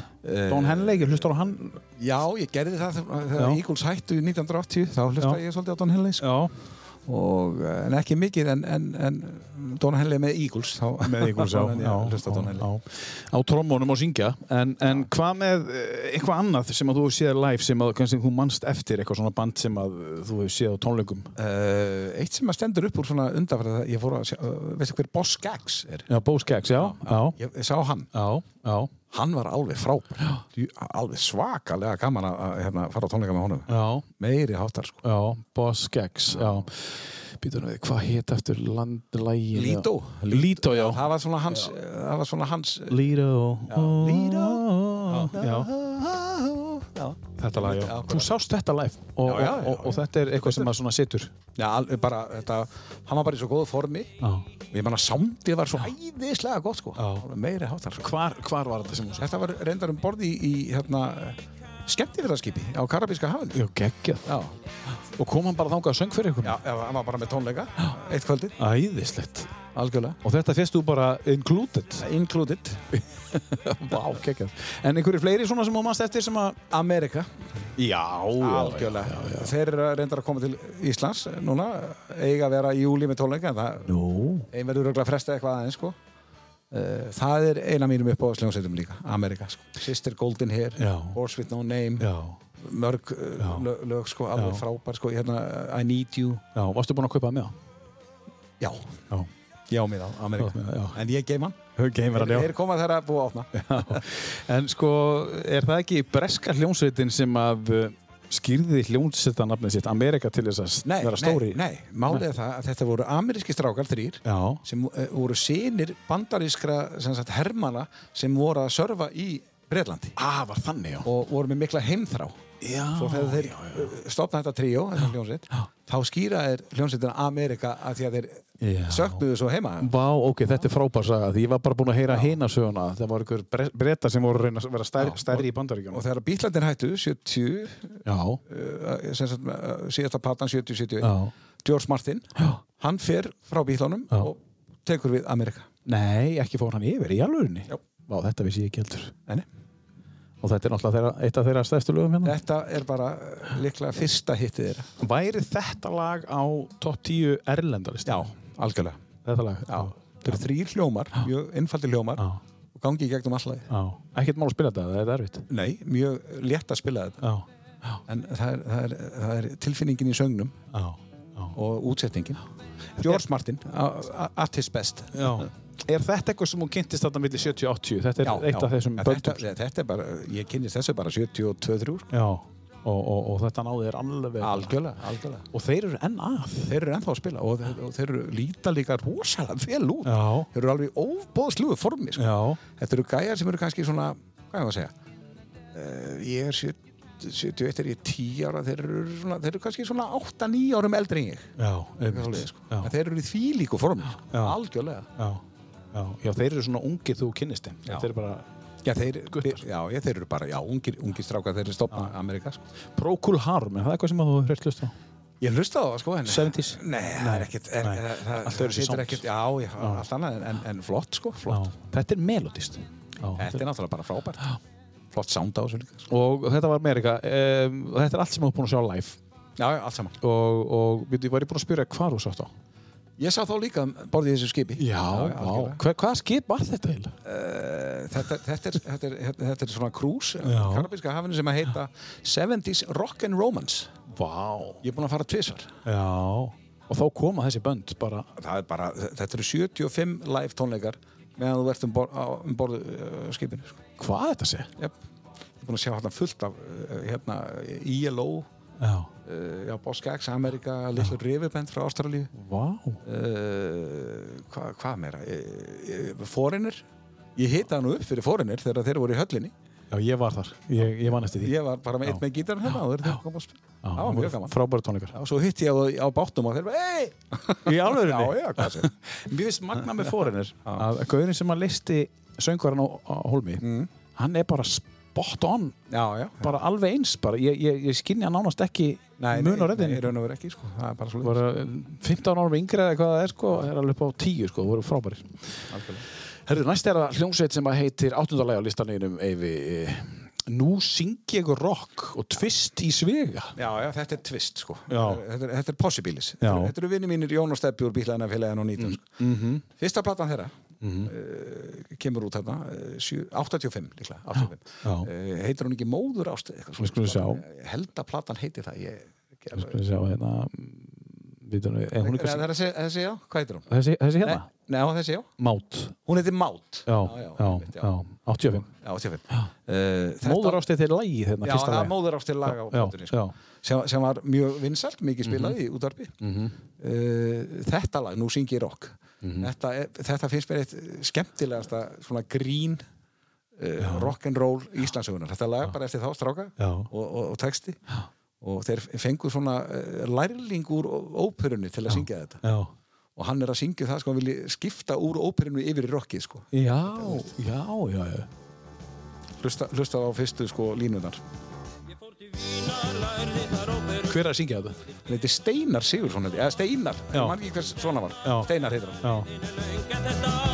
Speaker 2: Don Henley, hlustar á hann?
Speaker 3: já ég gerði það þegar- þegar
Speaker 2: Já.
Speaker 3: Eagles hættu í 1980 þá hlusta
Speaker 2: Já.
Speaker 3: ég svolítið á Don Henley sko.
Speaker 2: Já.
Speaker 3: og, eh, en ekki mikið en, en, en Don Henley með Eagles þá,
Speaker 2: Með ykkur sá.
Speaker 3: þá nenni ég að hlusta á Don Henley
Speaker 2: Á trommónum og syngja. En, en hvað með eh, eitthvað annað sem að þú hefur séð live sem að kannski þú mannst eftir eitthvað svona band sem að eh, þú hefur séð á tónleikum?
Speaker 3: Uh, eitt sem að stendur upp úr svona undanfæra ég fór að, sjá- uh, veistu hver Boss Skaggs er
Speaker 2: Já, Bo Skaggs, já. Já,
Speaker 3: ég, ég sá hann
Speaker 2: já, já.
Speaker 3: hann var alveg frábær Djú- alveg svakalega gaman að, að hérna, fara á tónleika með honum
Speaker 2: já.
Speaker 3: meiri hátar sko
Speaker 2: Já, Boss Skaggs, já. Býtum við, hvað hétt eftir landlægin?
Speaker 3: Lido.
Speaker 2: Lító, já.
Speaker 3: það var svona eh, hans,
Speaker 2: Oh.
Speaker 3: það var svona hans
Speaker 2: Lido.
Speaker 3: Lido.
Speaker 2: Já.
Speaker 3: já.
Speaker 2: Þetta lag, já.
Speaker 3: Akkurat.
Speaker 2: Þú sást þetta live og,
Speaker 3: Já, já, já,
Speaker 2: og, og, og þetta er eitthvað sem að svona situr.
Speaker 3: Já, alveg bara, þetta, hann var bara í svo góðu formi
Speaker 2: Já.
Speaker 3: Ég manna samdið var svo æðislega gott sko Alveg Meiri hátar sko
Speaker 2: Hvar, hvar var þetta sem hún sást?
Speaker 3: Þetta var reyndar um borði í, í hérna, skemmtifyrðarskipi á Karabíska hafinu
Speaker 2: Já, geggjað.
Speaker 3: Já,
Speaker 2: Og kom hann bara þangað að söng fyrir ykkur?
Speaker 3: já, já, hann var bara með tónleika Eitt kvöldið,
Speaker 2: Æðislegt.
Speaker 3: algjörlega
Speaker 2: Og þetta fyrst þú bara included.
Speaker 3: Included
Speaker 2: Vá, geggjað. En einhverju fleiri svona sem hún mannst eftir sem að...
Speaker 3: Amerika,
Speaker 2: Já,
Speaker 3: algjörlega Þeir eru reyndar að koma til Íslands núna Eiga að vera í júli með tónleika en það,
Speaker 2: Nú.
Speaker 3: Ein verður örugglega að fresta eitthvað aðeins sko Eh, Það er eina mínum upp á sljónsetum líka, Amerika sko. Sister Golden Hair,
Speaker 2: Já.
Speaker 3: Horse With No Name
Speaker 2: Já.
Speaker 3: mörg uh, lö- lög sko, alveg
Speaker 2: Já.
Speaker 3: frábær sko, hérna uh, I Need You
Speaker 2: Já, varstu búin að kaupa það með það?
Speaker 3: já,
Speaker 2: Já.
Speaker 3: já mér á Amerika
Speaker 2: Já, já.
Speaker 3: en ég geim hann,
Speaker 2: Gamer
Speaker 3: þeir þeir koma þeirra að búa að opna
Speaker 2: Já, en sko, er það ekki breska hljómsveitin sem að uh, skýrði hljómsveitarnafnið sitt Amerika til þess að s-
Speaker 3: nei,
Speaker 2: vera stóri?
Speaker 3: nei, nei, málið er það að þetta voru ameríski strákar þrýr
Speaker 2: Já,
Speaker 3: sem uh, voru sinir bandarískra sem sagt, hermana sem voru að sörfa í Breitlandi
Speaker 2: ah, var þannig, já.
Speaker 3: og voru með mikla heimþrá
Speaker 2: Já,
Speaker 3: svo þegar þeir uh, stopna þetta tríó þetta hljónsveit, þá skýra þeir hljónsveitina Amerika að því að þeir
Speaker 2: Já.
Speaker 3: söknuðu svo heima
Speaker 2: Vá, ok, þetta er frábær saga því ég var bara búin að heyra hina söguna það var einhver bre- breyta sem voru að reyna að vera stærri, stærri í bandaríkjum
Speaker 3: og þegar Bítlandin hættu 70
Speaker 2: Já,
Speaker 3: uh, sem sagt, uh, síðasta platan 70-71
Speaker 2: Já.
Speaker 3: George Martin, hann fer frá bílunum
Speaker 2: Já.
Speaker 3: og tekur við Amerika
Speaker 2: nei, ekki fór hann yfir í alvörinni
Speaker 3: Já.
Speaker 2: Vá, þetta vissi ég ekki heldur
Speaker 3: Nei, nei.
Speaker 2: og þetta er náttúrulega þeirra, eitt af þeirra stærstu lögum hérna
Speaker 3: þetta er bara uh, líklega fyrsta hittið þeirra
Speaker 2: Væri þetta lag á top 10 erlendarist?
Speaker 3: algjörlega
Speaker 2: Þetta lag?
Speaker 3: þetta eru þrýr hljómar, mjög einfaldi hljómar
Speaker 2: Já.
Speaker 3: og gangi í gegnum allagi
Speaker 2: Já, ekkert mál að spila þetta, það er erfitt
Speaker 3: Nei, mjög létt að spila þetta
Speaker 2: Já,
Speaker 3: en það er, það, er, það er tilfinningin í söngnum
Speaker 2: já, já,
Speaker 3: og útsetningin George Martin, a- a- at his best
Speaker 2: já. Er þetta eitthvað sem hún kynntist þarna milli 70-80? Þetta er eitt af þessum
Speaker 3: En þetta,
Speaker 2: böndum
Speaker 3: þetta er bara, ég kynnist þessu bara 72-3
Speaker 2: Já, og, og, og þetta náði er alveg
Speaker 3: algjörlega, algjörlega
Speaker 2: Og þeir eru enn að
Speaker 3: þeir eru ennþá að spila og þeir, og þeir eru líta líka rosalega vel út
Speaker 2: Já.
Speaker 3: þeir eru alveg óbóðsluðu formi sko.
Speaker 2: Já,
Speaker 3: þetta eru gæjar sem eru kannski svona hvað er það að segja uh, ég er 70 71 er ég 10 ára þeir eru, svona, þeir eru kannski svona 8-9 árum eldri en ég
Speaker 2: já,
Speaker 3: eitthvað
Speaker 2: einmitt
Speaker 3: svoleiðis, sko.
Speaker 2: já,
Speaker 3: En þeir eru í því líku formi sko.
Speaker 2: Já.
Speaker 3: algjörlega
Speaker 2: já, já, já, þeir eru svona ungir þú kynnist þeim Þetta er bara
Speaker 3: já þeir,
Speaker 2: Guttar.
Speaker 3: já, já, þeir eru bara já, ungir, ungir strákar þeir eru stopna Amerika sko.
Speaker 2: Procol Harum, er það eitthvað sem að þú hefur hreist lust á?
Speaker 3: Ég hlusta á það sko en
Speaker 2: 70s?
Speaker 3: Nei, það er ekkert er,
Speaker 2: Nei.
Speaker 3: er, er, það-
Speaker 2: Allt öðru sér
Speaker 3: situr
Speaker 2: sound.
Speaker 3: ekkert- Já, já, allt annað en, en, en flott sko
Speaker 2: Já,
Speaker 3: flott.
Speaker 2: þetta er melodist já,
Speaker 3: Þetta er náttúrulega bara frábært Flott sound á þessu líka sko.
Speaker 2: Og þetta var Amerika um, og Þetta er allt sem þú er búin að sjá live
Speaker 3: Já, já, allt saman
Speaker 2: Og, og við varum búin að spyrja hvar þú sátt á
Speaker 3: Ég sá þá líka um borðið í þessu skipi
Speaker 2: vá.
Speaker 3: algjörlega. Eh,
Speaker 2: Hver, Hvaða skip var þetta eiginlega?
Speaker 3: þetta, þetta, er, þetta, er, þetta, þetta er svona krús
Speaker 2: Já.
Speaker 3: Karabíska hafinu sem að heita 70s Rock and Romance
Speaker 2: Vá
Speaker 3: Ég er búinn að fara tvisvar
Speaker 2: Já Og þá koma þessi bönd bara
Speaker 3: Það er bara, þetta eru 75 live tónleikar meðan þú ert um, bor, á, um borðu uh, skipinu sko.
Speaker 2: Hvað þetta sé?
Speaker 3: yep. Ég er búinn að sjá hérna fullt af uh, hérna, ILO
Speaker 2: Já
Speaker 3: uh, já, Boss Gags, Amerika, Little River Band frá Ástralíu
Speaker 2: Vá
Speaker 3: uh, hvað hva meira uh, Foreigner ég hita hann upp fyrir Foreigner þegar þeir voru í höllinni
Speaker 2: Já ég var þar Ég, ég man eftir því
Speaker 3: ég var bara með eitt með gítarinn hérna og þeir þeir komu að spila
Speaker 2: Já,
Speaker 3: það var
Speaker 2: voru
Speaker 3: mjög gaman
Speaker 2: Frábæra tónleikar
Speaker 3: og svo hitti ég á, á bátnum og þeir bara ei
Speaker 2: Í alveg
Speaker 3: já, já, hvað sér
Speaker 2: Mjög veist magna með fórinir Að gauðin sem að listi söngvarinn á, á Holmi
Speaker 3: Mm.
Speaker 2: Hann er bara spot on
Speaker 3: já, já
Speaker 2: Bara alveg eins bara Ég, ég, ég skinni hann nánast ekki Mun á
Speaker 3: nei,
Speaker 2: reyðinni
Speaker 3: í raun og veru ekki, sko. það er bara svo
Speaker 2: voru 15 árum yngri eða hvað það er sko, er alveg upp á 10 sko, voru frábærir Herðu, næst er það hljómsveit sem að heitir áttundalega á listaneinum Eyvi eh, Nú syng ég rock og tvist í svega
Speaker 3: já, já, þetta er twist, sko
Speaker 2: Já.
Speaker 3: þetta er, þetta er possibilis
Speaker 2: Já. Mm,
Speaker 3: þetta eru vinni mínir Jón og Steppi úr bílæðina félagin og 19 sko.
Speaker 2: mhm.
Speaker 3: -hmm. fyrsta platan þeirra uh, kemur út þarna uh, sjö- 85 líklega 85.
Speaker 2: Já.
Speaker 3: Uh, heitir hún ekki Móður ást eitthvað svona,
Speaker 2: skulum
Speaker 3: sko.
Speaker 2: sjá.
Speaker 3: Ég held að platan heitir það ég, ekki alveg-
Speaker 2: Við sjá hérna mm, vitum við, er hún
Speaker 3: Nei,
Speaker 2: eitthvað
Speaker 3: það
Speaker 2: sem-
Speaker 3: er þessi, þessi já, hvað heitir hún?
Speaker 2: þessi, þessi hérna?
Speaker 3: Nei, Nei, á, þessi já,
Speaker 2: Mát
Speaker 3: hún heitir Mát
Speaker 2: Já,
Speaker 3: já,
Speaker 2: já,
Speaker 3: einmitt,
Speaker 2: já, 85
Speaker 3: já, 85. Uh, þetta-
Speaker 2: Móður ástið til lægi hérna,
Speaker 3: Já,
Speaker 2: fyrsta
Speaker 3: það er
Speaker 2: lægi
Speaker 3: móður ástil lag á
Speaker 2: Já,
Speaker 3: plötunni sko.
Speaker 2: já.
Speaker 3: sem, sem var mjög vinsælt, mikið spilað
Speaker 2: Mhm.
Speaker 3: í útvarpi uh, Þetta lag, nú
Speaker 2: Mhm.
Speaker 3: syngi ég rock þetta, er, þetta finnst mér eitt skemmtilegasta svona grín uh, rock'n'roll Íslandsögunar þetta lag bara eftir þá stráka
Speaker 2: Já.
Speaker 3: og, og, og texti og þeir fengu svona uh, lærling úr óperunni til að syngja þetta
Speaker 2: Já.
Speaker 3: og hann er að syngja það sko, hann vilji skipta úr óperinu yfir í rockið sko.
Speaker 2: Já, já, já, já.
Speaker 3: hlusta, hlusta á fyrstu sko, línunar
Speaker 2: Hver er að syngja þetta?
Speaker 3: hann heiti Steinar Sigurðsson held ég, eða Steinar,
Speaker 2: Já.
Speaker 3: mann ekki hvers svona var
Speaker 2: Já.
Speaker 3: Steinar heitir hann
Speaker 2: Já.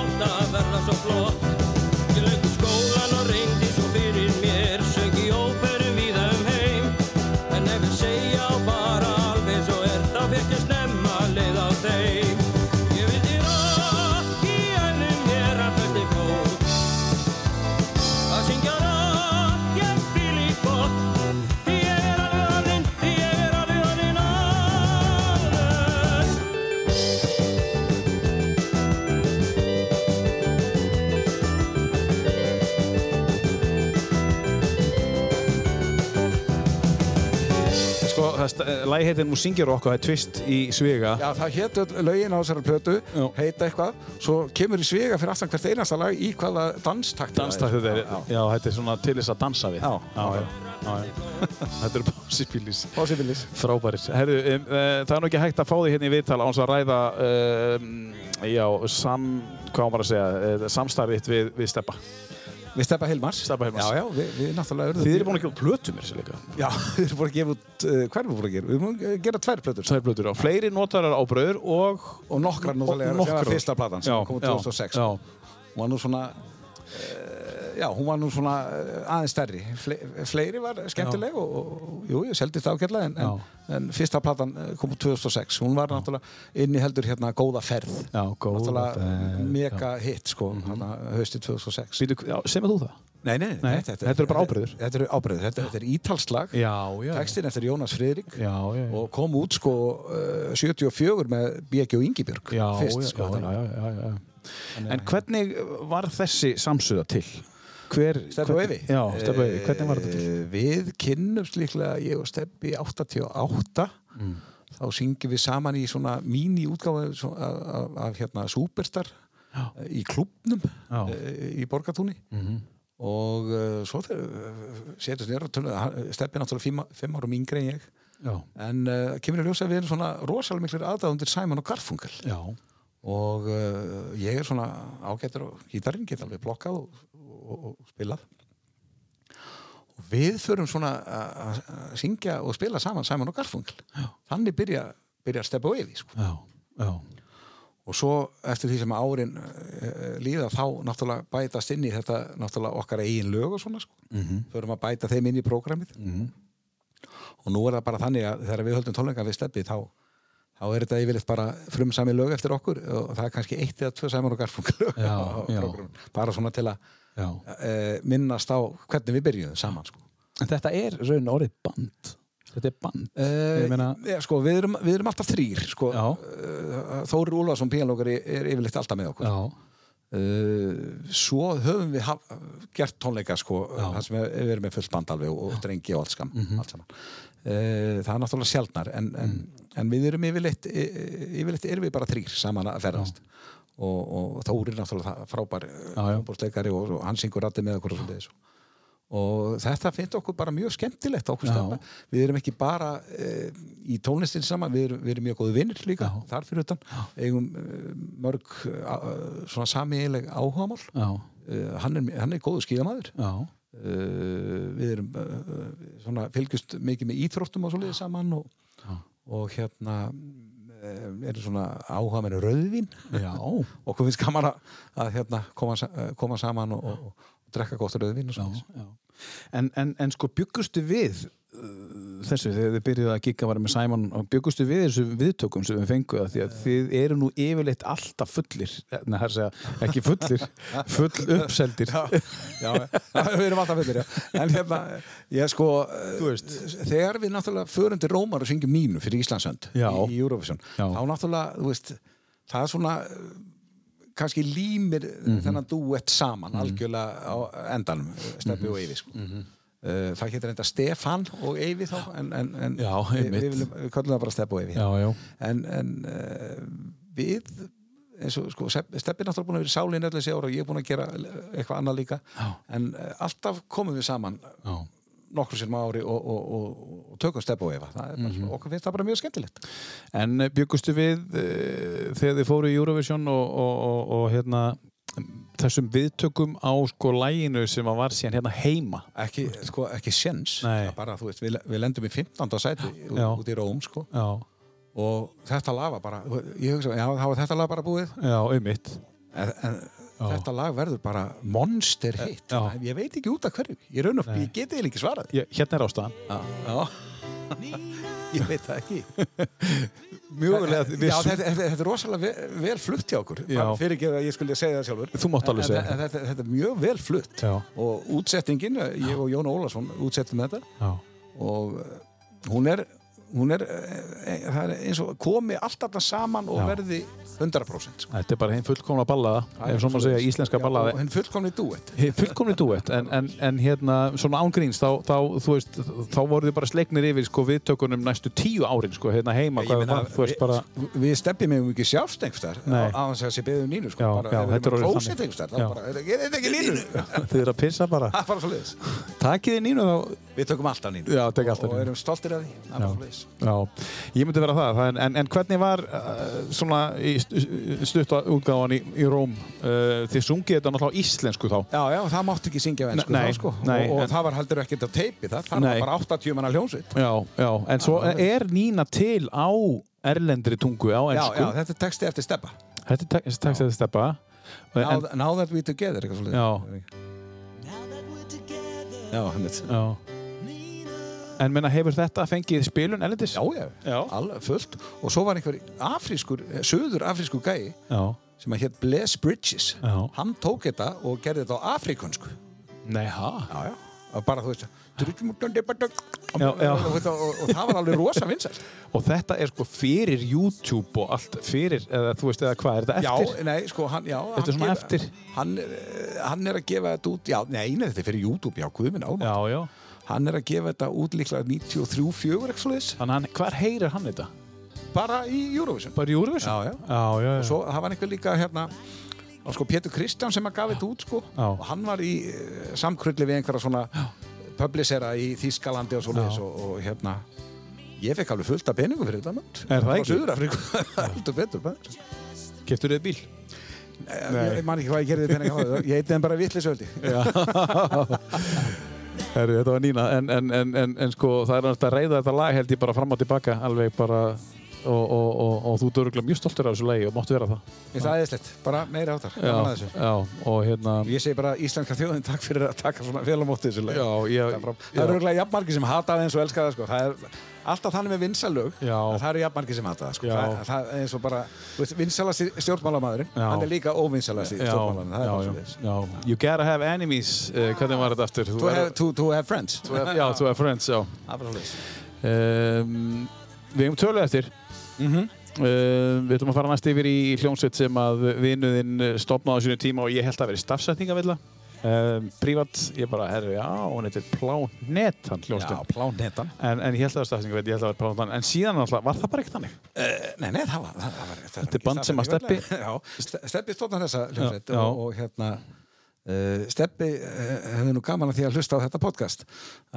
Speaker 2: Sko, það st- eh, lagi heitir Nú syngir okkur, það er tvist í sviga.
Speaker 3: Já, það hétu lögin á þessari plötu,
Speaker 2: Já.
Speaker 3: heita eitthvað, svo kemur í svega fyrir aftan hvert einasta lag í hvaða danstakti það er.
Speaker 2: Dansta þetta er,
Speaker 3: Já, já.
Speaker 2: já, þetta er svona til þess að dansa við.
Speaker 3: Já.
Speaker 2: já, já. já, já. þetta eru básipilis.
Speaker 3: Possibilis.
Speaker 2: Frábæris. Herru, um, uh, það er nú ekki hægt að fá því hérna í viðtal á hans að ræða, um, já, sam, hvað á maður að segja, uh, samstarfitt við, við Steppa.
Speaker 3: Við steppa Hilmars.
Speaker 2: Stebba Hilmars.
Speaker 3: Já, já, við, við náttúrulega urðum.
Speaker 2: Þið eru búin að gefa plötu mér sér líka.
Speaker 3: Já, við erum búin að gefa út, uh, hvað erum við búin að gera? Við erum búin að gera tvær plötur.
Speaker 2: Tvær plötur á. Fleiri notarar á bröður og...
Speaker 3: Og nokkrar
Speaker 2: Og
Speaker 3: náttúrulega, það var
Speaker 2: nokkrar.
Speaker 3: fyrsta platan sem kom út 2006.
Speaker 2: Já,
Speaker 3: Hún var nú svona, uh, já, hún var nú svona eh, aðeins stærri. Fle, fleiri var skemmtileg og, og, og jú, ég seldist ágætlega en, en, en fyrsta platan eh, kom út 2006. Hún var náttúrulega inni heldur hérna góða ferð.
Speaker 2: já, góð.
Speaker 3: náttúrulega mega hitt sko, mm haustið 2006
Speaker 2: Býtu, já, semur þú það?
Speaker 3: Nei, nei,
Speaker 2: Mhm. Nei, þetta eru bara ábreiður.
Speaker 3: Þetta eru ábreiður, þetta, þetta er ítalslag
Speaker 2: Já, já.
Speaker 3: Textin eftir Jónas Friðrik
Speaker 2: Já, já, já.
Speaker 3: og kom út sko uh, 74 með B.G. og Ingibjörg
Speaker 2: já,
Speaker 3: fyrst
Speaker 2: já,
Speaker 3: sko
Speaker 2: já, já, já, já. En hvernig var þessi samsöða til? Hver,
Speaker 3: Steppi og
Speaker 2: hvernig-
Speaker 3: Evi
Speaker 2: Já, Steppi og Evi, hvernig var þetta til?
Speaker 3: Eh, Við kynnumst líklega ég og Steppi 88
Speaker 2: Mm.
Speaker 3: þá syngjum við saman í svona mini-útgáfa svo- af, af, af hérna Superstar eh, í klubnum
Speaker 2: Já. Mhm.
Speaker 3: eh, í Borgatúni og uh, svo þegar uh, setjast nýra Steppi er náttúrulega fimm, fimm árum yngri en ég
Speaker 2: Já,
Speaker 3: en uh, kemur í ljósa að við erum svona rosalega miklir aðdáðundir Simon og Garfunkel
Speaker 2: já,
Speaker 3: og uh, ég er svona ágættur og gítarinn get alveg blokkað og, og, og spilað og við förum svona að- að að syngja og spila saman Simon og Garfunkel Já. þannig byrja, byrja að steppa á evi sko.
Speaker 2: já, já,
Speaker 3: og svo eftir því sem árin uh, líða þá náttúrulega bætast inn í þetta náttúrulega okkar eigin lög og svona sko.
Speaker 2: Mhm.
Speaker 3: -hmm. förum að bæta þeim inn í prógramið -hmm. og nú er það bara þannig að þegar við höldum tónleika við steppi þá þá er þetta yfirleitt bara frumsami lög eftir okkur og það er kannski eitt eða tvö Sæmon og Garfunkel lög
Speaker 2: Já,
Speaker 3: á
Speaker 2: já.
Speaker 3: prógramminu. bara svona til að
Speaker 2: já.
Speaker 3: uh, minnast á hvernig við byrjuðum saman sko.
Speaker 2: En þetta er raun orðið band. Þetta er band.
Speaker 3: Uh,
Speaker 2: Ég meina,
Speaker 3: ja, sko, við, erum, við erum alltaf þrýr sko.
Speaker 2: Já.
Speaker 3: Eh, Þórir Úlfarsson píanlókar er yfirleitt alltaf með okkur
Speaker 2: já,
Speaker 3: Uh, svo höfum við haf, gert tónleika sko, það sem við erum með fullt band alveg og, og drengi og allt, skam,
Speaker 2: Mhm.
Speaker 3: allt saman uh, það er náttúrulega sjaldnar en,
Speaker 2: Mm.
Speaker 3: en, en við erum yfirleitt y- y- yfirleitt erum við bara þrýr saman að ferðast og, og Þóri náttúrulega það- frábær
Speaker 2: Já, já.
Speaker 3: búrsleikari og, og hann syngur rætti með okkur og, svoleiðis. og þetta finnst okkur bara mjög skemmtilegt okkur
Speaker 2: Já.
Speaker 3: stefna við erum ekki bara uh, í tónlistin saman við erum, við erum mjög góði vinnir líka þar fyrir utan, eigum uh, mörg uh, svona samiðileg áhugamál
Speaker 2: já,
Speaker 3: uh, hann, er, hann er góðu skíðamaður uh,
Speaker 2: já,
Speaker 3: við erum uh, svona fylgjust mikið með íþróttum og svoleiði saman og, og hérna eh, erum svona áhugamennu rauðvín
Speaker 2: já,
Speaker 3: okkur finnst gaman að, að hérna, koma, sa- eh, koma saman og, og, og, drekka gott rauðvín og
Speaker 2: já,
Speaker 3: svoleiðis.
Speaker 2: já. En, en, en sko, byggustu við uh, þessu, þegar þið byrjuðu að gigga var með Simon og byggustu við þessu viðtökum sem við fenguðu því að þið eru nú yfirleitt alltaf fullir, neða, það er að segja, ekki fullir, full uppseldir.
Speaker 3: já, já, við erum alltaf fullir já. en hérna, ég sko eh, þegar við náttúrulega förum til Rómar og syngjum nínu fyrir Íslandsönd í,
Speaker 2: Já.
Speaker 3: í Eurovision,
Speaker 2: Já.
Speaker 3: þá náttúrulega þú veist, það er svona eh, kannski límir
Speaker 2: Mhm.
Speaker 3: þennan duett saman algjörlega á endanum Steppi
Speaker 2: Mhm.
Speaker 3: og Eyvi sko. Eh, það getur enda Stefan og Eyvi þá en, en, en
Speaker 2: Já,
Speaker 3: við,
Speaker 2: einmitt.
Speaker 3: eh, við, viljum, við kallum það bara Steppi og Eyvi
Speaker 2: já.
Speaker 3: en, en uh, við eins og sko, Sepp- Stebbi er náttúrulega búin að vera í sálinn allir þessi ára og ég er búin að gera eitthvað annað líka Já. en uh, alltaf komum við saman
Speaker 2: Já.
Speaker 3: nokkur sinnum á ári og, og, og, og tökum Stebbi og Eva það er
Speaker 2: Mhm.
Speaker 3: bara, okkur finnst það bara mjög skemmtilegt
Speaker 2: En eh, bjuggustu við uh, þegar þið fóru í Eurovision og, og, og, og hérna þessum viðtökum á sko læginu sem að var síðan hérna heima
Speaker 3: ekki, sko, ekki sjens
Speaker 2: Nei.
Speaker 3: Það er bara, þú veist, við, við lendum í 15. sæti ú-
Speaker 2: Já.
Speaker 3: út í Róm sko.
Speaker 2: Já,
Speaker 3: og þetta lag var bara ég hugsa, já, þá er þetta lag bara búið
Speaker 2: já, auðvitað
Speaker 3: en, en þetta lag verður bara monster hitt
Speaker 2: Eh, Já.
Speaker 3: ég veit ekki út af hverju ég, raun og ég geti eiginlega ekki svarað því.
Speaker 2: Hérna er ástæðan
Speaker 3: já. ég veit það ekki
Speaker 2: Mjögulega við
Speaker 3: já, þetta, þetta, þetta er rosalega vel, vel flutt hjá okkur
Speaker 2: Já.
Speaker 3: fyrir ekki að ég skulle segja það sjálfur
Speaker 2: Þú mátt alveg
Speaker 3: En-
Speaker 2: segja
Speaker 3: en,
Speaker 2: það.
Speaker 3: en, þetta, þetta er mjög vel flutt
Speaker 2: Já.
Speaker 3: og útsettingin, ég og Jón Ólason útsettum þetta
Speaker 2: Já,
Speaker 3: og eh, hún er, hún er, eh, eh, það er eins og komi allt alltaf saman og
Speaker 2: Já.
Speaker 3: verði 100% sko.
Speaker 2: þetta er bara hinn fullkomna ballaða ef svo maður segja íslenska
Speaker 3: Já,
Speaker 2: ballaða
Speaker 3: og hinn fullkomni duett
Speaker 2: Hey, fullkomni duett en, en, en hérna svona ángríns þá, þá, þú veist, þá voru þið bara slegnir yfir sko viðtökunum næstu tíu árin sko hérna heima hvað var, þú veist bara
Speaker 3: við, við stefnum mjög mikið sjálfst einhverstar
Speaker 2: Nei.
Speaker 3: á þess að sé beðið um línu sko,
Speaker 2: Já,
Speaker 3: bara,
Speaker 2: já,
Speaker 3: ef við
Speaker 2: þetta er
Speaker 3: erum
Speaker 2: orðið
Speaker 3: klósett
Speaker 2: þannig.
Speaker 3: einhverstar
Speaker 2: Já.
Speaker 3: þá bara, "Þetta- þetta er ekki línu
Speaker 2: þið eru að pissa bara
Speaker 3: það er bara svo leiðis
Speaker 2: takið þið nínu þá
Speaker 3: Við tökum alltaf nýjum
Speaker 2: Já, tek alltaf
Speaker 3: og,
Speaker 2: Nínu.
Speaker 3: og erum stoltir af því Það er
Speaker 2: Já.
Speaker 3: bara svoleiðis.
Speaker 2: Já, ég myndi vera það, það en- en, en hvernig var uh, svona í stutta útgáðan í, í Róm uh, þið sungið þetta náttúrulega á íslensku þá
Speaker 3: Já, já, það mátti ekki syngja á ensku
Speaker 2: Nei,
Speaker 3: þá, sko.
Speaker 2: nei,
Speaker 3: og, og
Speaker 2: en-
Speaker 3: það var heldur ekkert að teipi það það
Speaker 2: Nei.
Speaker 3: var bara 80 manna hljónsveit
Speaker 2: Já, já, en svo er Nína til á erlendri tungu á
Speaker 3: Já,
Speaker 2: ensku
Speaker 3: já, þetta er texti eftir steppa
Speaker 2: Þetta er tek- takk að þið steppa en,
Speaker 3: Now, now that we together, eitthvað svolítið
Speaker 2: Já.
Speaker 3: Já, einmitt.
Speaker 2: já. en menna hefur þetta fengið spilun erlendis?
Speaker 3: já, já,
Speaker 2: Já.
Speaker 3: alveg fullt og svo var einhver afrískur, eh, söður afrískur gæi
Speaker 2: já,
Speaker 3: sem að hétt Bless Bridges
Speaker 2: Já.
Speaker 3: hann tók þetta og gerði þetta á afrikunsku
Speaker 2: nei, ha?
Speaker 3: já, já, og bara þú veist
Speaker 2: Já,
Speaker 3: já,
Speaker 2: já.
Speaker 3: Og, og, og það var alveg rosa vinsælt
Speaker 2: Og þetta er sko fyrir YouTube og allt fyrir, eða þú veist, eða hvað er þetta
Speaker 3: Já,
Speaker 2: eftir?
Speaker 3: nei, sko, hann, já
Speaker 2: Þetta er
Speaker 3: hann
Speaker 2: svona
Speaker 3: gefa-
Speaker 2: eftir.
Speaker 3: hann, eh, hann er að gefa þetta út, já, nei, nei, þetta er fyrir YouTube, já, guðminn álum
Speaker 2: Já, já,
Speaker 3: Hann er að gefa þetta út líklega 93-4, eitthvað svo
Speaker 2: þannig hann, hvar heyrir hann þetta?
Speaker 3: bara í Eurovision
Speaker 2: Bara í Eurovision?
Speaker 3: Já, já.
Speaker 2: já, já, já.
Speaker 3: Svo það var einhver líka hérna það var sko Pétur Kristján sem að gaf þetta út sko
Speaker 2: Já.
Speaker 3: og hann var í eh, samkrulli við einhverja svona publisera í Þískalandi og svoleiðis
Speaker 2: Já.
Speaker 3: og, og hérna ég fekk alveg fullt af peningum fyrir þetta mynd
Speaker 2: Er það ekki?
Speaker 3: Söður Afríku, heldur betur bara.
Speaker 2: Keftur þið bíl?
Speaker 3: Ég, ég man ekki hvað ég gerði peningum ég heiti þeim bara vitlisöldi
Speaker 2: Herru, þetta var Nína, en, en, en, en, en sko það er náttúrulega að reyða þetta lag held ég bara fram og tilbaka alveg bara og, og, og, og þú dörgla mjög stoltur af þessu lagi og máttu vera það
Speaker 3: Mér það eðislegt, bara meira áttar
Speaker 2: já, já, og hérna
Speaker 3: Ég segi bara íslenska þjóðin takk fyrir að taka svona vel á móti þessu lög.
Speaker 2: Já, ég-
Speaker 3: Það er fram-
Speaker 2: já.
Speaker 3: það eru örugglega jafnmargir sem hata það eins og elska það sko. Það er alltaf þannig með vinsalög
Speaker 2: Já.
Speaker 3: að það eru jafnmargir sem hata það sko.
Speaker 2: Já.
Speaker 3: það, það er eins og bara, þú veist, vinsalasti stjórnmálamadurinn
Speaker 2: Já.
Speaker 3: hann er líka óvinsalasti
Speaker 2: já,
Speaker 3: stjórnmálamadurinn það er bara
Speaker 2: já,
Speaker 3: svo þess
Speaker 2: já, you gotta have enemies uh, hvernig var þetta aftur? Þú
Speaker 3: To
Speaker 2: verður-
Speaker 3: have, to, to have friends Það
Speaker 2: Já, to have friends, já
Speaker 3: er bara svo þess
Speaker 2: um, Við hefum tölu eftir Mhm. um, Við ætlum að fara næst yfir í hljómsveit sem að vinuðinn stopnaði á sínu tíma og ég held að vera stafsetningavilla um, Privat, ég bara, herru, já, hún heitir Plánet, hann
Speaker 3: Já,
Speaker 2: hljómsveit
Speaker 3: plánetan
Speaker 2: En, en ég held að það var stafsetningavilla, ég held að það var Plánet En síðan alltaf, var það bara ekkert þannig?
Speaker 3: Eh, Nei, nei, það var, það, það var það
Speaker 2: Þetta er
Speaker 3: var
Speaker 2: band
Speaker 3: ekki
Speaker 2: sem að
Speaker 3: stafsetning,
Speaker 2: Stebbi-
Speaker 3: öll- Já, Ste- Stebbi stóðan þessa hljómsveit
Speaker 2: Já, já.
Speaker 3: og, og hérna uh, Stebbi uh, hefði nú gaman að því að hlusta á þetta podcast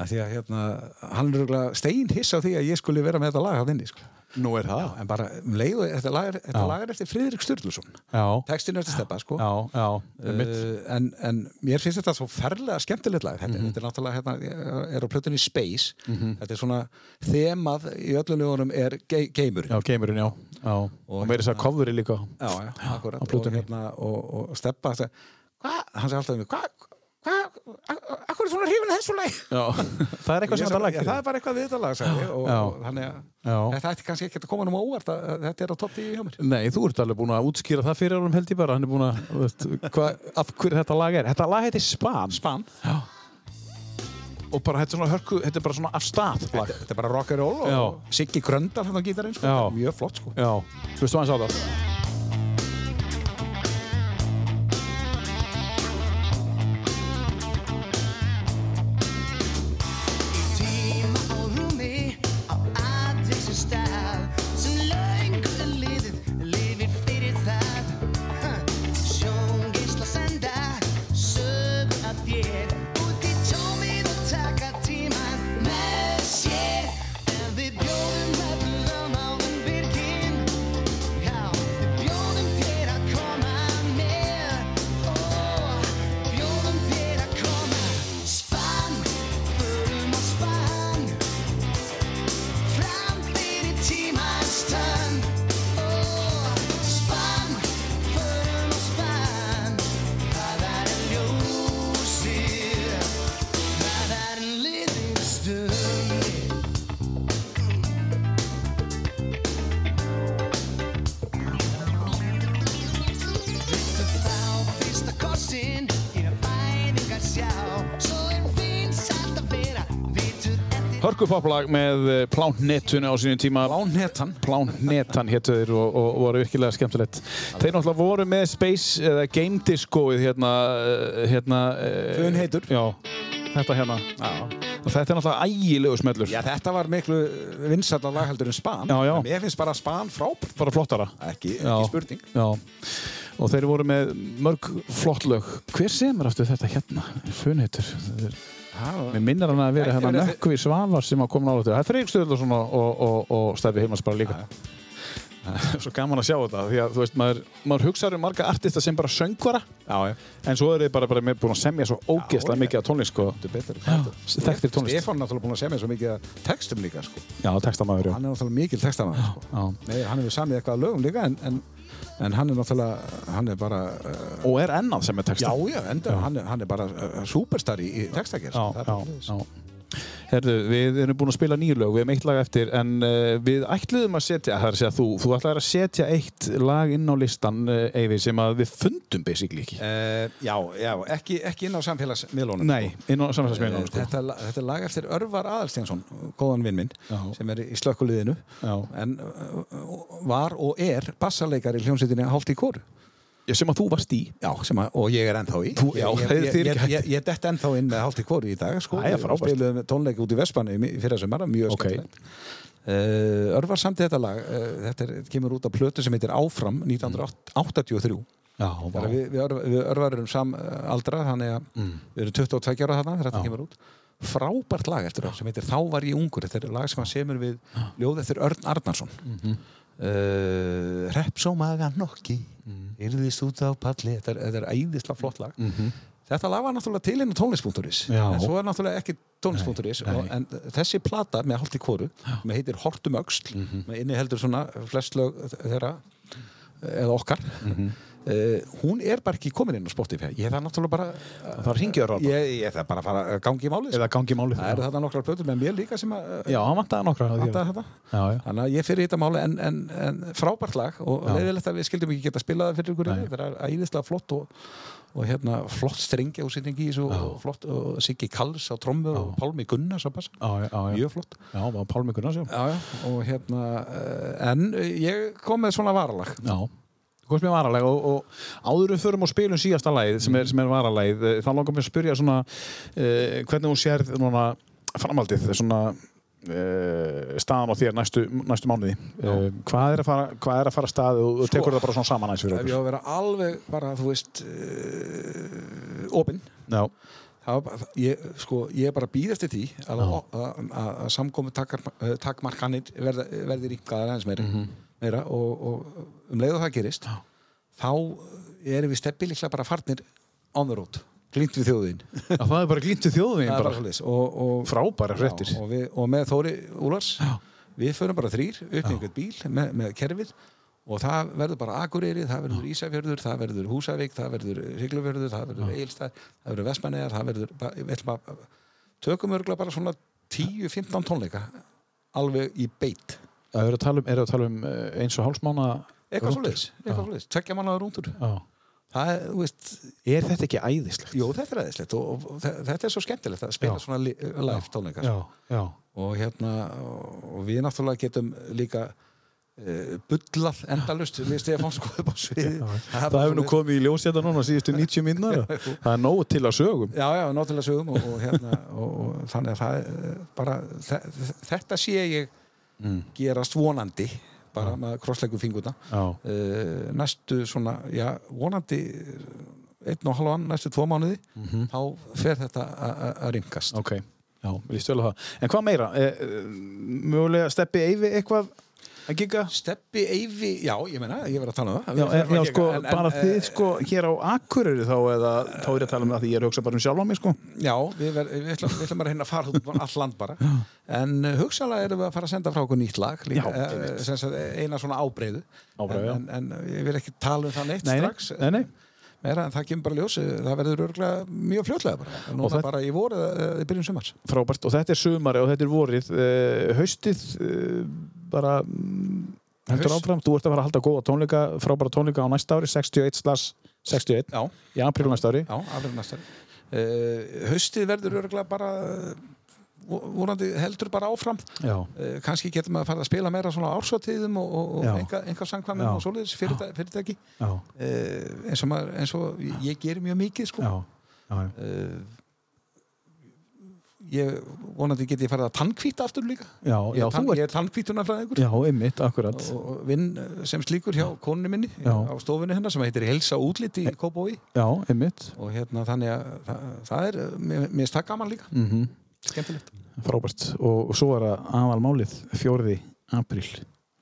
Speaker 3: að því að hérna, hann er röglega stein hiss á því að ég skuli vera með þetta lag hann inni, sko.
Speaker 2: Nú er það
Speaker 3: en bara um leiðu, þetta lag er, þetta lag er eftir Friðrik Sturluson
Speaker 2: Já,
Speaker 3: textin er eftir Stebba, sko
Speaker 2: já, já,
Speaker 3: Uh,
Speaker 2: einmitt.
Speaker 3: en, en mér finnst þetta svo ferlega skemmtilegt lag þetta,
Speaker 2: Mhm.
Speaker 3: þetta er náttúrulega, hérna, ég er á plötunni Space þetta er svona þemað í öllum lögunum er ge geimurinn
Speaker 2: Já, geimurinn, já, já Og hérna- meira þess að kofðuri líka
Speaker 3: já, já, akkurat og,
Speaker 2: plötunni.
Speaker 3: hérna, og, og, og steppa hann sagði alltaf um mig hvað, hvað, akkur er svona hrifin að þessu lagi
Speaker 2: Já, það er eitthvað
Speaker 3: Ég
Speaker 2: sem
Speaker 3: sagði,
Speaker 2: þetta lag
Speaker 3: "Já, það er bara eitthvað við þetta lag sagði, ég, og,
Speaker 2: Já.
Speaker 3: og þannig
Speaker 2: Já.
Speaker 3: að þetta ætti kannski ekki að koma um óvart að, að þetta er á topp í hjá mér
Speaker 2: Nei, þú ert alveg búin að útskýra það fyrir árum held ég bara, hann er búin að, þú veist, hva, af hverju þetta lag er. Þetta lag heitir Span. Span? Já. Og bara þetta er svona hörku, þetta er bara svona af stað lag.
Speaker 3: þetta er bara rock'n'roll og,
Speaker 2: Já.
Speaker 3: og Siggi Gröndal hann á gítarinn sko,
Speaker 2: Já.
Speaker 3: Þetta er mjög flott sko
Speaker 2: Já, hlustu aðeins á það.
Speaker 9: tíma og rúmi á aðeins stað sem löngu er liðið lifir fyrir það
Speaker 6: Oh,
Speaker 2: Hörkupoplag með eh, Plánetun á sínum tíma.
Speaker 3: Plánhetan.
Speaker 2: Plánnetan héttu þeir og, og voru virkilega skemmtilegt. Þeir náttúrulega voru með Space eða Game Discoið hérna, eh, hérna... eh,
Speaker 3: Fun heitur.
Speaker 2: Já, þetta hérna. Og þetta er náttúrulega ægilegu smellur.
Speaker 3: Já, þetta var miklu vinsætna laghaldur en Span.
Speaker 2: Já, já.
Speaker 3: En Mér finnst bara Span frábært.
Speaker 2: Bara flottara.
Speaker 3: Ekki,
Speaker 2: Já.
Speaker 3: ekki spurning.
Speaker 2: Já. Og þeir voru með mörg flott lög. Hver semur aftur þetta hérna? Funheitur. Þetta er- Mér minnar hann að vera
Speaker 3: Gæti
Speaker 2: hérna
Speaker 3: verið-
Speaker 2: Nökkvi Svavar sem að koma nála til. Það er Freyr Stöðlason og, og, og, og Steffi Hilmars bara líka. Svo gaman að sjá þetta því að þú veist, maður, maður hugsaður um marga artista sem bara söngvara
Speaker 3: Já, já.
Speaker 2: en svo eru þeir bara, bara með búin að semja svo ógeðslega
Speaker 3: já.
Speaker 2: mikið af tónlist sko.
Speaker 3: Þetta er betur.
Speaker 2: Þekktir tónlist.
Speaker 3: Stefán er náttúrulega búin að segja mér svo mikið að textum líka, sko.
Speaker 2: Já, textamæður, já.
Speaker 3: Hann er náttúrulega mikil textamæður, sko.
Speaker 2: já.
Speaker 3: Nei, hann hefur samið eitthvað að lögum líka, en, en, en hann er náttúrulega, hann er bara, uh,
Speaker 2: Og er ennað sem er
Speaker 3: já,
Speaker 2: texta.
Speaker 3: já, enda, Hann, er, hann er bara uh, superstar í, í textagerð. sko.
Speaker 2: já,
Speaker 3: Það
Speaker 2: já,
Speaker 3: er bara svoleiðis.
Speaker 2: já. Herðu, við erum búin að spila nýju lög, við erum eitt lag eftir en uh, við ætluðum að setja, það er að segja þú, þú ætlaðir að setja eitt lag inn á listan, uh, Eyvi, sem að við fundum basically ekki.
Speaker 3: Eh, já, já, ekki, ekki inn á samfélagsmiðlunum.
Speaker 2: Nei, inn á samfélagsmiðlunum,
Speaker 3: Sko.
Speaker 2: sko.
Speaker 3: Þetta, er la- þetta er lag eftir Örvar Aðalsteinsson, góðan vinn minn,
Speaker 2: Já.
Speaker 3: sem er í slökkuliðinu,
Speaker 2: Já.
Speaker 3: en uh, var og er bassarleikar í hljómsveitinni Hált í kóru.
Speaker 2: Já, sem að þú varst í.
Speaker 3: Já, sem að, og ég er ennþá í.
Speaker 2: Þú- já,
Speaker 3: ég,
Speaker 2: þeir-
Speaker 3: ég,
Speaker 2: þeir-
Speaker 3: ég, ég, ég dett ennþá inn með Hált í kóru í dag, sko.
Speaker 2: Æ, já, frábært.
Speaker 3: Spilum tónleik út í Vespanum fyrir sem er mjög
Speaker 2: Ok.
Speaker 3: skemmtilegt. Uh, Örvar samti þetta lag, uh, þetta er, kemur út af plötu sem heitir Áfram 1983.
Speaker 2: Já,
Speaker 3: Bara Við, við, örf, við örvarum samaldra þannig að við erum 22 ára þarna þegar þetta kemur út frábært lag eftir það sem heitir Þá var ég ungur þetta er lag sem hann semur við ljóð eftir Örn Arnarsson mm -hmm. uh, Repsómaga nokki yrðist út á palli þetta er, þetta er æðislega flott lag þetta lag var náttúrulega til inn á tónlist.is
Speaker 2: Mhm. Já.
Speaker 3: en svo er náttúrulega ekki tónlist.is og- en þessi plata með hálft í kóru með heitir Hortum Öxl
Speaker 2: Mhm.
Speaker 3: með inniheldur svona flest lög þeirra eða okkar
Speaker 2: Mhm.
Speaker 3: Eh, hún er bara ekki komin inn á Spotify ég þarf náttúrulega bara
Speaker 2: Það var hringjöður á þetta.
Speaker 3: ég, ég þarf bara að fara að gangi í málið sko.
Speaker 2: Eða gangi málið.
Speaker 3: það eru þarna nokkrar plötur með mér líka sem að eh,
Speaker 2: Já, hann vantaði nokkra. af þér.
Speaker 3: vantaði þetta
Speaker 2: Já, já.
Speaker 3: þannig að ég fyrir hitta máli en, en, en frábært lag og leiðilegt að við skildum ekki geta spilað það fyrir ykkur
Speaker 2: Nei.
Speaker 3: þetta er æðislega flott og, og hérna flott strengja úsýtningi í þessu og flott og Siggi Kalls á trommu og Pálmi Gunnars á bassa
Speaker 2: Já, já, já.
Speaker 3: mjög flott
Speaker 2: Já, það var Pálmi Gunnars, já.
Speaker 3: já, já. og hérna eh, en ég kom með svona varalag
Speaker 2: Já. Þú komst mér varalæg og, og áður en við förum og spilum síðasta lægið sem er, sem er varalægið, eh, þá langar mér að spyrja svona uh, hvernig þú sérð núna framhaldið, svona uh, staðan á þér næstu, næstu mánuði. Uh, hvað, er að fara, hvað er að fara af stað og þú tekur það bara svona saman aðeins fyrir
Speaker 3: ef
Speaker 2: okkur?
Speaker 3: ég á að vera alveg bara, þú veist uh, opinn
Speaker 2: Já,
Speaker 3: Það var bara, ég, sko, ég er bara að býðast eftir því að, að, að, að samkomi takkmarkanir verða, verði ringaðar aðeins meira, meira og, og um leið og það gerist þá erum við steppi líklega bara farnir on the road, glýnt við þjóðin
Speaker 2: Já, það er bara glýntu þjóðveginn
Speaker 3: það er
Speaker 2: bara.
Speaker 3: bara svolítið og, og,
Speaker 2: Frábæra fréttir.
Speaker 3: Já, og, við, og með Þóri Úlars við förum bara þrýr upp í einhvern bíl með, með kerfið og það verður bara Akureyri, það verður Ísafjörður, það verður Húsavík, það verður Siglufjörður, það verður Egilstað, það verður Vestmannegar, það verður, bara- við ætlum að tökum örgulega bara svona 10-15 tónleika alveg í beitt.
Speaker 2: Það eru að tala um, eru að tala um eh, eins og hálfsmána...
Speaker 3: Eitthvað svoleiðis, eitthvað svoleiðis, tvekja mannaður rúndur.
Speaker 2: Já.
Speaker 3: Það er, þú veist,
Speaker 2: Er þetta ekki æðislegt?
Speaker 3: jú þetta er aðeinslegt og, og, og þe- þetta er svo skemmtilegt að spila
Speaker 2: Já.
Speaker 3: svona li- live tónleika.
Speaker 2: Já, já.
Speaker 3: og hérna og við náttúrulega getum líka uh, bullað endalust við Stefán sko upp á sviði
Speaker 2: Það, hefur nú komið í ljós hérna núna síðustu 90 minnar. það er nóg til að sögum.
Speaker 3: já já, náttúrulega sögum og, og hérna og, og þannig að það eh, bara þe þetta sé ég gerast vonandi bara með krossleiku fingurna
Speaker 2: Já.
Speaker 3: uh, næstu svona, já, vonandi eh, einn og halvan, næstu tvo mánuði þá fer þetta a- a- að ringast
Speaker 2: Ok, já, vil ég stjóla það. En hvað meira? E, e, mögulega steppi Eyvi eitthvað að giga?
Speaker 3: Steppi Eyvi, já, ég meina, ég verð að tala um það
Speaker 2: Já,
Speaker 3: Við
Speaker 2: e,
Speaker 3: þurfum að
Speaker 2: já
Speaker 3: gera,
Speaker 2: sko,
Speaker 3: en- en,
Speaker 2: bara
Speaker 3: eh,
Speaker 2: þið sko hér á Akureyri þá eða þá er ég að tala um það því ég er að hugsa bara um sjálf á mig sko.
Speaker 3: Já, við, ver, við, ætlum, við ætlum að reyna að fara út um allt land bara en uh, hugsalega erum við að fara að senda frá okkur nýtt lag líka,
Speaker 2: Já,
Speaker 3: eh, sem sagt, eina svona ábreyðu
Speaker 2: Ábreiðu, já.
Speaker 3: en, en, en ég vil ekki tala um það neitt
Speaker 2: Nei, nei,
Speaker 3: strax eh,
Speaker 2: nei, nei.
Speaker 3: Meira, en það kemur bara ljós, eh, það verður örgulega mjög fljótlega bara, núna
Speaker 2: það-
Speaker 3: bara í voru eða í byrjun sumars
Speaker 2: Frábært, og þetta er sumari og þetta er vorið. E, haustið e, bara mm, heldur
Speaker 3: Haust.
Speaker 2: áfram. Þú ert að fara að halda góða tónleika, frábæra tónleika á næsta ári, 61 slags 61.
Speaker 3: Já,
Speaker 2: Í apríl næsta ári.
Speaker 3: já, afrið næstari uh, Haustið verður örgulega bara eh, vo- vonandi heldur bara áfram
Speaker 2: Já.
Speaker 3: Eh, kannski getur maður að fara að spila meira svona ársvatíðum og, og,
Speaker 2: Já.
Speaker 3: og enga, enga
Speaker 2: Já.
Speaker 3: og svoleiðis fyrirtæ- fyrirtæki
Speaker 2: já,
Speaker 3: uh, eins og maður, eins og ég- ég gerir mjög mikið sko
Speaker 2: já, já, já.
Speaker 3: uh, ég vonandi geti ég farið að tannkvíta aftur líka
Speaker 2: Já,
Speaker 3: ég,
Speaker 2: já,
Speaker 3: er tann,
Speaker 2: þú ert-
Speaker 3: ég er tannkvítunafræðingur
Speaker 2: já, einmitt, akkurat
Speaker 3: og og vinn eh, sem slíkur hjá konunni minni
Speaker 2: Já.
Speaker 3: á stofunni hennar sem heitir Helsa útliti í Kópói
Speaker 2: já, einmitt,
Speaker 3: og hérna þannig að það, það er, eh, mér mér finnst það gaman líka
Speaker 2: mhm
Speaker 3: skemmtilegt
Speaker 2: frábært og svo er að aðalmálið fjóriði apríl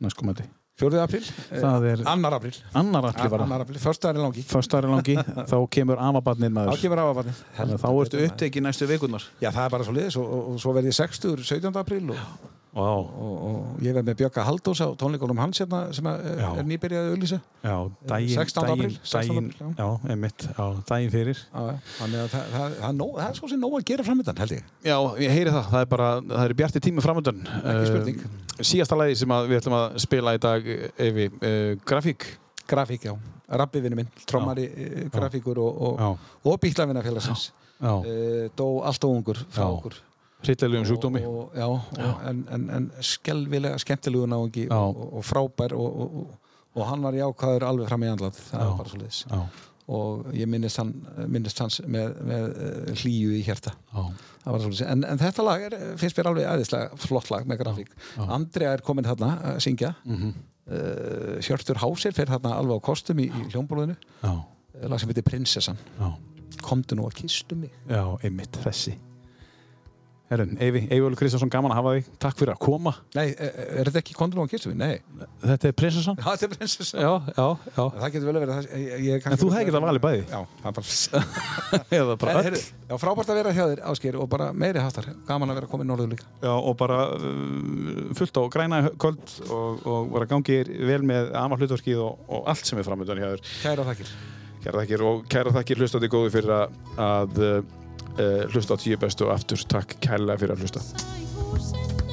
Speaker 2: næstkomandi,
Speaker 3: 4. april,
Speaker 2: það er
Speaker 3: eh, annar april
Speaker 2: Eh, annar apríl var það,
Speaker 3: annar april, förstu er langi
Speaker 2: fyrst ári langi þá kemur afabarnir
Speaker 3: þá
Speaker 2: maður
Speaker 3: kemur afabarnir
Speaker 2: þannig að þá ertu upptekið næstu vikunar
Speaker 3: já það er bara svo liðis og, og, og svo verð ég 60 17. april og,
Speaker 2: wow.
Speaker 3: og, og ég verð með Björka Haldós á tónleikunum hans hérna sem að, eh,
Speaker 2: Já.
Speaker 3: er nýbyrjaði að auðlýsa
Speaker 2: já, daginn,
Speaker 3: 16. apríl,
Speaker 2: daginn,
Speaker 3: 16.
Speaker 2: daginn
Speaker 3: apríl,
Speaker 2: já, einmitt, já, daginn fyrir
Speaker 3: Já, já. þannig að það, það, það, er nóg, það er svo sem nóg að gera framöndan held ég
Speaker 2: já, ég heyri það, það er bara, það er bjarti tími framöndan
Speaker 3: Ekki spurning.
Speaker 2: Eh, síðasta lagi sem að við ætlum að spila í dag Evi, uh, grafík
Speaker 3: grafík já, rabbi vinnu minn, trommari já. grafíkur og, og,
Speaker 2: já,
Speaker 3: og bíklavinna félagsins
Speaker 2: já,
Speaker 3: uh, dó allt og ungur frá
Speaker 2: Já.
Speaker 3: okkur
Speaker 2: hryllilegum sjúkdómi
Speaker 3: og, og, já, og, en, en, en skelvilega skemmtilegu náungi
Speaker 2: Já.
Speaker 3: og, og frábær og, og, og, og hann var jákvæður alveg fram í andlat það
Speaker 2: Já.
Speaker 3: er bara svo leiðis
Speaker 2: já,
Speaker 3: og ég minnist, hann, minnist hans með, með eh, hlýju í hjarta
Speaker 2: já,
Speaker 3: Það var svolítið. en, en þetta lag er, finnst mér alveg æðislega flott lag með grafík
Speaker 2: já. Mhm.
Speaker 3: Andrea er komin þarna að syngja mm -hmm. Hjörtur Hásir fer þarna alveg á kostum í, í hljómbólöðinu
Speaker 2: já,
Speaker 3: lag sem heitir Prinsessan
Speaker 2: já.
Speaker 3: Komdu nú að kistu mig
Speaker 2: Já, einmitt, þessi Herrun, Eyvi, Eyvölu Kristjánsson, gaman að hafa þig Takk fyrir að koma
Speaker 3: Nei, eh, er þetta ekki Komdu nú að kistu mig? Nei,
Speaker 2: Þetta er prinsessan
Speaker 3: það er Prinsessan
Speaker 2: Já, já, já
Speaker 3: Það getur vel að vera það ég- ég- ég kann
Speaker 2: En þú
Speaker 3: ekki-
Speaker 2: hefði getað valið bæði
Speaker 3: Já, það er bara
Speaker 2: Eða bara
Speaker 3: Heru,
Speaker 2: öll
Speaker 3: Eh, Já, frábært að vera hjá þér, Ásker og bara meiri hattar, gaman að vera komin norður líka
Speaker 2: Já, og bara uh, fullt á græna kvöld og, og vera gangið vel með ama hlutverkið og, og allt sem er framöndan hjá þér
Speaker 3: Kæra þakkir
Speaker 2: Kæra þakkir og kæra þakkir hlustandi góði fyrir að, að uh, hlusta á tíu bestu og aftur Takk kærlega fyrir að hlusta
Speaker 5: Sæ húsin